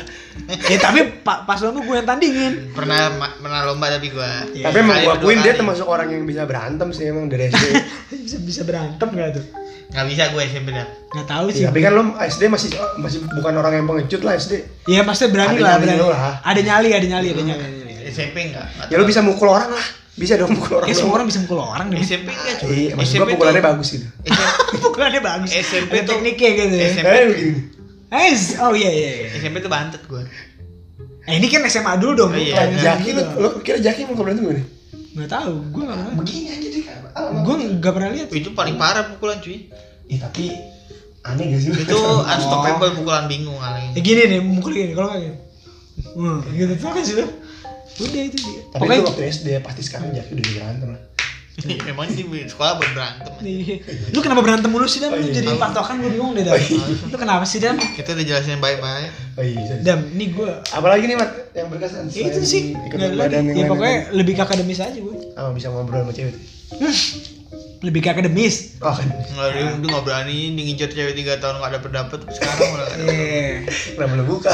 [SPEAKER 3] ya tapi pa- pas lomba gue yang tandingin.
[SPEAKER 2] pernah ma- pernah lomba tapi gue
[SPEAKER 1] Tapi emang gue akuin dia termasuk orang yang bisa berantem sih emang dari SD.
[SPEAKER 3] bisa bisa berantem gak tuh?
[SPEAKER 2] nggak bisa gue SMP dah
[SPEAKER 3] Gak tahu sih.
[SPEAKER 1] Iya, tapi kan lo SD masih masih bukan orang yang pengecut lah SD.
[SPEAKER 3] Iya, pasti
[SPEAKER 1] Ada
[SPEAKER 3] berani lah,
[SPEAKER 1] nyali
[SPEAKER 3] berani.
[SPEAKER 1] dulu lah.
[SPEAKER 3] Ada nyali, ada nyali,
[SPEAKER 2] Hmm.
[SPEAKER 3] ada nyali. ada nyali.
[SPEAKER 2] SMP enggak
[SPEAKER 1] Ya lo bisa mukul orang lah. Bisa dong mukul orang.
[SPEAKER 3] Kayak Iya, semua
[SPEAKER 1] dong.
[SPEAKER 3] orang bisa mukul orang deh.
[SPEAKER 2] SMP enggak cuy
[SPEAKER 1] Iya, maksud gua pukulannya bagus gitu.
[SPEAKER 2] SMP
[SPEAKER 3] Pukulannya bagus.
[SPEAKER 2] SMP
[SPEAKER 3] ada
[SPEAKER 2] tuh-
[SPEAKER 3] tekniknya gitu. ya.
[SPEAKER 2] SMP
[SPEAKER 1] Eh, begini.
[SPEAKER 3] Eh, oh iya iya. iya.
[SPEAKER 2] SMP tuh bantet gue
[SPEAKER 3] Eh, ini kan SMA dulu dong.
[SPEAKER 2] Oh, iya.
[SPEAKER 3] bukan
[SPEAKER 2] Jangan
[SPEAKER 1] Jaki lo,
[SPEAKER 3] dulu.
[SPEAKER 1] lo kira Jaki mukul berantem gimana?
[SPEAKER 3] nggak tahu gue nggak pernah
[SPEAKER 1] Begini aja kan. Ah, deh.
[SPEAKER 3] gue nggak pernah lihat
[SPEAKER 2] itu paling parah pukulan cuy
[SPEAKER 1] Ih, Iya, tapi aneh gak sih? Oh. lo?
[SPEAKER 2] itu unstoppable pukulan bingung kali
[SPEAKER 3] ya gini nih mukul gini kalau nggak gini hmm, gitu tuh kan sih tuh udah itu dia
[SPEAKER 1] Tapi itu waktu SD ya, pasti sekarang Jaki udah berantem lah.
[SPEAKER 2] Emang di sekolah buat berantem. anjing.
[SPEAKER 3] Iya. Lu kenapa berantem mulu sih Dam? Lu jadi patokan gue bingung deh Dam. Lu kenapa sih Dam?
[SPEAKER 2] Kita udah jelasin baik-baik.
[SPEAKER 1] Oh iya bisa.
[SPEAKER 3] Dam, ini gue
[SPEAKER 1] Apalagi nih Mat yang berkesan.
[SPEAKER 3] Ya
[SPEAKER 1] selain
[SPEAKER 3] itu sih,
[SPEAKER 1] ikut
[SPEAKER 3] nggak
[SPEAKER 1] badan
[SPEAKER 3] ada lagi.
[SPEAKER 1] yang
[SPEAKER 3] Ya
[SPEAKER 1] lain-lain.
[SPEAKER 3] pokoknya lebih ke akademis aja gue
[SPEAKER 1] Apa bisa ngobrol sama cewek?
[SPEAKER 3] Lebih ke akademis
[SPEAKER 1] Oh kan.
[SPEAKER 2] Nggak
[SPEAKER 3] Ya.
[SPEAKER 2] ada yang nggak berani ini ngincer cewek tiga tahun nggak dapet dapet sekarang udah nggak dapet.
[SPEAKER 3] Iya
[SPEAKER 1] Kenapa lu buka?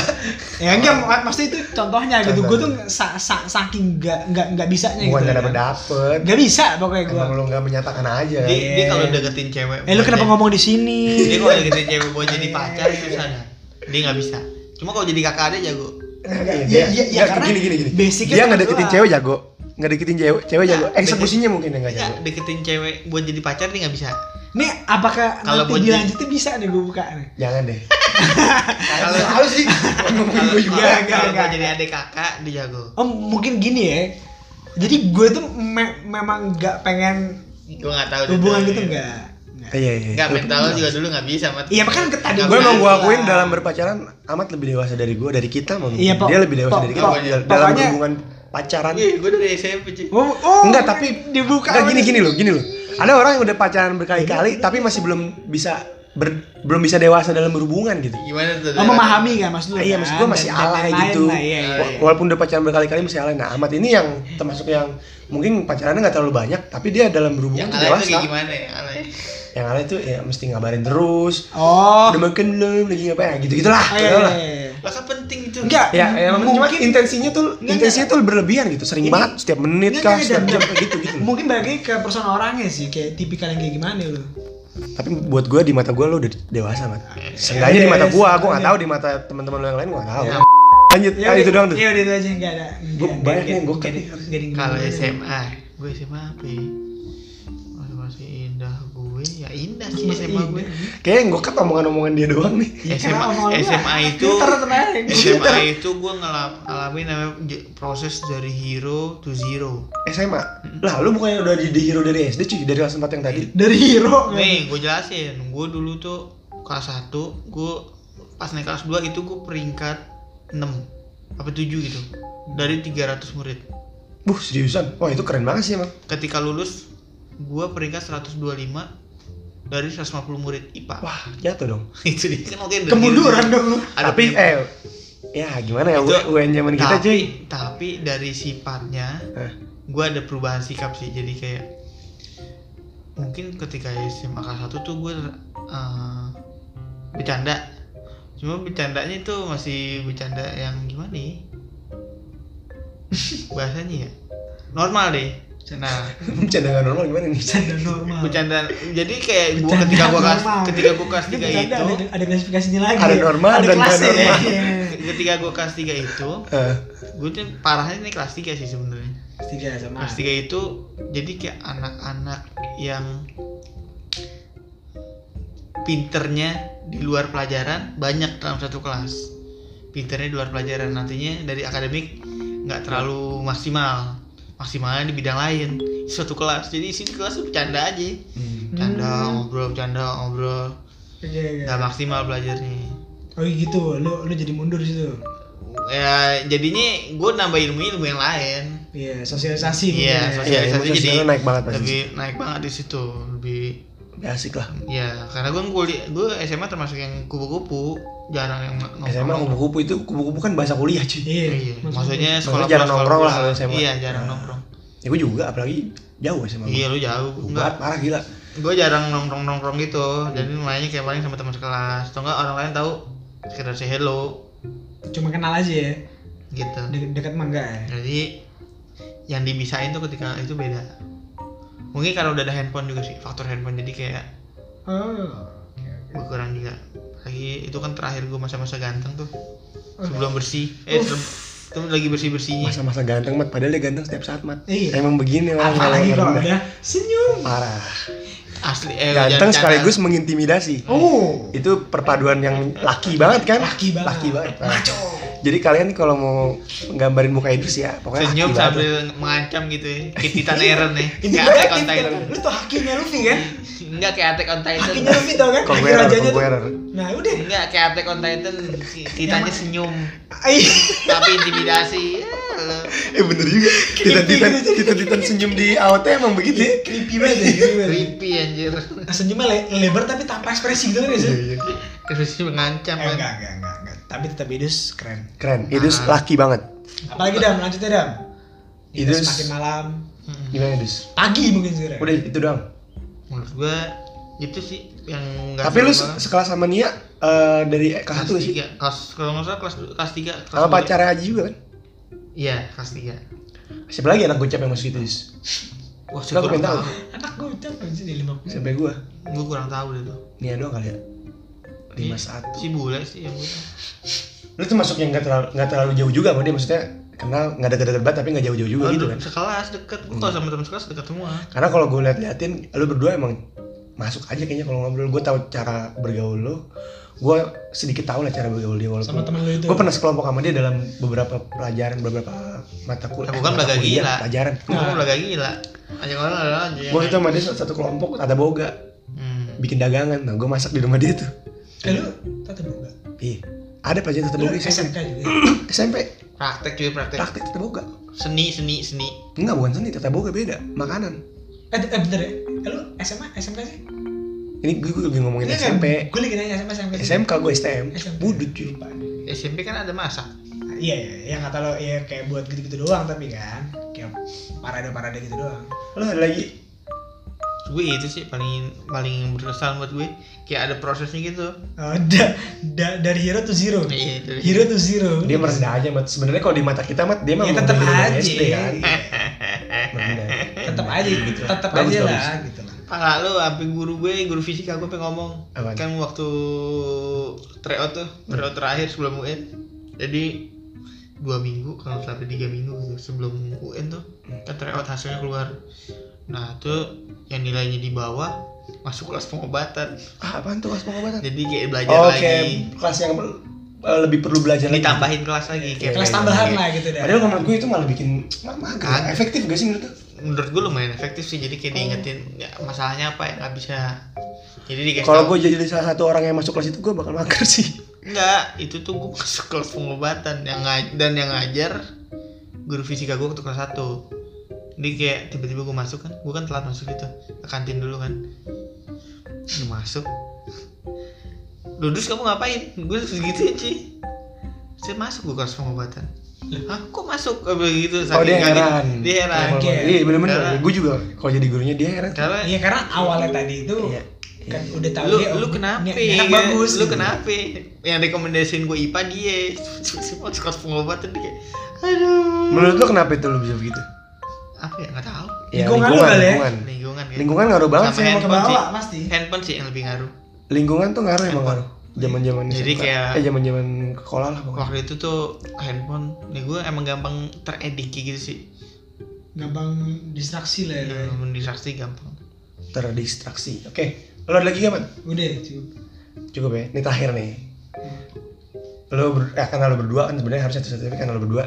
[SPEAKER 3] Ya enggak, mak- maksudnya itu contohnya gitu
[SPEAKER 1] Contoh.
[SPEAKER 3] Gue tuh sa- sa- saking nggak nggak nggak bisanya
[SPEAKER 1] Bukan
[SPEAKER 3] gitu
[SPEAKER 1] gak
[SPEAKER 3] Dam.
[SPEAKER 1] dapet dapet.
[SPEAKER 3] Nggak bisa pokoknya gue
[SPEAKER 1] Emang lu Iya. gak menyatakan aja.
[SPEAKER 2] Dia, dia
[SPEAKER 3] Iya.
[SPEAKER 2] kalau deketin cewek.
[SPEAKER 3] Eh lu
[SPEAKER 2] buat
[SPEAKER 3] kenapa
[SPEAKER 2] jadi-
[SPEAKER 3] ngomong di sini?
[SPEAKER 1] Iya,
[SPEAKER 2] Dia kalau deketin cewek buat jadi pacar susah dah. Dia nggak bisa. Cuma kalau jadi kakak ada jago.
[SPEAKER 3] Iya, iya, iya, karena
[SPEAKER 1] gini gini gini.
[SPEAKER 3] basicnya Iya,
[SPEAKER 1] Dia
[SPEAKER 3] cuma
[SPEAKER 1] nggak deketin
[SPEAKER 3] doang.
[SPEAKER 1] cewek jago. Nggak deketin cewek, cewek jago.
[SPEAKER 2] Nggak,
[SPEAKER 1] Eksekusinya mungkin yang nggak
[SPEAKER 3] Iya.
[SPEAKER 2] Nggak
[SPEAKER 1] jago.
[SPEAKER 2] deketin cewek buat jadi pacar dia nggak bisa.
[SPEAKER 3] Nih apakah
[SPEAKER 2] Kalau
[SPEAKER 3] nanti
[SPEAKER 2] buat
[SPEAKER 3] dilanjutnya bisa nih gue buka nih
[SPEAKER 1] Jangan deh.
[SPEAKER 2] Kalau
[SPEAKER 1] Selalu sih. Ngomongin
[SPEAKER 2] kalau
[SPEAKER 1] gua
[SPEAKER 3] juga.
[SPEAKER 2] kalau-
[SPEAKER 3] Nggak,
[SPEAKER 2] kalau
[SPEAKER 3] nggak.
[SPEAKER 2] mau jadi adik kakak dia jago.
[SPEAKER 3] Oh mungkin gini ya Jadi gue tuh me- memang nggak pengen
[SPEAKER 2] Gue nggak tahu. deh.
[SPEAKER 3] hubungan gitu nggak Nggak.
[SPEAKER 1] Iya iya.
[SPEAKER 2] Nggak mental juga dulu nggak bisa mat.
[SPEAKER 3] Iya, kan ke tadi
[SPEAKER 1] Gue emang gue
[SPEAKER 3] gua-
[SPEAKER 1] akuin dalam berpacaran amat lebih dewasa dari gue dari kita mungkin.
[SPEAKER 3] Iya, Pok.
[SPEAKER 1] Dia lebih dewasa
[SPEAKER 3] Pok,
[SPEAKER 1] dari kita
[SPEAKER 2] Pok.
[SPEAKER 1] dalam- dalam
[SPEAKER 3] Pokoknya-
[SPEAKER 1] hubungan pacaran.
[SPEAKER 2] Iya, gue dari SMP sih.
[SPEAKER 3] Oh, oh,
[SPEAKER 1] Enggak, tapi
[SPEAKER 3] dibuka
[SPEAKER 1] Enggak
[SPEAKER 3] apa
[SPEAKER 1] gini
[SPEAKER 3] nih?
[SPEAKER 1] gini loh, gini loh. Ada orang yang udah pacaran berkali-kali tapi masih belum bisa ber- belum bisa dewasa dalam berhubungan gitu.
[SPEAKER 2] Gimana tuh?
[SPEAKER 3] Oh, memahami kan maksud lu?
[SPEAKER 1] Iya,
[SPEAKER 3] kan?
[SPEAKER 1] maksud gua masih
[SPEAKER 3] Dan- dan
[SPEAKER 1] alay
[SPEAKER 3] lain-lain
[SPEAKER 1] gitu.
[SPEAKER 3] lah, iya, iya.
[SPEAKER 1] Wa- Walaupun udah pacaran berkali-kali masih alay. Nah, Ahmad ini yang termasuk yang mungkin pacarannya nggak terlalu banyak, tapi dia dalam berhubungan
[SPEAKER 2] Yang
[SPEAKER 1] tuh
[SPEAKER 2] alay
[SPEAKER 1] dewasa.
[SPEAKER 2] itu kayak gimana ya? Alay.
[SPEAKER 1] Yang alay tuh ya mesti ngabarin terus.
[SPEAKER 3] Oh,
[SPEAKER 1] Udah makan belum lagi ngapain? Ya, Gitu-gitulah.
[SPEAKER 3] iya,
[SPEAKER 1] Gitu lah.
[SPEAKER 3] iya, iya.
[SPEAKER 2] Lah kan penting itu.
[SPEAKER 3] Enggak,
[SPEAKER 1] Ya, ya
[SPEAKER 3] mungkin
[SPEAKER 1] cuma intensinya tuh
[SPEAKER 3] Enggak,
[SPEAKER 1] intensinya tuh berlebihan gitu, sering
[SPEAKER 3] Ini-
[SPEAKER 1] banget setiap menit
[SPEAKER 3] Enggak,
[SPEAKER 1] kah,
[SPEAKER 3] enggak,
[SPEAKER 1] setiap
[SPEAKER 3] dan-
[SPEAKER 1] jam kayak gitu gitu.
[SPEAKER 3] mungkin balik lagi ke person orangnya sih, kayak tipikal yang kayak gimana gitu. lu.
[SPEAKER 1] Tapi buat gue di mata gue lo udah dewasa banget. Seenggaknya di mata gue, gue nggak tahu di mata teman-teman lo yang lain gue nggak tahu.
[SPEAKER 2] Ya.
[SPEAKER 1] Lanjut, ah, itu doang tuh.
[SPEAKER 3] Iya, udah itu aja enggak ada.
[SPEAKER 1] Gua
[SPEAKER 3] enggak-
[SPEAKER 1] banyak
[SPEAKER 3] enggak-
[SPEAKER 1] yang gua
[SPEAKER 3] enggak-
[SPEAKER 1] kena.
[SPEAKER 3] enggak- enggak- enggak-
[SPEAKER 2] Kalau
[SPEAKER 3] enggak-
[SPEAKER 2] SMA, gue SMA apa ya? Masih masih indah gue ya indah sih
[SPEAKER 3] Iya,
[SPEAKER 2] SMA gue.
[SPEAKER 1] Kayaknya yang gue kat omongan-omongan dia doang nih.
[SPEAKER 3] Iya,
[SPEAKER 2] SMA
[SPEAKER 3] kenapa omongan lu?
[SPEAKER 2] SMA itu
[SPEAKER 3] Pinter ternyata.
[SPEAKER 2] SMA itu gue ngelam- ngalamin namanya j- proses dari hero to zero.
[SPEAKER 1] SMA. Lah, lu bukannya udah di, di hero dari SD cuy, dari kelas 4 yang tadi.
[SPEAKER 3] dari hero.
[SPEAKER 2] Nih gue jelasin, gue dulu tuh kelas 1 gue pas naik kelas 2 itu gue peringkat 6 apa 7 gitu dari 300 murid.
[SPEAKER 1] Buh, seriusan. Wah, itu keren banget sih emang.
[SPEAKER 2] Ketika lulus gue peringkat 125 dari 150 murid IPA.
[SPEAKER 1] Wah, jatuh dong.
[SPEAKER 2] itu dia kan oke dari
[SPEAKER 3] Kemunduran dong lu.
[SPEAKER 2] ada
[SPEAKER 1] Tapi
[SPEAKER 2] penyebab.
[SPEAKER 1] eh ya gimana ya
[SPEAKER 2] Itu- Nah,
[SPEAKER 1] UN zaman kita
[SPEAKER 2] tapi,
[SPEAKER 1] cuy.
[SPEAKER 2] tapi dari sifatnya
[SPEAKER 1] Hah?
[SPEAKER 2] gue ada perubahan sikap sih jadi kayak mungkin ketika SMA kelas 1 tuh gue bercanda cuma bercandanya itu masih bercanda yang gimana nih bahasanya ya normal deh nah
[SPEAKER 1] Bercanda nggak Eh, normal gimana nih? Eh,
[SPEAKER 3] Bercanda normal.
[SPEAKER 2] bercanda jadi kayak gua
[SPEAKER 3] Bercanda
[SPEAKER 2] ketika gue kelas
[SPEAKER 3] normal.
[SPEAKER 2] ketika gue kelas
[SPEAKER 3] Ini
[SPEAKER 2] 3
[SPEAKER 3] bercanda,
[SPEAKER 2] itu
[SPEAKER 3] ada, ada klasifikasinya lagi.
[SPEAKER 1] Ada normal
[SPEAKER 3] ada
[SPEAKER 1] dan nggak
[SPEAKER 3] kelasnya.
[SPEAKER 1] normal.
[SPEAKER 3] Iya.
[SPEAKER 2] ketika gue kelas 3 itu
[SPEAKER 1] Eh,
[SPEAKER 2] gue tuh parahnya nih kelas 3 sih sebenarnya
[SPEAKER 3] Tiga sama.
[SPEAKER 2] Kelas tiga itu jadi kayak anak-anak yang pinternya di luar pelajaran banyak dalam satu kelas. Pinternya di luar pelajaran nantinya dari akademik nggak terlalu maksimal. Maksimalnya di bidang lain. Suatu kelas. Jadi isi kelas tuh bercanda aja. Bercanda,
[SPEAKER 3] Hmm.
[SPEAKER 2] ngobrol, bercanda, ngobrol.
[SPEAKER 3] Iya, iya.
[SPEAKER 2] Nggak maksimal belajarnya.
[SPEAKER 3] Oh gitu, lu lu jadi mundur situ.
[SPEAKER 2] Ya jadinya gue nambah ilmu-ilmu yang lain.
[SPEAKER 3] Iya, sosialisasi.
[SPEAKER 1] Iya,
[SPEAKER 2] Iya,
[SPEAKER 3] mungkin ya.
[SPEAKER 1] ilmu
[SPEAKER 2] sosialisasi jadi
[SPEAKER 1] sosialnya naik banget pasti.
[SPEAKER 2] lebih naik banget di situ, lebih
[SPEAKER 1] Lebih asik lah.
[SPEAKER 2] Ya, karena gue kuliah, gue SMA termasuk yang kupu-kupu, jarang yang nongkrong.
[SPEAKER 1] SMA kupu-kupu itu kupu-kupu kan bahasa kuliah cuy.
[SPEAKER 3] Iya,
[SPEAKER 2] Iya,
[SPEAKER 3] maksudnya.
[SPEAKER 2] maksudnya sekolah
[SPEAKER 1] jarang
[SPEAKER 2] sekolah-
[SPEAKER 1] nongkrong lah
[SPEAKER 2] sekolah-
[SPEAKER 1] kalau SMA.
[SPEAKER 2] Iya, jarang nongkrong.
[SPEAKER 1] Ya gue juga apalagi jauh SMA.
[SPEAKER 2] Iya, lu jauh.
[SPEAKER 1] Jauh
[SPEAKER 2] Enggak,
[SPEAKER 1] banget, parah gila.
[SPEAKER 2] gue jarang nongkrong nongkrong gitu. Jadi mainnya kayak paling sama teman sekelas. Atau enggak orang lain tahu sekedar say hello
[SPEAKER 3] Cuma kenal aja ya.
[SPEAKER 2] gitu.
[SPEAKER 3] De- dekat mah enggak ya.
[SPEAKER 2] Jadi yang dibisain tuh ketika itu beda. Mungkin karena udah ada handphone juga sih, faktor handphone jadi kayak
[SPEAKER 3] Oh.
[SPEAKER 2] berkurang juga. Lagi itu kan terakhir gue masa-masa ganteng tuh.
[SPEAKER 1] Oh,
[SPEAKER 2] Sebelum bersih, eh
[SPEAKER 3] Uff.
[SPEAKER 2] sebelum itu lagi bersih-bersihnya.
[SPEAKER 1] Masa-masa ganteng mat, padahal dia ganteng setiap saat mat.
[SPEAKER 3] Iya.
[SPEAKER 1] Emang begini orang orang
[SPEAKER 3] Apalagi kalau
[SPEAKER 1] rendah.
[SPEAKER 3] udah senyum.
[SPEAKER 1] parah.
[SPEAKER 2] asli eh,
[SPEAKER 1] Ganteng
[SPEAKER 2] jangan-
[SPEAKER 1] sekaligus mengintimidasi.
[SPEAKER 3] Oh.
[SPEAKER 1] Itu perpaduan yang laki banget kan?
[SPEAKER 3] Laki banget.
[SPEAKER 1] Laki banget. parah.
[SPEAKER 3] Maco.
[SPEAKER 1] Jadi kalian kalau mau gambarin muka Idris ya, pokoknya aki
[SPEAKER 2] senyum
[SPEAKER 1] banget. Iya,
[SPEAKER 2] sambil mengancam gitu ya kayak Titan Aaron ya
[SPEAKER 3] Ini
[SPEAKER 2] kayak
[SPEAKER 3] gue
[SPEAKER 2] Attack on Titan
[SPEAKER 3] Lu tau hakinya Luffy kan?
[SPEAKER 2] enggak kayak Attack on Titan
[SPEAKER 3] Hakinya Luffy tau kan?
[SPEAKER 2] Iya,
[SPEAKER 3] Haki
[SPEAKER 1] Conqueror,
[SPEAKER 3] rajanya tuh.
[SPEAKER 1] Conqueror.
[SPEAKER 3] Nah udah.
[SPEAKER 2] enggak kayak Attack on Titan
[SPEAKER 1] Iya,
[SPEAKER 2] Titannya senyum
[SPEAKER 3] Ay,
[SPEAKER 2] tapi intimidasi ya, lo.
[SPEAKER 1] Eh bener juga. Titan-titan,
[SPEAKER 2] gitu,
[SPEAKER 1] titan-titan senyum di AOT emang begitu
[SPEAKER 2] Iya.
[SPEAKER 1] ya.
[SPEAKER 3] creepy banget ya. creepy banget. Nah,
[SPEAKER 2] creepy anjir
[SPEAKER 3] Senyumnya le- lebar tapi tanpa ekspresi gitu kan ya sih?
[SPEAKER 1] Iya, iya.
[SPEAKER 2] ekspresi mengancam
[SPEAKER 3] Eh,
[SPEAKER 2] kan
[SPEAKER 3] enggak, enggak, enggak, enggak. Tapi tetap Idris keren.
[SPEAKER 1] Keren.
[SPEAKER 2] Ah.
[SPEAKER 1] Idris laki banget.
[SPEAKER 3] Apalagi Dam, lanjutnya Dam. Idris
[SPEAKER 1] Idris-
[SPEAKER 3] makin malam.
[SPEAKER 2] Mm-mm.
[SPEAKER 1] Gimana Idris?
[SPEAKER 3] Pagi mungkin sekarang.
[SPEAKER 1] Udah itu doang.
[SPEAKER 2] menurut gua itu sih yang enggak
[SPEAKER 1] Tapi lu se- sekelas sama Nia eh, dari kelas
[SPEAKER 2] kelas
[SPEAKER 1] satu sih.
[SPEAKER 2] tiga kelas kalau nggak salah kelas du- kelas tiga Iya, kelas
[SPEAKER 1] Sama
[SPEAKER 2] dua.
[SPEAKER 1] pacarnya Aji juga kan?
[SPEAKER 2] iya kelas tiga
[SPEAKER 1] Siapa lagi anak gocap yang masuk itu? Idris?
[SPEAKER 2] wah
[SPEAKER 1] Coba
[SPEAKER 2] gua
[SPEAKER 1] gue pengen tahu.
[SPEAKER 3] Anak gue udah sih di lima puluh.
[SPEAKER 1] Sampai gua.
[SPEAKER 2] gua kurang tahu deh tuh
[SPEAKER 1] Nia doang kali ya. Lima
[SPEAKER 2] Iya,
[SPEAKER 1] satu.
[SPEAKER 2] si bule sih yang gua
[SPEAKER 1] Lu tuh masuk yang nggak terlalu nggak terlalu jauh juga sama dia maksudnya kenal nggak deket-deket banget tapi nggak jauh-jauh juga
[SPEAKER 2] Kalau
[SPEAKER 1] gitu
[SPEAKER 2] de-
[SPEAKER 1] kan? Nah.
[SPEAKER 2] sekelas deket gua kalau sama teman sekelas deket semua
[SPEAKER 1] Karena kalau gue liat-liatin, lu berdua emang masuk aja kayaknya kalau ngobrol. Gue tahu cara bergaul lu. Gue sedikit tahu lah cara bergaul dia walaupun.
[SPEAKER 3] Sama temen lu itu.
[SPEAKER 1] Gue pernah sekelompok sama dia dalam beberapa pelajaran, beberapa mata kul-
[SPEAKER 2] Aku
[SPEAKER 1] eh,
[SPEAKER 2] kan
[SPEAKER 1] mata
[SPEAKER 2] belaga
[SPEAKER 1] kuliah.
[SPEAKER 2] gila. Iya,
[SPEAKER 1] Pelajaran.
[SPEAKER 2] Gua mau belaga gila aja orang ada aja yang
[SPEAKER 1] Gue itu
[SPEAKER 2] lain.
[SPEAKER 1] sama dia satu, satu kelompok ada boga
[SPEAKER 2] Hmm.
[SPEAKER 1] bikin dagangan. Nah gue masak di rumah dia tuh.
[SPEAKER 3] Eh lu tetap boga.
[SPEAKER 1] Iya. Ada pelajaran tetap
[SPEAKER 3] Lu
[SPEAKER 1] boga SMP.
[SPEAKER 3] SMK juga. ya?
[SPEAKER 1] SMP
[SPEAKER 2] praktek cuy praktek
[SPEAKER 1] praktik tetap boga.
[SPEAKER 2] seni seni seni
[SPEAKER 1] Enggak bukan seni tetap boga beda makanan.
[SPEAKER 3] Eh, eh bentar ya. Eh, lu SMA, SMK sih?
[SPEAKER 1] Ini gue gue lagi ngomongin
[SPEAKER 3] Iya
[SPEAKER 1] SMP.
[SPEAKER 3] Gue lagi nanya SMA, SMK.
[SPEAKER 1] SMK gue STM.
[SPEAKER 3] SMP.
[SPEAKER 1] Budut cuy.
[SPEAKER 2] SMP kan ada masak
[SPEAKER 3] Iya, iya, yang kata lo ya kayak buat gitu-gitu doang tapi kan kayak parade-parade gitu doang.
[SPEAKER 1] Lo ada lagi
[SPEAKER 2] gue itu sih paling paling berkesan buat gue kayak ada prosesnya gitu
[SPEAKER 3] Eh, da, da- dari hero to zero.
[SPEAKER 2] Iya, dari-
[SPEAKER 3] Hero to zero.
[SPEAKER 1] dia merendah aja mat sebenarnya kalau di mata kita mat dia mah
[SPEAKER 3] Ya,
[SPEAKER 1] memang
[SPEAKER 3] tetap
[SPEAKER 1] dari
[SPEAKER 3] aja.
[SPEAKER 1] SD kan
[SPEAKER 3] Iya.
[SPEAKER 1] Merendah.
[SPEAKER 3] tetap aja gitu tetap
[SPEAKER 1] Bagus,
[SPEAKER 3] aja
[SPEAKER 1] bagus.
[SPEAKER 3] lah gitu lah
[SPEAKER 2] Pala lu sampai guru gue, guru fisika gue pengen ngomong.
[SPEAKER 1] Apaan?
[SPEAKER 2] Kan waktu tryout tuh, tryout terakhir sebelum UN. Jadi dua minggu kalau nggak salah tiga minggu gitu sebelum UN tuh
[SPEAKER 1] Hmm.
[SPEAKER 2] kan tryout hasilnya keluar. Nah tuh yang nilainya di bawah masuk kelas pengobatan.
[SPEAKER 1] ah apaan tuh kelas pengobatan
[SPEAKER 2] Jadi kayak belajar
[SPEAKER 1] oke
[SPEAKER 2] lagi,
[SPEAKER 1] kelas yang per- eh, lebih perlu belajar lagi
[SPEAKER 2] ditambahin kelas lagi. kayak
[SPEAKER 3] kelas
[SPEAKER 2] belajar
[SPEAKER 3] tambahan
[SPEAKER 2] lagi.
[SPEAKER 3] lah gitu dah
[SPEAKER 1] Iya, padahal menurut gue itu malah bikin ma- mager
[SPEAKER 2] Kagak.
[SPEAKER 1] efektif gak sih menurut lu
[SPEAKER 2] Menurut gue lumayan efektif sih. Jadi
[SPEAKER 1] Oh.
[SPEAKER 2] kayak diingetin ya, masalahnya apa yang nggak bisa. Jadi dikasih
[SPEAKER 1] kalau
[SPEAKER 2] tahu.
[SPEAKER 1] gue jadi salah satu orang yang masuk kelas itu gue bakal mager sih
[SPEAKER 2] Enggak, itu tuh gue masuk kelas pengobatan yang ngaj- dan yang ngajar guru fisika gue waktu kelas 1 Jadi kayak tiba-tiba gue masuk kan, gue kan telat masuk gitu ke kantin dulu kan. Gue masuk. Dudus kamu ngapain? Gue segitu ya cuy. Saya masuk gue kelas pengobatan. Hah, kok masuk? Eh, Begitu
[SPEAKER 1] oh dia
[SPEAKER 2] saking kagetnya.
[SPEAKER 1] heran
[SPEAKER 2] Dia heran.
[SPEAKER 1] Kalau-
[SPEAKER 3] Kayak-
[SPEAKER 1] iya bener-bener
[SPEAKER 2] Heran.
[SPEAKER 1] gue juga kalau jadi gurunya dia heran
[SPEAKER 2] Karena
[SPEAKER 3] iya karena awalnya tadi itu
[SPEAKER 1] Iya.
[SPEAKER 3] kan udah tahu
[SPEAKER 2] lu
[SPEAKER 3] dia oh,
[SPEAKER 2] lu
[SPEAKER 3] ini-
[SPEAKER 2] kenapa ya?
[SPEAKER 3] ini anak bagus
[SPEAKER 2] lu
[SPEAKER 3] gitu.
[SPEAKER 2] kenapa yang rekomendasiin gue IPA dia semua sekolah pengobatan dia kayak, aduh
[SPEAKER 1] menurut lu kenapa itu lu bisa begitu
[SPEAKER 2] apa ya nggak tahu
[SPEAKER 3] Lingkungan lu kali ya?
[SPEAKER 1] lingkungan
[SPEAKER 2] lingkungan kayak
[SPEAKER 1] lingkungan ngaruh banget
[SPEAKER 2] Sama
[SPEAKER 1] sih emang.
[SPEAKER 2] handphone.
[SPEAKER 3] kebawa pasti
[SPEAKER 2] handphone sih yang lebih ngaruh
[SPEAKER 1] lingkungan tuh ngaruh emang
[SPEAKER 2] Handphone.
[SPEAKER 1] ngaruh zaman-zaman
[SPEAKER 2] Jadi
[SPEAKER 1] SMP.
[SPEAKER 2] kayak-
[SPEAKER 1] eh zaman-zaman sekolah lah pokoknya
[SPEAKER 2] waktu itu tuh handphone nih gue emang gampang teredik kayak gitu sih
[SPEAKER 3] gampang distraksi lah ya
[SPEAKER 2] Iya. mendistraksi gampang
[SPEAKER 1] terdistraksi. Oke, lo ada lagi gak, Mat?
[SPEAKER 3] udah cukup
[SPEAKER 1] Cukup ya. Ini terakhir nih. Lo ber, eh, karena lo berdua kan sebenarnya harus satu-satu tapi karena lo berdua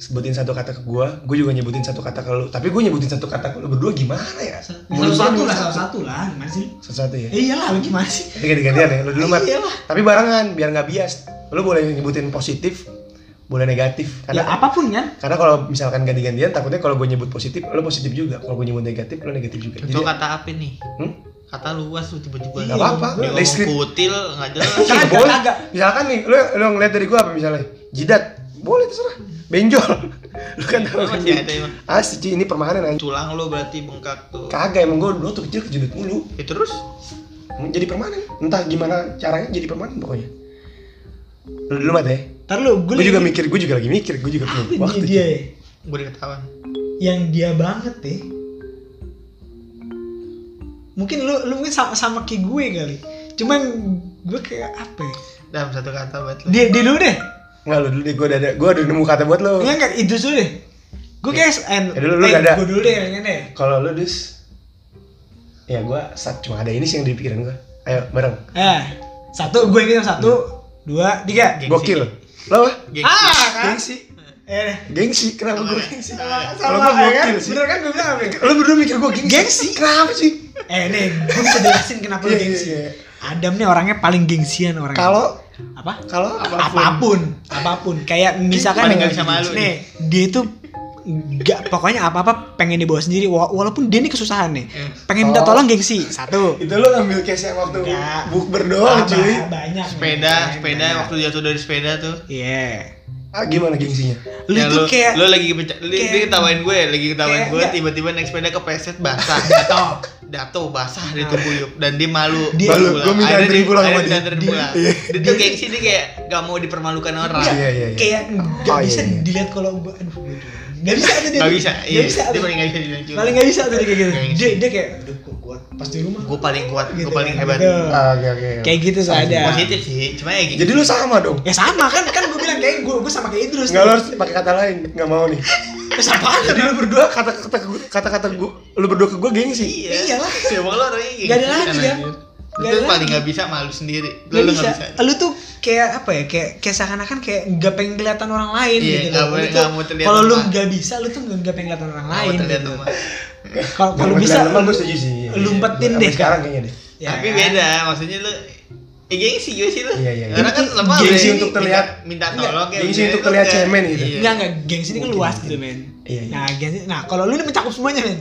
[SPEAKER 1] sebutin satu kata ke gua, gua juga nyebutin satu kata ke lo. Tapi gua nyebutin satu kata ke lo berdua gimana ya?
[SPEAKER 3] satu
[SPEAKER 1] Menurut
[SPEAKER 3] satu
[SPEAKER 1] gua
[SPEAKER 3] lah satu satu lah gimana sih
[SPEAKER 1] Satu-satu ya.
[SPEAKER 3] eh iyalah lu gimana sih
[SPEAKER 1] Nanti ganti-gantian ya, lo dulu, Mat.
[SPEAKER 3] Iya lah.
[SPEAKER 1] Tapi barengan biar nggak bias. Lo boleh nyebutin positif, boleh negatif.
[SPEAKER 3] ya
[SPEAKER 1] Karena
[SPEAKER 3] apapun kan
[SPEAKER 1] karena kalau misalkan ganti-gantian takutnya kalau gue nyebut positif, lo positif juga. Kalau gue nyebut negatif, lo negatif juga.
[SPEAKER 2] contoh kata apa nih
[SPEAKER 1] Hmm?
[SPEAKER 2] kata luas tuh tiba-tiba
[SPEAKER 3] Iya,
[SPEAKER 1] Gak apa-apa.
[SPEAKER 2] dia ngomong
[SPEAKER 1] Deskrip-
[SPEAKER 2] kutil nggak jelas
[SPEAKER 1] Kagak,
[SPEAKER 3] Kagak,
[SPEAKER 1] boleh.
[SPEAKER 3] kagak.
[SPEAKER 1] Misalkan nih, lu, lu ngeliat dari gua apa misalnya? Jidat. Boleh terserah. Benjol. Lu kan tahu kan.
[SPEAKER 2] masih ada emang
[SPEAKER 1] Asli Ci, ini permanen anjing.
[SPEAKER 2] tulang lo berarti bengkak tuh
[SPEAKER 1] Kagak emang gua dulu tuh kecil ke jidat mulu.
[SPEAKER 2] ya terus
[SPEAKER 1] Jadi permanen. Entah gimana caranya jadi permanen pokoknya. Lu dulu mati ya.
[SPEAKER 3] ntar lu
[SPEAKER 1] Gua juga mikir, gua juga lagi mikir, gua juga punya
[SPEAKER 3] apa
[SPEAKER 1] waktu.
[SPEAKER 3] dia,
[SPEAKER 1] Ci.
[SPEAKER 3] dia ya?
[SPEAKER 2] gue diketahuan
[SPEAKER 3] yang dia banget deh mungkin lu lu mungkin sama, sama kayak gue kali cuman gue kayak apa ya?
[SPEAKER 2] dalam satu kata buat lo
[SPEAKER 3] dia dia dulu deh
[SPEAKER 1] Enggak lu dulu deh, gua udah ada gua udah nemu kata buat lu.
[SPEAKER 3] enggak enggak Idris dulu deh gue kayak and,
[SPEAKER 1] Ya, dulu, lu nggak ada.
[SPEAKER 3] gue dulu deh kayaknya deh
[SPEAKER 1] Kalau lu dus Ya gua saat cuma ada ini sih yang di pikiran gua. Ayo bareng. Hmm.
[SPEAKER 3] eh satu gue ingat yang satu dua tiga
[SPEAKER 2] Gengsi.
[SPEAKER 1] Gokil. Lo apa?
[SPEAKER 2] Gengsi.
[SPEAKER 3] Ah, kan?
[SPEAKER 1] Gengsi.
[SPEAKER 3] Eh, deh.
[SPEAKER 1] Gengsi, kenapa
[SPEAKER 2] Sama
[SPEAKER 1] gue
[SPEAKER 2] ya?
[SPEAKER 1] gengsi?
[SPEAKER 3] sama,
[SPEAKER 1] Kalau
[SPEAKER 3] sama,
[SPEAKER 1] gua
[SPEAKER 3] ya kan?
[SPEAKER 1] gokil sih.
[SPEAKER 3] Bener kan gue bilang apa ya?
[SPEAKER 1] Lo berdua mikir gue gengsi? Gengsi, kenapa sih?
[SPEAKER 3] Eh, nih, gue bisa jelasin kenapa lu
[SPEAKER 1] Iya, iya,
[SPEAKER 3] gengsi.
[SPEAKER 1] iya.
[SPEAKER 3] Adam nih orangnya paling gengsian orangnya.
[SPEAKER 1] Kalau
[SPEAKER 3] apa?
[SPEAKER 1] kalau
[SPEAKER 3] apapun apapun kayak misalkan
[SPEAKER 2] paling gak bisa malu
[SPEAKER 3] nih dia itu nggak pokoknya apa apa pengen dibawa sendiri Wa- walaupun dia nih kesusahan nih
[SPEAKER 2] Hmm.
[SPEAKER 3] pengen minta
[SPEAKER 1] Oh.
[SPEAKER 3] tolong gengsi satu
[SPEAKER 1] itu lo ngambil case yang waktu
[SPEAKER 3] Enggak.
[SPEAKER 1] buk berdoa
[SPEAKER 3] Apa,
[SPEAKER 1] Oh, cuy.
[SPEAKER 3] banyak
[SPEAKER 2] sepeda sepeda waktu jatuh dari sepeda tuh
[SPEAKER 3] iya
[SPEAKER 1] Ah, gimana gengsinya?
[SPEAKER 3] lu
[SPEAKER 2] Ya,
[SPEAKER 3] tuh kayak
[SPEAKER 2] lu lagi pecah- lu-
[SPEAKER 3] kayak-
[SPEAKER 2] dia ketawain gue lagi ketawain
[SPEAKER 3] kayak
[SPEAKER 2] gue
[SPEAKER 3] enggak.
[SPEAKER 2] tiba-tiba naik sepeda ke peset basah jatuh jatuh basah dia tuh buyup dan dia malu
[SPEAKER 3] Dia-
[SPEAKER 2] Baru
[SPEAKER 1] Malu,
[SPEAKER 2] pulang.
[SPEAKER 1] gua minta
[SPEAKER 2] Akhirnya
[SPEAKER 1] anterin pulang
[SPEAKER 2] akhirnya
[SPEAKER 1] sama
[SPEAKER 2] minta
[SPEAKER 1] dia.
[SPEAKER 2] anterin
[SPEAKER 1] Dia-
[SPEAKER 2] pulang.
[SPEAKER 1] iya.
[SPEAKER 2] dia tuh gengsi dia kayak gak mau dipermalukan orang
[SPEAKER 1] Iya, iya, iya.
[SPEAKER 3] kayak nggak
[SPEAKER 1] Oh,
[SPEAKER 3] bisa
[SPEAKER 1] iya, iya.
[SPEAKER 3] dilihat kalau aduh nggak bisa tuh dia
[SPEAKER 2] gak bisa
[SPEAKER 3] Nggak
[SPEAKER 2] iya
[SPEAKER 3] bisa
[SPEAKER 2] dia
[SPEAKER 3] tuh.
[SPEAKER 2] paling gak bisa dibilang juga.
[SPEAKER 3] paling nggak bisa tuh dia kayak gitu
[SPEAKER 2] Gengsi.
[SPEAKER 3] dia dia kayak aduh gua kuat pas di rumah
[SPEAKER 2] gue paling kuat
[SPEAKER 3] Gitu
[SPEAKER 2] gue paling
[SPEAKER 3] kan,
[SPEAKER 2] hebat
[SPEAKER 3] gitu.
[SPEAKER 1] Ah, Oke, oke.
[SPEAKER 3] kayak gitu tuh ada
[SPEAKER 2] positif sih cuma ya gitu
[SPEAKER 1] Jadi lu sama dong.
[SPEAKER 3] ya sama kan kan gue bilang kayak gue gue sama kayak Idrus
[SPEAKER 1] Enggak lo
[SPEAKER 3] tuh.
[SPEAKER 1] harus pakai kata lain, enggak mau nih.
[SPEAKER 3] Terus apaan?
[SPEAKER 1] Tadi lu berdua kata-kata kata-kata gua, lu berdua ke gua gengsi.
[SPEAKER 2] iya
[SPEAKER 3] Iyalah.
[SPEAKER 2] siapa lu orangnya kayak
[SPEAKER 3] Gak ada
[SPEAKER 2] gitu
[SPEAKER 3] lagi,
[SPEAKER 2] kan,
[SPEAKER 3] Dam.
[SPEAKER 2] anjir.
[SPEAKER 3] Gak
[SPEAKER 2] itu
[SPEAKER 3] ada
[SPEAKER 2] paling
[SPEAKER 3] lagi.
[SPEAKER 2] gak bisa malu sendiri lu
[SPEAKER 3] Gak
[SPEAKER 2] lu
[SPEAKER 3] bisa.
[SPEAKER 2] gak bisa
[SPEAKER 3] Lu tuh kayak apa ya? Kayak kayak seakan-akan kayak nggak pengen kelihatan orang lain
[SPEAKER 2] Iya,
[SPEAKER 3] gitu.
[SPEAKER 2] nggak
[SPEAKER 3] loh.
[SPEAKER 2] boleh-
[SPEAKER 3] Lu tuh
[SPEAKER 2] nggak mau terlihat
[SPEAKER 3] Kalau lu
[SPEAKER 2] lemah.
[SPEAKER 3] nggak bisa, lu tuh nggak nggak pengen kelihatan orang
[SPEAKER 2] Nggak mau
[SPEAKER 3] lain.
[SPEAKER 2] terlihat
[SPEAKER 3] gitu.
[SPEAKER 2] lemah.
[SPEAKER 3] Kalau Iya, kalau
[SPEAKER 1] Gua
[SPEAKER 3] bisa,
[SPEAKER 1] bilang, emang
[SPEAKER 3] lu-
[SPEAKER 1] gua setuju sih. Iya,
[SPEAKER 3] lu
[SPEAKER 1] iya.
[SPEAKER 3] umpetin
[SPEAKER 1] Sampai
[SPEAKER 3] deh.
[SPEAKER 1] sekarang kayaknya deh.
[SPEAKER 3] ya
[SPEAKER 2] tapi
[SPEAKER 3] kan?
[SPEAKER 2] beda maksudnya lu eh gengsi gue sih lu
[SPEAKER 1] Iya, iya, iya.
[SPEAKER 2] orang kan lemah
[SPEAKER 1] Gengsi
[SPEAKER 2] udah
[SPEAKER 1] untuk
[SPEAKER 2] minta-
[SPEAKER 1] terlihat-
[SPEAKER 2] minta
[SPEAKER 1] Enggak,
[SPEAKER 2] tolong ya
[SPEAKER 1] gengsi
[SPEAKER 2] udah,
[SPEAKER 1] untuk
[SPEAKER 2] lu
[SPEAKER 1] terlihat
[SPEAKER 2] enggak.
[SPEAKER 1] cemen gitu.
[SPEAKER 2] Iya.
[SPEAKER 3] Enggak enggak, gengs ini kan
[SPEAKER 1] Mungkin,
[SPEAKER 3] luas
[SPEAKER 1] mungkin.
[SPEAKER 3] gitu, men.
[SPEAKER 1] Iya, iya.
[SPEAKER 3] Nah, gengs nah kalau lu ini mencakup semuanya, men.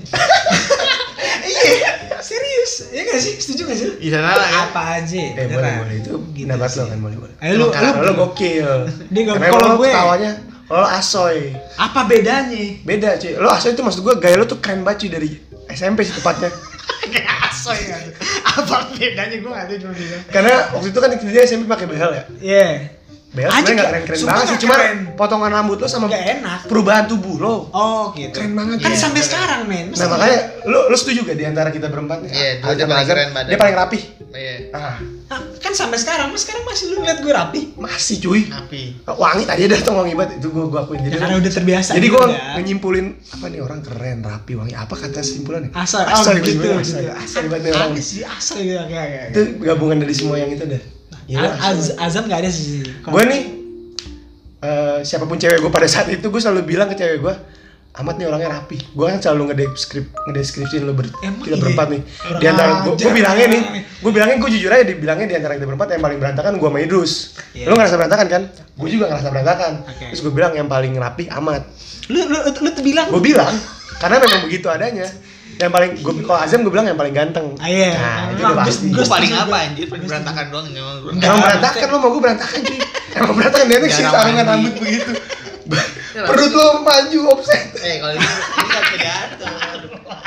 [SPEAKER 3] iya, serius. Iya nggak sih? Setuju nggak sih? lu?
[SPEAKER 2] Iya, salah kan?
[SPEAKER 3] Apa aja?
[SPEAKER 1] Eh, boleh,
[SPEAKER 3] beneran.
[SPEAKER 1] boleh itu.
[SPEAKER 3] Gitu
[SPEAKER 1] Pendapat
[SPEAKER 3] sih.
[SPEAKER 1] lo kan boleh, boleh.
[SPEAKER 3] Eh, lu,
[SPEAKER 2] Emang
[SPEAKER 1] Karena
[SPEAKER 3] lu
[SPEAKER 1] lo gokil.
[SPEAKER 3] Dia nggak-
[SPEAKER 1] Karena
[SPEAKER 3] kalau
[SPEAKER 1] lo
[SPEAKER 3] gue-
[SPEAKER 1] ketawanya lo asoy.
[SPEAKER 3] apa bedanya?
[SPEAKER 1] Beda cuy. Lo asoy itu maksud gua gaya lo tuh keren banget cuy dari SMP sih tepatnya.
[SPEAKER 3] Kayak asoy ya. Apa bedanya gue nggak tahu cuma bilang.
[SPEAKER 1] Karena waktu itu kan dia SMP pakai behel ya.
[SPEAKER 3] Iya.
[SPEAKER 1] Behel sebenarnya
[SPEAKER 3] Anjing,
[SPEAKER 1] nggak
[SPEAKER 3] ya.
[SPEAKER 1] keren-keren
[SPEAKER 3] Sumpah
[SPEAKER 1] banget sih,
[SPEAKER 3] nggak
[SPEAKER 1] cuma
[SPEAKER 3] keren.
[SPEAKER 1] potongan rambut lo sama
[SPEAKER 3] Nggak enak.
[SPEAKER 1] perubahan tubuh lo.
[SPEAKER 3] Oh gitu.
[SPEAKER 1] Keren banget.
[SPEAKER 3] Kan
[SPEAKER 1] Iya.
[SPEAKER 3] sampai sekarang men.
[SPEAKER 1] Nah makanya lo lo setuju gak di antara kita berempat?
[SPEAKER 2] Iya, dia
[SPEAKER 1] Azam,
[SPEAKER 2] paling
[SPEAKER 1] Azam,
[SPEAKER 2] keren badan.
[SPEAKER 1] Dia paling rapi.
[SPEAKER 2] iya
[SPEAKER 1] Ah,
[SPEAKER 3] Nah, kan sampai sekarang, mas sekarang masih lu ngeliat gue rapi.
[SPEAKER 1] masih cuy. Ah,
[SPEAKER 2] tapi
[SPEAKER 1] Wangi tadi ada tuh wangi banget itu gua gua akuin. Jadi
[SPEAKER 3] Ya, karena udah terbiasa.
[SPEAKER 1] Jadi gue
[SPEAKER 3] udah.
[SPEAKER 1] nyimpulin apa nih orang keren, rapi, wangi. Apa kata simpulannya?
[SPEAKER 3] asoy, oh,
[SPEAKER 1] asoy
[SPEAKER 3] gitu,
[SPEAKER 1] gitu.
[SPEAKER 3] gitu.
[SPEAKER 1] Asoy, asoy banget nih orang.
[SPEAKER 3] Ada sih asoy gitu kayak kayak.
[SPEAKER 1] Itu gabungan dari semua yang itu dah.
[SPEAKER 3] Nah,
[SPEAKER 1] Gila,
[SPEAKER 3] A-
[SPEAKER 1] asoy
[SPEAKER 3] Az-
[SPEAKER 1] banget.
[SPEAKER 3] Azam gak ada sih.
[SPEAKER 1] Gue nih eh, siapapun cewek gue pada saat itu gue selalu bilang ke cewek gue amat nih orangnya rapi gue kan selalu ngedeskrip ngedeskripsiin lo ber
[SPEAKER 3] Emang
[SPEAKER 1] kita
[SPEAKER 3] iya?
[SPEAKER 1] berempat nih
[SPEAKER 3] Kurang
[SPEAKER 1] di antara gue
[SPEAKER 3] ajar.
[SPEAKER 1] bilangnya nih gue bilangnya gue jujur aja dibilangnya di antara kita berempat yang paling berantakan gue sama Idrus
[SPEAKER 3] Iya.
[SPEAKER 1] lo ngerasa berantakan kan gue juga ngerasa berantakan
[SPEAKER 3] Oke.
[SPEAKER 1] terus gue bilang yang paling rapi amat
[SPEAKER 3] Lu lu lu, lu tuh bilang.
[SPEAKER 1] gue bilang karena memang begitu adanya yang paling gue kalau Azam gue bilang yang paling ganteng
[SPEAKER 3] Ah, iya.
[SPEAKER 1] nah itu
[SPEAKER 3] Emang
[SPEAKER 1] udah pasti
[SPEAKER 3] Gua
[SPEAKER 2] gue
[SPEAKER 3] setuju
[SPEAKER 2] paling
[SPEAKER 3] juga.
[SPEAKER 2] apa anjir paling berantakan doang emang gua.
[SPEAKER 3] Enggak.
[SPEAKER 1] emang berantakan lo mau gue berantakan cuy emang berantakan dia tuh sih
[SPEAKER 2] Jarang
[SPEAKER 1] sarungan
[SPEAKER 2] mandi.
[SPEAKER 1] rambut begitu perut lo maju offset
[SPEAKER 2] eh kalau ini ini gak bisa diatur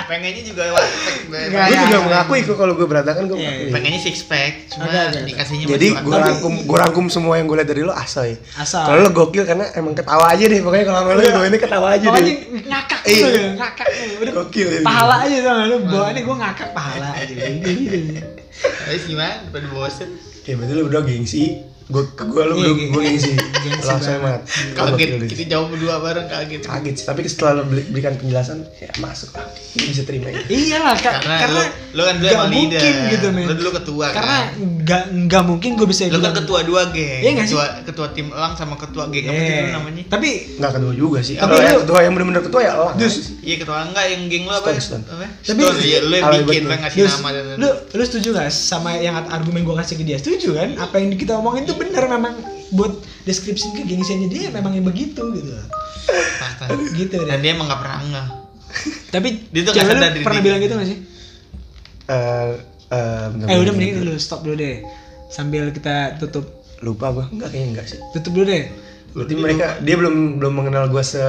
[SPEAKER 2] pengennya juga warteg Beb.
[SPEAKER 3] Enggak,
[SPEAKER 1] gue
[SPEAKER 3] iya,
[SPEAKER 1] juga
[SPEAKER 3] iya.
[SPEAKER 1] mengakui kok kalau gue berantakan gue
[SPEAKER 3] Iya, iya.
[SPEAKER 1] mengakui
[SPEAKER 2] pengennya six pack cuma
[SPEAKER 3] Agak, agak.
[SPEAKER 2] dikasihnya
[SPEAKER 1] jadi
[SPEAKER 2] masih
[SPEAKER 1] gue
[SPEAKER 2] warteg.
[SPEAKER 1] rangkum gue rangkum semua yang gue lihat dari lo asoy
[SPEAKER 3] Asoy.
[SPEAKER 1] kalau lo gokil karena emang ketawa aja deh pokoknya kalau sama lo gue ini Iya. ketawa aja
[SPEAKER 3] Pokoknya
[SPEAKER 1] deh
[SPEAKER 3] ngakak
[SPEAKER 1] Iya.
[SPEAKER 3] lu, ngakak lu. Udah
[SPEAKER 1] Gokil, iya.
[SPEAKER 3] Pahala aja tuh lu. Bawaannya gue ngakak pahala aja. Gitu.
[SPEAKER 2] Terus gimana pada bosen
[SPEAKER 1] ya berarti lo berdua gengsi gue gue lo
[SPEAKER 3] Iya,
[SPEAKER 1] berdua
[SPEAKER 3] iya.
[SPEAKER 1] gue gengsi
[SPEAKER 3] Gengsi
[SPEAKER 1] lo asoy
[SPEAKER 3] banget.
[SPEAKER 1] banget Lo
[SPEAKER 2] kaget
[SPEAKER 1] gokil, deh.
[SPEAKER 2] kita jauh berdua bareng kaget
[SPEAKER 1] kaget sih tapi setelah lo beli- berikan penjelasan ya masuk lah Ini bisa terima ini
[SPEAKER 3] Iya lah, Kak.
[SPEAKER 2] karena, lu,
[SPEAKER 3] Karena,
[SPEAKER 2] lu kan dulu
[SPEAKER 3] nggak
[SPEAKER 2] emang leader
[SPEAKER 3] mungkin gitu, men.
[SPEAKER 2] lu dulu ketua
[SPEAKER 3] karena
[SPEAKER 2] kan
[SPEAKER 3] nggak nggak mungkin gue bisa
[SPEAKER 2] lu kan
[SPEAKER 3] Eh, bilang-
[SPEAKER 2] ketua dua geng
[SPEAKER 3] Iya nggak sih?
[SPEAKER 2] ketua ketua tim elang sama ketua geng
[SPEAKER 3] Iya.
[SPEAKER 2] apa sih dulu gitu namanya
[SPEAKER 3] Tapi
[SPEAKER 1] nggak kedua juga sih
[SPEAKER 3] Tapi
[SPEAKER 1] kalau
[SPEAKER 3] lu-
[SPEAKER 1] yang kedua yang benar-benar kedua ya elang
[SPEAKER 3] Dus,
[SPEAKER 2] iya ketua enggak yang geng lu apa
[SPEAKER 1] Stone, Stone.
[SPEAKER 2] apa
[SPEAKER 3] Tapi-
[SPEAKER 2] Stone, iya lu yang
[SPEAKER 1] Kalau
[SPEAKER 2] bikin
[SPEAKER 1] betul.
[SPEAKER 2] lu yang ngasih
[SPEAKER 3] Dus,
[SPEAKER 2] nama dan
[SPEAKER 3] lu lu setuju gak sama yang argumen gue kasih ke dia? Setuju kan? Apa yang kita omongin itu bener memang buat deskripsi kegengsiannya dia memang yang begitu gitu.
[SPEAKER 2] fakta.
[SPEAKER 3] Gitu
[SPEAKER 2] dan
[SPEAKER 3] deh.
[SPEAKER 2] dia emang nggak pernah enggak
[SPEAKER 3] Tapi
[SPEAKER 2] Dia tuh nggak
[SPEAKER 3] cewek lu
[SPEAKER 2] sadar diri
[SPEAKER 3] pernah
[SPEAKER 2] dia.
[SPEAKER 3] bilang gitu gak sih?
[SPEAKER 1] eh eh, bentar,
[SPEAKER 3] Eh udah
[SPEAKER 1] bentar,
[SPEAKER 3] mendingan
[SPEAKER 1] bentar.
[SPEAKER 3] lu stop dulu deh. Sambil kita tutup
[SPEAKER 1] lupa gue enggak kayaknya enggak sih
[SPEAKER 3] tutup dulu deh.
[SPEAKER 1] berarti mereka dia belum belum mengenal gue se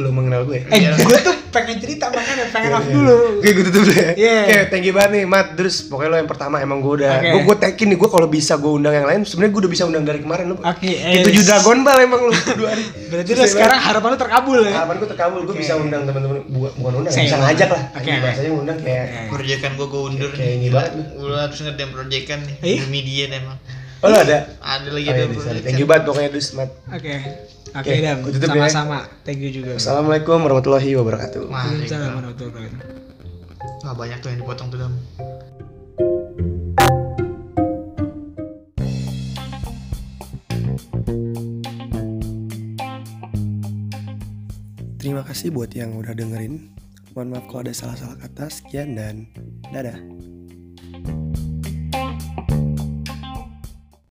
[SPEAKER 1] lu mengenal gue ya?
[SPEAKER 3] Eh
[SPEAKER 2] Iya.
[SPEAKER 3] gue tuh pengen cerita makanya pengen
[SPEAKER 1] Iya,
[SPEAKER 3] off
[SPEAKER 1] iya.
[SPEAKER 3] dulu.
[SPEAKER 1] Oke, gue tutup deh.
[SPEAKER 3] Iya.
[SPEAKER 1] Oke, thank you banget nih, Mat. Terus pokoknya lo yang pertama emang gue udah
[SPEAKER 3] Oke.
[SPEAKER 1] gue gue tag in nih gue kalau bisa gue undang yang lain. Sebenarnya gue udah bisa undang dari kemarin lo.
[SPEAKER 3] Oke, eh,
[SPEAKER 1] Itu tujuh Dragon Ball emang lo dua hari.
[SPEAKER 3] Berarti lu sekarang harapan lu terkabul ya?
[SPEAKER 1] harapan gue terkabul, gue
[SPEAKER 3] Oke.
[SPEAKER 1] bisa undang teman-teman bukan bukan undang,
[SPEAKER 3] Saya
[SPEAKER 1] bisa
[SPEAKER 3] undang.
[SPEAKER 1] ngajak lah.
[SPEAKER 3] Oke,
[SPEAKER 1] Anjing,
[SPEAKER 3] oke.
[SPEAKER 1] Bahasanya undang kayak
[SPEAKER 2] proyekan gua gua undur
[SPEAKER 1] Kayak ini
[SPEAKER 2] Gila,
[SPEAKER 1] banget lu.
[SPEAKER 2] lu harus ngedem proyekan nih
[SPEAKER 3] Iya.
[SPEAKER 2] demi dia emang
[SPEAKER 1] Oh, lo ada.
[SPEAKER 2] ada
[SPEAKER 1] Oh,
[SPEAKER 2] lagi
[SPEAKER 1] iya,
[SPEAKER 2] ada
[SPEAKER 1] bisa.
[SPEAKER 2] proyekan.
[SPEAKER 1] Thank you banget pokoknya dus Mat.
[SPEAKER 3] Oke. Oke,
[SPEAKER 1] Oke,
[SPEAKER 3] Dam.
[SPEAKER 1] gua tutup ya.
[SPEAKER 3] Sama-sama. Thank you juga.
[SPEAKER 1] Assalamualaikum warahmatullahi wabarakatuh.
[SPEAKER 2] Waalaikumsalam.
[SPEAKER 3] Waalaikumsalam warahmatullahi wabarakatuh.
[SPEAKER 2] Wah, Ah, banyak tuh yang dipotong tuh dam
[SPEAKER 1] Terima kasih buat yang udah dengerin. Mohon maaf kalau ada salah-salah kata. Sekian dan dadah.